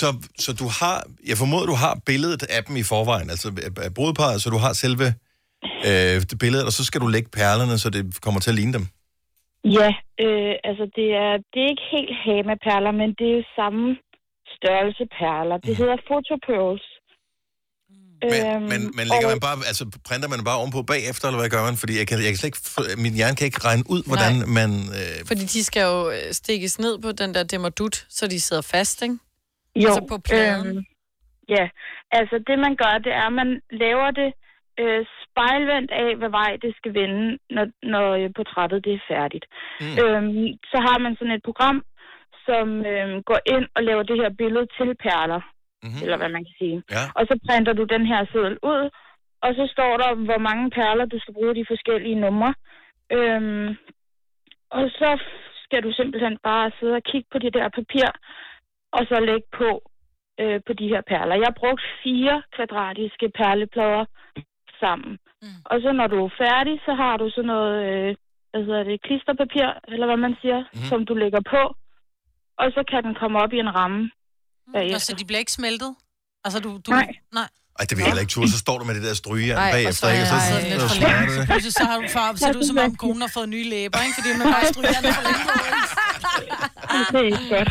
Speaker 1: Så, så du har, jeg formoder, du har billedet af dem i forvejen, altså af- af brudeparret, så du har selve øh, det billedet, og så skal du lægge perlerne, så det kommer til at ligne dem.
Speaker 22: Ja, øh, altså det er, det er ikke helt hama-perler, men det er samme størrelse perler. Det hedder photopearls.
Speaker 1: Men, men, men lægger man bare, altså printer man bare ovenpå bagefter, eller hvad gør man? Fordi jeg kan, jeg kan slet ikke, få- min hjerne kan ikke regne ud, hvordan
Speaker 3: Nej.
Speaker 1: Nej. man... Øh,
Speaker 3: Fordi de skal jo øh, stikkes ned på den der demodut, så de sidder fast, ikke?
Speaker 22: Jo,
Speaker 3: altså på pladen.
Speaker 22: øhm, ja, altså det man gør, det er, at man laver det øh, spejlvendt af, hvad vej det skal vende, når, når øh, portrættet det er færdigt. Mm. Øhm, så har man sådan et program, som øhm, går ind og laver det her billede til perler, mm-hmm. eller hvad man kan sige.
Speaker 1: Ja.
Speaker 22: Og så printer du den her seddel ud, og så står der, hvor mange perler du skal bruge i de forskellige numre. Øhm, og så skal du simpelthen bare sidde og kigge på det der papir, og så lægge på øh, på de her perler. Jeg brugte fire kvadratiske perleplader sammen. Mm. Og så når du er færdig, så har du sådan noget, øh, hvad hedder det, klisterpapir, eller hvad man siger,
Speaker 1: Mhm.
Speaker 22: mm. som du lægger på. Og så kan den komme op i en ramme. Mm.
Speaker 2: Og så de bliver ikke smeltet? Altså, du... du
Speaker 22: Nej.
Speaker 2: Nej.
Speaker 1: ej, det vil jeg heller ikke turde, så står du med det der strygejern
Speaker 2: Ej, og
Speaker 1: bagefter,
Speaker 2: så-
Speaker 1: ikke? Og så,
Speaker 2: ej,
Speaker 1: så,
Speaker 2: lidt
Speaker 1: så,
Speaker 2: for
Speaker 1: så,
Speaker 2: længe.
Speaker 1: så,
Speaker 2: Så
Speaker 1: så,
Speaker 2: pludselig så har du far, så er du som om konen har fået nye læber, ikke? Fordi man bare stryger den for *laughs* længe.
Speaker 22: Det er ikke godt.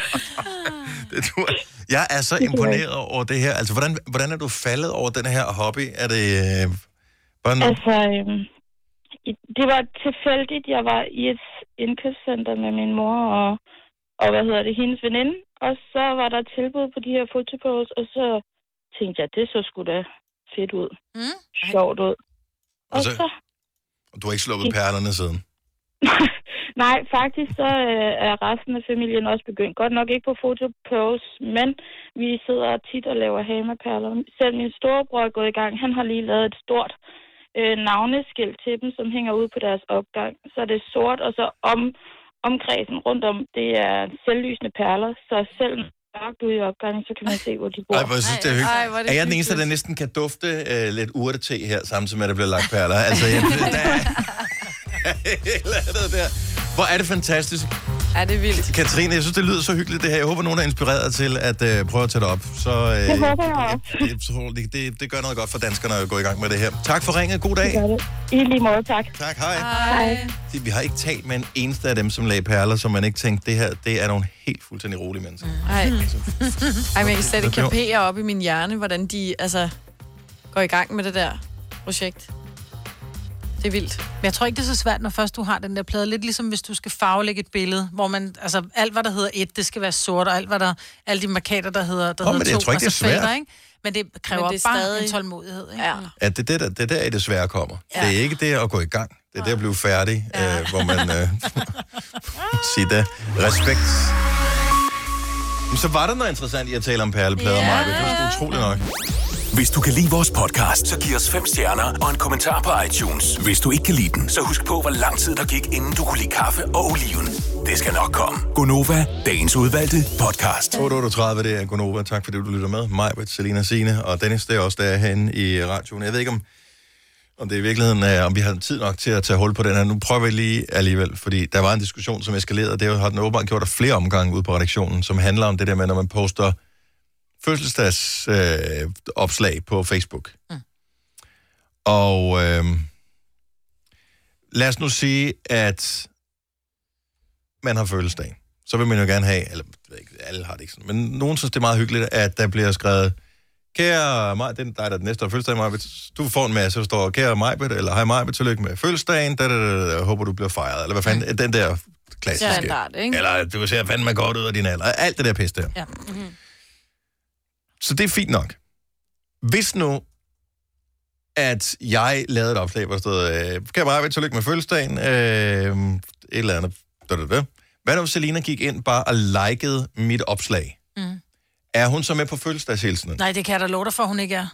Speaker 1: Jeg er så imponeret over det her. Altså, hvordan, hvordan er du faldet over den her hobby? Er det øh, bare noget?
Speaker 22: Altså, øhm, i- det var tilfældigt. Jeg var i et indkøbscenter med min mor og, og hvad hedder det, hendes veninde. Og så var der et tilbud på de her fotoposts, og så tænkte jeg, det så sgu da fedt ud. Mm. Sjovt ud.
Speaker 1: Og så, du har ikke slukket perlerne siden.
Speaker 22: Nej, faktisk så øh, er resten af familien også begyndt. Godt nok ikke på fotopose, men vi sidder tit og laver hamerperler. Selv min storebror er gået i gang. Han har lige lavet et stort øh, navneskilt til dem, som hænger ud på deres opgang. Så er det sort, og så om, omkredsen rundt om, det er selvlysende perler. Så selv når det er mørkt ude i opgangen, så kan man se, hvor de bor.
Speaker 1: Ej, hvor jeg synes, det er hyggeligt.
Speaker 22: Ej, hvor er det
Speaker 1: er jeg den eneste, der næsten kan dufte øh, lidt urtete her, samtidig med, at der bliver lagt perler? Altså, jeg, der er... *laughs* Eller andet der. Hvor er det fantastisk.
Speaker 3: Ja, det er vildt.
Speaker 1: Katrine, jeg synes, det lyder så hyggeligt det her. Jeg håber, nogen er inspireret dig til at øh, prøve at tage det op. Så
Speaker 22: *laughs*
Speaker 1: øh,
Speaker 22: Det håber jeg også.
Speaker 1: jeg tror, det, det, det gør noget godt for danskerne at gå i gang med det her. Tak for ringet. God dag.
Speaker 22: Det gør det. I lige måde, tak.
Speaker 1: Mm-hmm. Tak, hej.
Speaker 22: Hej.
Speaker 1: Det- Vi har ikke talt med en eneste af dem, som lagde perler, som man ikke tænkte, det her det er nogle helt fuldstændig rolige mennesker.
Speaker 3: Ej. Ej, men jeg kan slet ikke kapere op i min hjerne, hvordan de altså, går i gang med det der projekt. Det er vildt.
Speaker 2: Men jeg tror ikke, det er så svært, når først du har den der plade. Lidt ligesom hvis du skal farvelægge et billede, hvor man, altså alt hvad der hedder et, det skal være sort, og alt hvad der, alle de markater, der hedder, der
Speaker 1: Nå,
Speaker 2: hedder
Speaker 1: men det-
Speaker 2: to,
Speaker 1: jeg tror ikke,
Speaker 2: og
Speaker 1: det
Speaker 2: så
Speaker 1: er svært.
Speaker 2: felter, ikke? Men det kræver
Speaker 3: Men
Speaker 2: men
Speaker 3: det
Speaker 2: det
Speaker 3: er
Speaker 2: bare
Speaker 3: stadig-
Speaker 2: en tålmodighed, ikke?
Speaker 3: Ja.
Speaker 1: At det, er der, det er der er det svære kommer. Ja. Det er ikke det at gå i gang. Det er det at blive færdig, ja. øh, hvor man *laughs* øh, siger det. Respekt. Men så var der noget interessant i at tale om perleplader, ja. Maja. Det var sgu utroligt nok.
Speaker 19: Hvis du kan lide vores podcast, så giv os fem stjerner og en kommentar på iTunes. Hvis du ikke kan lide den, så husk på, hvor lang tid der gik, inden du kunne lide kaffe og oliven. Det skal nok komme.
Speaker 1: Gonova, dagens udvalgte podcast. 8.38, det er Gonova. Tak fordi du lytter med. Mig, Selina Sine og Dennis, det er også der herinde i radioen. Jeg ved ikke, om, om det er i virkeligheden, øh, om vi har tid nok til at tage hul på den her. Nu prøver vi lige alligevel, fordi der var en diskussion, som eskalerede, og det har den åbenbart gjort af flere omgange ude på redaktionen, som handler om det der med, når man poster fødselsdags øh, opslag på Facebook. Mm. Og øh, lad os nu sige, at man har fødselsdag, så vil man jo gerne have, eller jeg ved ikke, alle har det ikke sådan, men nogen synes, det er meget hyggeligt, at der bliver skrevet, kære Maj, den dig, der er den næste der har fødselsdag, Majbet, du får en masse, der står, kære Majbet, eller hej Majbet, tillykke med fødselsdagen, da, da, da, da, håber du bliver fejret, eller hvad fanden, den der klassiske.
Speaker 3: Standard, ikke?
Speaker 1: Eller du ser fandme godt ud af din alder, alt det der pis der.
Speaker 3: Ja.
Speaker 4: Mhm.
Speaker 3: Mm-hmm.
Speaker 1: Så det er fint nok. Hvis nu, at jeg lavede et opslag, hvor der stod, øh, kan bare være tillykke med fødselsdagen, øh, et eller andet, da, da, da. Hvad nu, hvis Selina gik ind bare og likede mit opslag?
Speaker 2: Mm.
Speaker 1: Er hun så med på fødselsdagshilsenen?
Speaker 2: Nej, det kan jeg da love dig for, hun ikke er.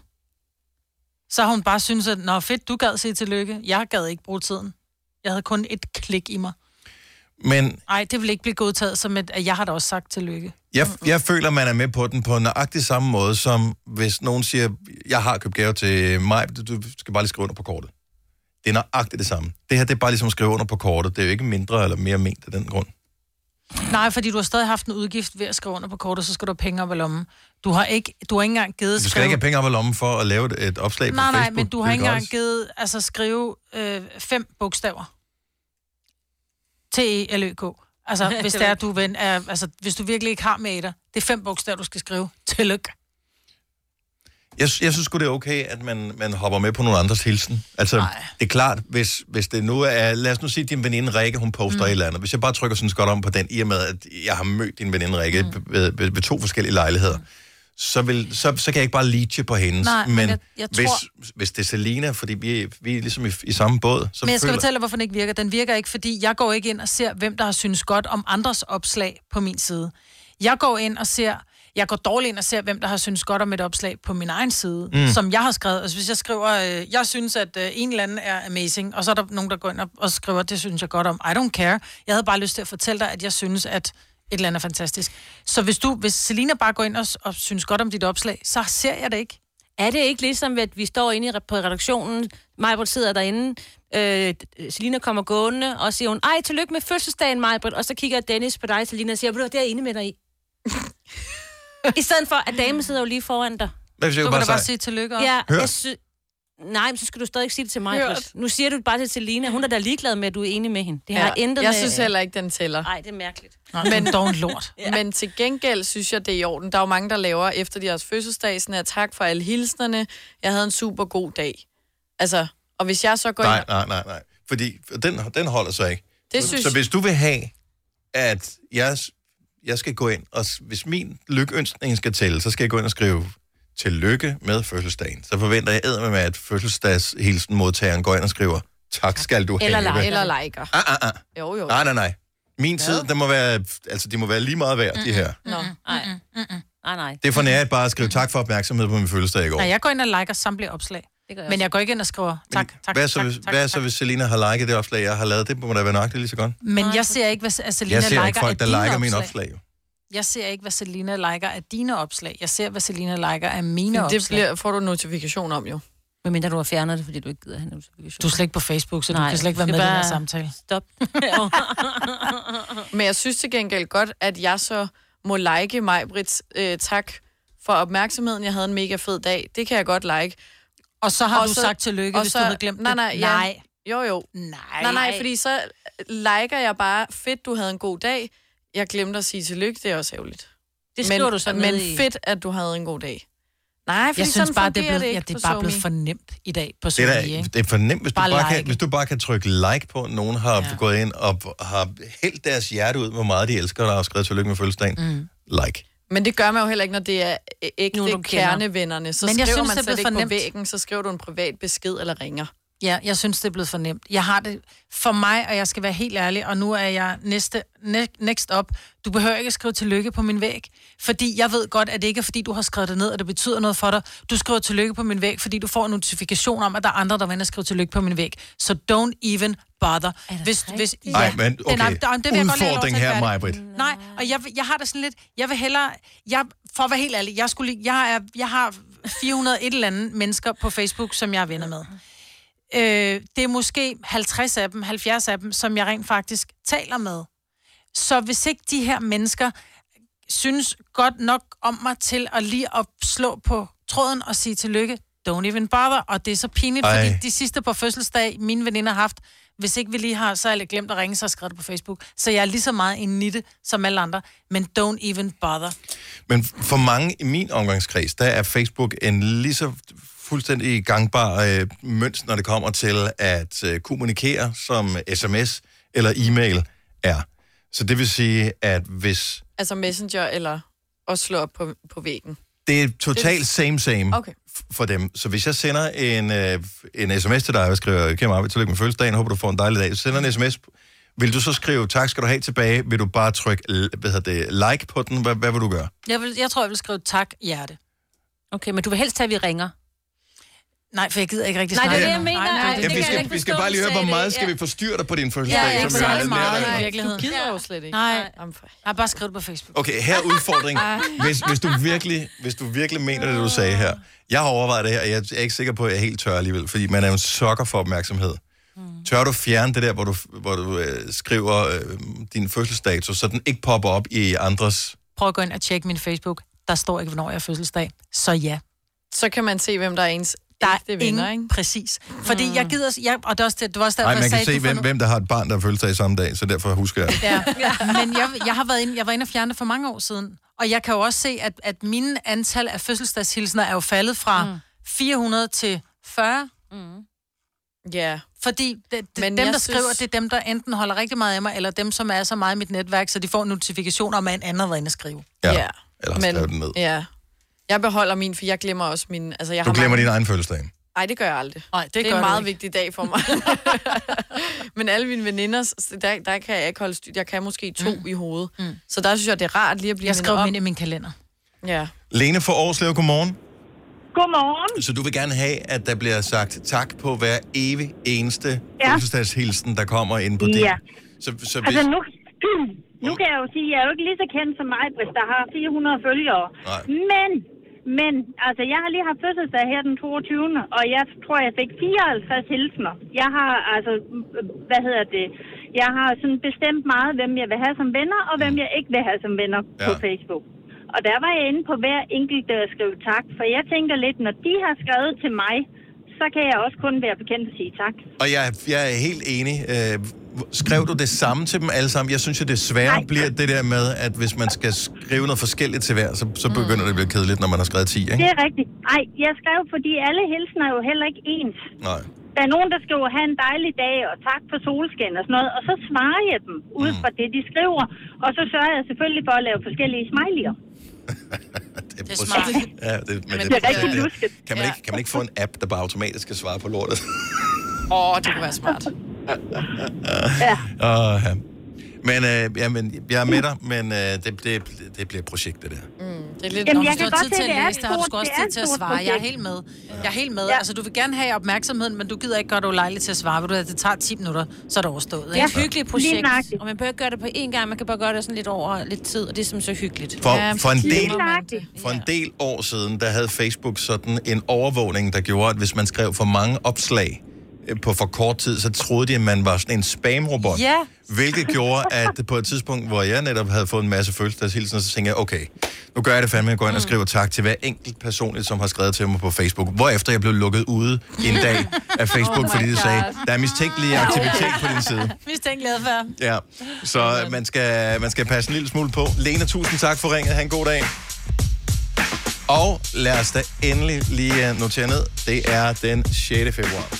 Speaker 2: Så har hun bare synes, at nå fedt, du gad sige tillykke. Jeg gad ikke bruge tiden. Jeg havde kun et klik i mig.
Speaker 1: Men
Speaker 2: Nej, det vil ikke blive godtaget som et, at jeg har da også sagt tillykke.
Speaker 1: jeg, jeg føler, man er med på den på nøjagtig samme måde, som hvis nogen siger, jeg har købt gave til mig, du du skal bare lige skrive under på kortet. Det er nøjagtigt det samme. Det her, det er bare ligesom at skrive under på kortet. Det er jo ikke mindre eller mere ment af den grund.
Speaker 2: Nej, fordi du har stadig haft en udgift ved at skrive under på kortet, så skal du have penge op i lommen. Du har ikke, du har ikke engang givet
Speaker 1: Du skal ikke have penge op af lommen for at lave et, et opslag på
Speaker 2: Nej,
Speaker 1: Facebook.
Speaker 2: nej, men du
Speaker 1: Det
Speaker 2: har
Speaker 1: er
Speaker 2: ikke engang
Speaker 1: gratis.
Speaker 2: givet, altså skrive øh, fem bogstaver. t e l -Ø k *laughs* Altså, hvis det er, du ven, er, altså, hvis du virkelig ikke har med i dig, det er fem bogstaver, du skal skrive. Tillykke.
Speaker 1: Jeg, sy- jeg synes sgu, det er okay, at man, man hopper med på nogle andres hilsen. Altså, nej. det er klart, hvis, hvis det nu er... Lad os nu sige, at din veninde Rikke, hun poster mm. et eller andet. Hvis jeg bare trykker sådan godt om på den, i og med, at jeg har mødt din veninde Rikke mm. ved, ved, ved to forskellige lejligheder, så, vil, så, så kan jeg ikke bare leache på hendes.
Speaker 2: Nej, men
Speaker 1: men
Speaker 2: jeg- jeg
Speaker 1: hvis,
Speaker 2: tror-
Speaker 1: hvis det er Selina, fordi vi, vi er ligesom i, i samme båd, så
Speaker 2: Men jeg skal
Speaker 1: føler...
Speaker 2: fortælle dig, hvorfor den ikke virker. Den virker ikke, fordi jeg går ikke ind og ser, hvem der har synes godt om andres opslag på min side. Jeg går ind og ser, jeg går dårligt ind og ser, hvem der har synes godt om et opslag på min egen side,
Speaker 8: Mm.
Speaker 2: mm. som jeg har skrevet. Altså hvis jeg skriver, øh, jeg synes, at øh, en eller anden er amazing, og så er der nogen, der går ind og, og skriver, det synes jeg godt om. I don't care. Jeg havde bare lyst til at fortælle dig, at jeg synes, at et eller andet er fantastisk. Så hvis du, hvis Selina bare går ind og, s- og synes godt om dit opslag, så ser jeg det ikke.
Speaker 4: Er det ikke ligesom, at vi står inde i- på redaktionen, Majbrit sidder derinde, øh, Selina kommer gående, og siger hun, ej, tillykke med fødselsdagen, Majbrit, og så kigger Dennis på dig, Selina, og siger, ved du, hvad, det er jeg enig
Speaker 2: *laughs*
Speaker 4: med dig i. I stedet for, at damen sidder jo lige foran dig.
Speaker 1: Hvad hvis jeg
Speaker 2: Du
Speaker 1: bare
Speaker 2: kan da bare
Speaker 1: siger-
Speaker 2: sige tillykke op.
Speaker 4: Ja,
Speaker 1: Hørt.
Speaker 4: jeg sy- Nej, men så skal du stadig ikke sige det til mig.
Speaker 3: Hørt.
Speaker 4: Britt. Nu siger du det bare til Selina. Hun er da ligeglad med, at du er enig med hende. Det har
Speaker 3: ja.
Speaker 4: intet
Speaker 3: Jeg
Speaker 4: med...
Speaker 3: synes heller ikke, den tæller.
Speaker 4: Nej, det er mærkeligt.
Speaker 2: Nej, men dog en lort.
Speaker 3: ja. Men til gengæld synes jeg, det er i orden. Der er jo mange, der laver efter deres fødselsdag, sådan her, tak for alle hilsnerne. Jeg havde en super god dag. Altså, og hvis jeg så går
Speaker 1: Nej,
Speaker 3: ind...
Speaker 1: nej, nej, nej. Fordi den, den holder sig ikke.
Speaker 3: Det
Speaker 1: så,
Speaker 3: synes-
Speaker 1: så hvis du vil have, at jeg, jeg skal gå ind, og s- hvis min lykønskning skal tælle, så skal jeg gå ind og skrive, tillykke med fødselsdagen, så forventer jeg eddermame, med, at fødselsdagshilsen modtageren går ind og skriver, tak skal du
Speaker 3: Eller,
Speaker 1: have.
Speaker 3: like, eller liker.
Speaker 1: Ah, ah, ah.
Speaker 3: Jo, jo.
Speaker 1: Nej, nej, nej. Min tid, der må være, altså, de må være lige meget værd, de her.
Speaker 3: Nå, nej.
Speaker 4: Nej, nej.
Speaker 1: Det er for nært bare at skrive tak for opmærksomhed på min fødselsdag i går.
Speaker 2: Nej, jeg går ind og liker samtlige opslag.
Speaker 4: Jeg
Speaker 2: Men jeg går ikke ind og skriver tak, tak,
Speaker 1: hvad
Speaker 2: tak,
Speaker 1: så,
Speaker 2: tak,
Speaker 1: hvis,
Speaker 2: tak.
Speaker 1: hvad så, hvis Selina har liket det opslag, jeg har lavet? Det må da være nøjagtigt lige så godt.
Speaker 2: Men jeg ser ikke, hvad at Selina
Speaker 1: jeg ser
Speaker 2: liker
Speaker 1: ikke
Speaker 2: af
Speaker 1: folk, der
Speaker 2: dine
Speaker 1: liker mine opslag. jo.
Speaker 2: Jeg ser ikke, hvad Selina liker af dine opslag. Jeg ser, hvad Selina liker af mine
Speaker 3: Fordi
Speaker 2: opslag.
Speaker 3: det bliver, får du notifikation om jo.
Speaker 4: Medmindre du har fjernet det, fordi du ikke gider have notifikation.
Speaker 2: Du er slet ikke på Facebook, så du kan slet ikke være
Speaker 4: skal
Speaker 2: med i den her
Speaker 4: bare
Speaker 2: samtale.
Speaker 4: Stop.
Speaker 3: Men jeg synes til gengæld godt, at jeg så må like mig, Brits, øh, tak for opmærksomheden. Jeg havde en mega fed dag. Det kan jeg godt like.
Speaker 2: Og så har du sagt tillykke,
Speaker 3: og
Speaker 2: hvis du havde glemt
Speaker 3: nej,
Speaker 2: det.
Speaker 3: nej, Ja.
Speaker 2: Nej.
Speaker 3: Jo, jo.
Speaker 2: Nej.
Speaker 3: Nej, nej, fordi så øh, liker jeg bare, fedt, du havde en god dag. Jeg glemte at sige tillykke, det er også ærgerligt.
Speaker 2: Det skriver
Speaker 3: men,
Speaker 2: du så ned
Speaker 3: Men
Speaker 2: i-
Speaker 3: fedt, at du havde en god dag. Nej, fordi
Speaker 2: Jeg synes
Speaker 3: sådan
Speaker 2: bare, det er
Speaker 3: fungerer
Speaker 2: blevet,
Speaker 3: ikke
Speaker 2: ja, det er
Speaker 3: på
Speaker 2: bare blevet
Speaker 3: SoMe.
Speaker 2: for nemt i dag på
Speaker 1: Det er,
Speaker 2: Sony,
Speaker 1: da,
Speaker 2: ikke?
Speaker 1: det er for nemt, hvis du,
Speaker 2: Bare
Speaker 1: bare bare kan,
Speaker 2: like.
Speaker 1: hvis du bare kan trykke like på, at nogen har ja. gået ind og har hældt deres hjerte ud, hvor meget de elsker dig og skrevet tillykke med fødselsdagen. Mm. Like.
Speaker 3: Men det gør man jo heller ikke, når det er æ- ægte
Speaker 2: Nogen, du
Speaker 3: Nogen,
Speaker 2: kender.
Speaker 3: kernevennerne. Så
Speaker 2: Men
Speaker 3: Men
Speaker 2: jeg
Speaker 3: skriver
Speaker 2: synes,
Speaker 3: man
Speaker 2: det er
Speaker 3: slet
Speaker 2: blevet
Speaker 3: ikke
Speaker 2: for
Speaker 3: på
Speaker 2: nemt.
Speaker 3: væggen, så skriver du en privat besked eller ringer.
Speaker 2: Ja, jeg synes, det er blevet for nemt. Jeg har det for mig, og jeg skal være helt ærlig, og nu er jeg næste, ne- next up. Du behøver ikke at skrive tillykke på min væg, fordi jeg ved godt, at det ikke er, fordi du har skrevet det ned, og det betyder noget for dig. Du skriver tillykke på min væg, fordi du får en notifikation om, at der er andre, der vil ind og skrive tillykke på min væg. Så don't even bother. Hvis, hvis, ja.
Speaker 1: Nej, men
Speaker 2: Det er-
Speaker 1: okay.
Speaker 2: nej, der- det vil jeg godt lige have lov til
Speaker 1: Udfordring
Speaker 2: at
Speaker 1: her,
Speaker 2: gøre det.
Speaker 1: Majbrit.
Speaker 2: Nej, og jeg, jeg har det sådan lidt, jeg vil hellere, jeg, for at være helt ærlig, jeg, skulle, lige- jeg, er, jeg har 400 et eller andet mennesker på Facebook, som jeg er venner med. Øh, det er måske 50 af dem, 70 af dem, som jeg rent faktisk taler med. Så hvis ikke de her mennesker synes godt nok om mig til at lige at slå på tråden og sige tillykke, don't even bother, og det er så pinligt,
Speaker 1: Ej.
Speaker 2: Ej. fordi de sidste på fødselsdag, mine veninder har haft, hvis ikke vi lige har, så har jeg glemt at ringe, så har jeg skrevet det på Facebook. Så jeg er lige så meget en nitte som alle andre, men don't even bother.
Speaker 1: Men for mange i min omgangskreds, der er Facebook en lige så fuldstændig gangbar øh, mønst, når det kommer til at øh, kommunikere, som sms eller e-mail er. Så det vil sige, at hvis
Speaker 3: Altså messenger eller og slå op på, på væggen.
Speaker 1: det er totalt same-same
Speaker 3: Okay.
Speaker 1: f- for dem, så hvis jeg sender en, øh, en sms til dig, og jeg skriver, kære Marvind, tillykke med fødselsdagen, håber du får en dejlig dag, så sender jeg en sms, vil du så skrive, tak skal du have tilbage, vil du bare trykke l- hvad hedder det, like på den, hvad, hvad vil du gøre?
Speaker 2: Jeg, vil, jeg tror, jeg vil skrive tak, hjerte.
Speaker 4: Okay, men du vil helst have, at vi ringer.
Speaker 2: Nej, for jeg gider ikke rigtig
Speaker 4: Nej, det er
Speaker 2: snakke.
Speaker 4: det, jeg mener.
Speaker 2: nej,
Speaker 1: Ja,
Speaker 4: det
Speaker 1: vi,
Speaker 4: kan jeg
Speaker 1: skal,
Speaker 4: ikke
Speaker 1: vi skal
Speaker 4: forstå,
Speaker 1: bare lige
Speaker 4: du
Speaker 1: høre, hvor
Speaker 4: sagde
Speaker 1: meget
Speaker 4: det.
Speaker 1: skal vi forstyrre dig på din
Speaker 2: Ja,
Speaker 1: fødselsdag.
Speaker 2: ja, ikke
Speaker 1: som jo er
Speaker 2: særlig
Speaker 1: lidt
Speaker 2: meget
Speaker 1: nærværende.
Speaker 2: i virkeligheden.
Speaker 3: Du gider jo slet ikke.
Speaker 2: Nej, jeg har bare skrevet det på Facebook.
Speaker 1: Okay, her er udfordring. Hvis, hvis, du virkelig, hvis du virkelig mener det, du sagde her. Jeg har overvejet det her, og jeg er ikke sikker på, at jeg er helt tør alligevel, fordi man er jo en sokker for opmærksomhed. Tør du fjerne det der, hvor du, hvor du øh, skriver øh, din fødselsdato, så den ikke popper op i andres...
Speaker 2: Prøv at gå ind og tjekke min Facebook. Der står ikke, hvornår jeg er fødselsdag. Så ja.
Speaker 3: Så kan man se, hvem der er ens der er ægte venner, ikke?
Speaker 2: Præcis. Fordi mm. jeg gider... Jeg, og det er også det, det var også derfor,
Speaker 1: Nej, man
Speaker 2: jeg sagde,
Speaker 1: kan se,
Speaker 2: du får
Speaker 1: hvem,
Speaker 2: no-
Speaker 1: hvem der har et barn, der har fødselsdag samme dag, så derfor husker jeg.
Speaker 2: Ja. *laughs* Men jeg, jeg, har været inde, jeg var inde og fjerne det for mange år siden. Og jeg kan jo også se, at, at mine antal af fødselsdagshilsener er jo faldet fra mm. 400 til 40.
Speaker 4: Mm.
Speaker 3: Ja.
Speaker 2: Fordi det, det,
Speaker 3: Men jeg
Speaker 2: dem, der
Speaker 3: synes-
Speaker 2: skriver, det er dem, der enten holder rigtig meget af mig, eller dem, som er så meget i mit netværk, så de får notifikationer om, at en anden har været inde og skrive.
Speaker 1: Ja.
Speaker 3: ja.
Speaker 1: Eller skriv den ned.
Speaker 3: Ja. Jeg beholder min, for jeg glemmer også min... Altså, jeg
Speaker 1: Du
Speaker 3: har
Speaker 1: glemmer
Speaker 3: mange...
Speaker 1: din egen fødselsdag.
Speaker 3: Nej, det gør jeg aldrig.
Speaker 2: Nej, det
Speaker 3: det er
Speaker 2: gør
Speaker 3: en
Speaker 2: du
Speaker 3: meget
Speaker 2: ikke.
Speaker 3: vigtig dag
Speaker 2: *laughs*
Speaker 3: for mig. Men alle mine veninder, så der, der kan jeg ikke holde styr. Jeg kan måske to mm. i hovedet. Mm. Så der synes jeg, det er rart lige at blive
Speaker 2: Jeg
Speaker 3: mindet
Speaker 2: skrev
Speaker 3: om.
Speaker 2: dem ind i min kalender.
Speaker 3: Ja.
Speaker 1: Lene fra Aarhuslev, godmorgen.
Speaker 8: Godmorgen.
Speaker 1: Så du vil gerne have, at der bliver sagt tak på hver evig eneste
Speaker 8: Ja.
Speaker 1: ja. fødselsdagshilsen, der kommer ind på det.
Speaker 8: Ja.
Speaker 1: Så, så hvis,
Speaker 8: Altså nu, nu *clears throat* kan jeg jo sige, at jeg er jo ikke lige så kendt som mig, Britt, der har 400 følgere.
Speaker 1: Nej.
Speaker 8: Men, men, altså jeg har lige haft fødselsdag her den 22. Og jeg tror, jeg fik 54 hilsner. Jeg har altså, øh, hvad hedder det, jeg har sådan bestemt meget, hvem jeg vil have som venner, og hvem jeg ikke vil have som venner ja. på
Speaker 9: Ja.
Speaker 8: Facebook. Og der var jeg inde på hver enkelt øh, skrive tak, for jeg tænker lidt, når de har skrevet til mig, så kan jeg også kun være bekendt at sige tak.
Speaker 1: og jeg, jeg er helt enig. Øh, skrev du det samme til dem alle sammen? Jeg synes jo, det svære Nej. bliver det der med, at hvis man skal skrive noget forskelligt til hver, så, så begynder det at blive kedeligt, når man har skrevet 10, ikke?
Speaker 8: Det er rigtigt. Nej, jeg skrev, fordi alle hilsen er jo heller ikke ens.
Speaker 1: Nej.
Speaker 8: Der er nogen, der skriver, have en dejlig dag, og tak for solskin og sådan noget, og så svarer jeg dem ud fra det, de skriver, og så sørger jeg selvfølgelig for at lave forskellige smiley'er.
Speaker 1: Det Det
Speaker 2: er smart.
Speaker 1: Ja, det, men,
Speaker 2: Men
Speaker 1: det,
Speaker 2: det er
Speaker 1: det,
Speaker 2: rigtig
Speaker 1: det,
Speaker 2: lusket.
Speaker 1: kan, man
Speaker 2: Ja.
Speaker 1: ikke, kan man ikke få en app, der bare automatisk skal svare på lortet?
Speaker 3: Åh,
Speaker 1: *laughs*
Speaker 3: oh, det kunne være smart.
Speaker 1: ja. Og, ja. Men, øh, ja, men jeg er med dig, men øh, det, det, det bliver et projekt, det der.
Speaker 2: Det er lidt,
Speaker 15: Jamen,
Speaker 2: Jamen,
Speaker 15: jeg
Speaker 2: når
Speaker 15: kan
Speaker 2: du
Speaker 15: godt
Speaker 2: har tid
Speaker 15: se,
Speaker 2: til
Speaker 15: det er
Speaker 2: at læse,
Speaker 15: et
Speaker 2: der har du
Speaker 15: stort-
Speaker 2: sgu også
Speaker 15: det
Speaker 2: tid
Speaker 15: er et
Speaker 2: til at
Speaker 15: stort
Speaker 2: svare. Jeg er
Speaker 15: projekt.
Speaker 2: helt med. Jeg er helt med. Ja. Altså, du vil gerne have opmærksomheden, men du gider ikke gøre dig ulejlig til at svare. Ved du, at det tager 10 minutter, så er det overstået.
Speaker 4: Det er et hyggeligt projekt,
Speaker 15: *laughs*
Speaker 4: og man behøver ikke gøre det på én gang, man kan bare gøre det sådan lidt over lidt tid, og det er som så hyggeligt.
Speaker 1: For- for en del- For en del år siden, der havde Facebook sådan en overvågning, der gjorde, at hvis man skrev for mange opslag øh, på for kort tid, så troede de, at man var sådan en spamrobot.
Speaker 2: Ja.
Speaker 1: Hvilket gjorde, at på et tidspunkt, hvor jeg netop havde fået en masse følelseshilsener, så tænkte jeg, okay, nu gør jeg det fandme, jeg går ind og
Speaker 2: Mm.
Speaker 1: skriver tak til hver enkelt personligt, som har skrevet til mig på Facebook. Hvorefter jeg blev lukket ude en dag af
Speaker 2: *laughs*
Speaker 1: Facebook,
Speaker 2: Oh
Speaker 1: oh
Speaker 2: my
Speaker 1: fordi de sagde,
Speaker 2: God.
Speaker 1: der er mistænkelig aktivitet på din side.
Speaker 2: Mistænkt adfærd.
Speaker 1: Ja, så øh, man skal, man skal passe en lille smule på. Lena, tusind tak for ringet. Ha' en god dag. Og lad os da endelig lige øh, notere ned. Det er den 6. februar,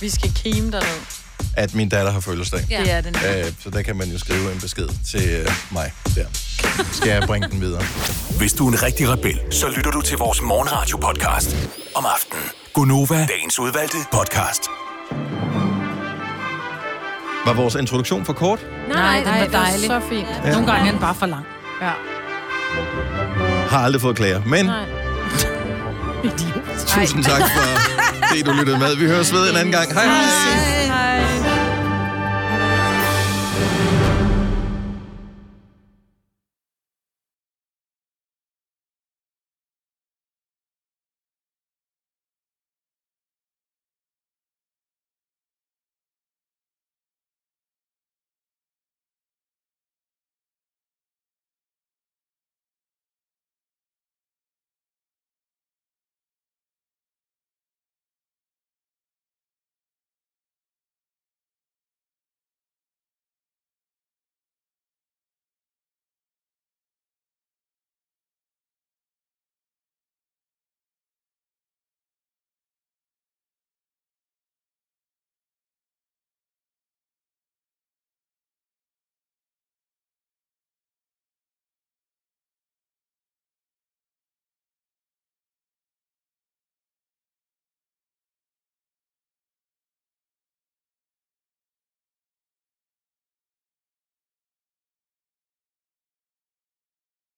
Speaker 3: Vi skal kime derned.
Speaker 1: at min datter har fødselsdag.
Speaker 3: Ja. Det er det nemlig.
Speaker 1: Øh, så der kan man jo skrive en besked til øh, mig der. Skal jeg bringe den videre?
Speaker 19: Hvis du er en rigtig rebel, så lytter du til vores morgenradio-podcast om aftenen.
Speaker 1: Gunova.
Speaker 19: Dagens udvalgte podcast.
Speaker 1: Var vores introduktion for kort?
Speaker 2: Nej, den
Speaker 3: nej,
Speaker 2: var
Speaker 3: det var
Speaker 2: dejlig.
Speaker 3: så fint.
Speaker 1: Ja.
Speaker 2: Nogle gange er den bare for lang. Ja.
Speaker 1: Har aldrig fået klager, men Nej.
Speaker 3: *laughs*
Speaker 1: tusind tak for det, du lyttede med. Vi høres ved en anden gang. Hej hej.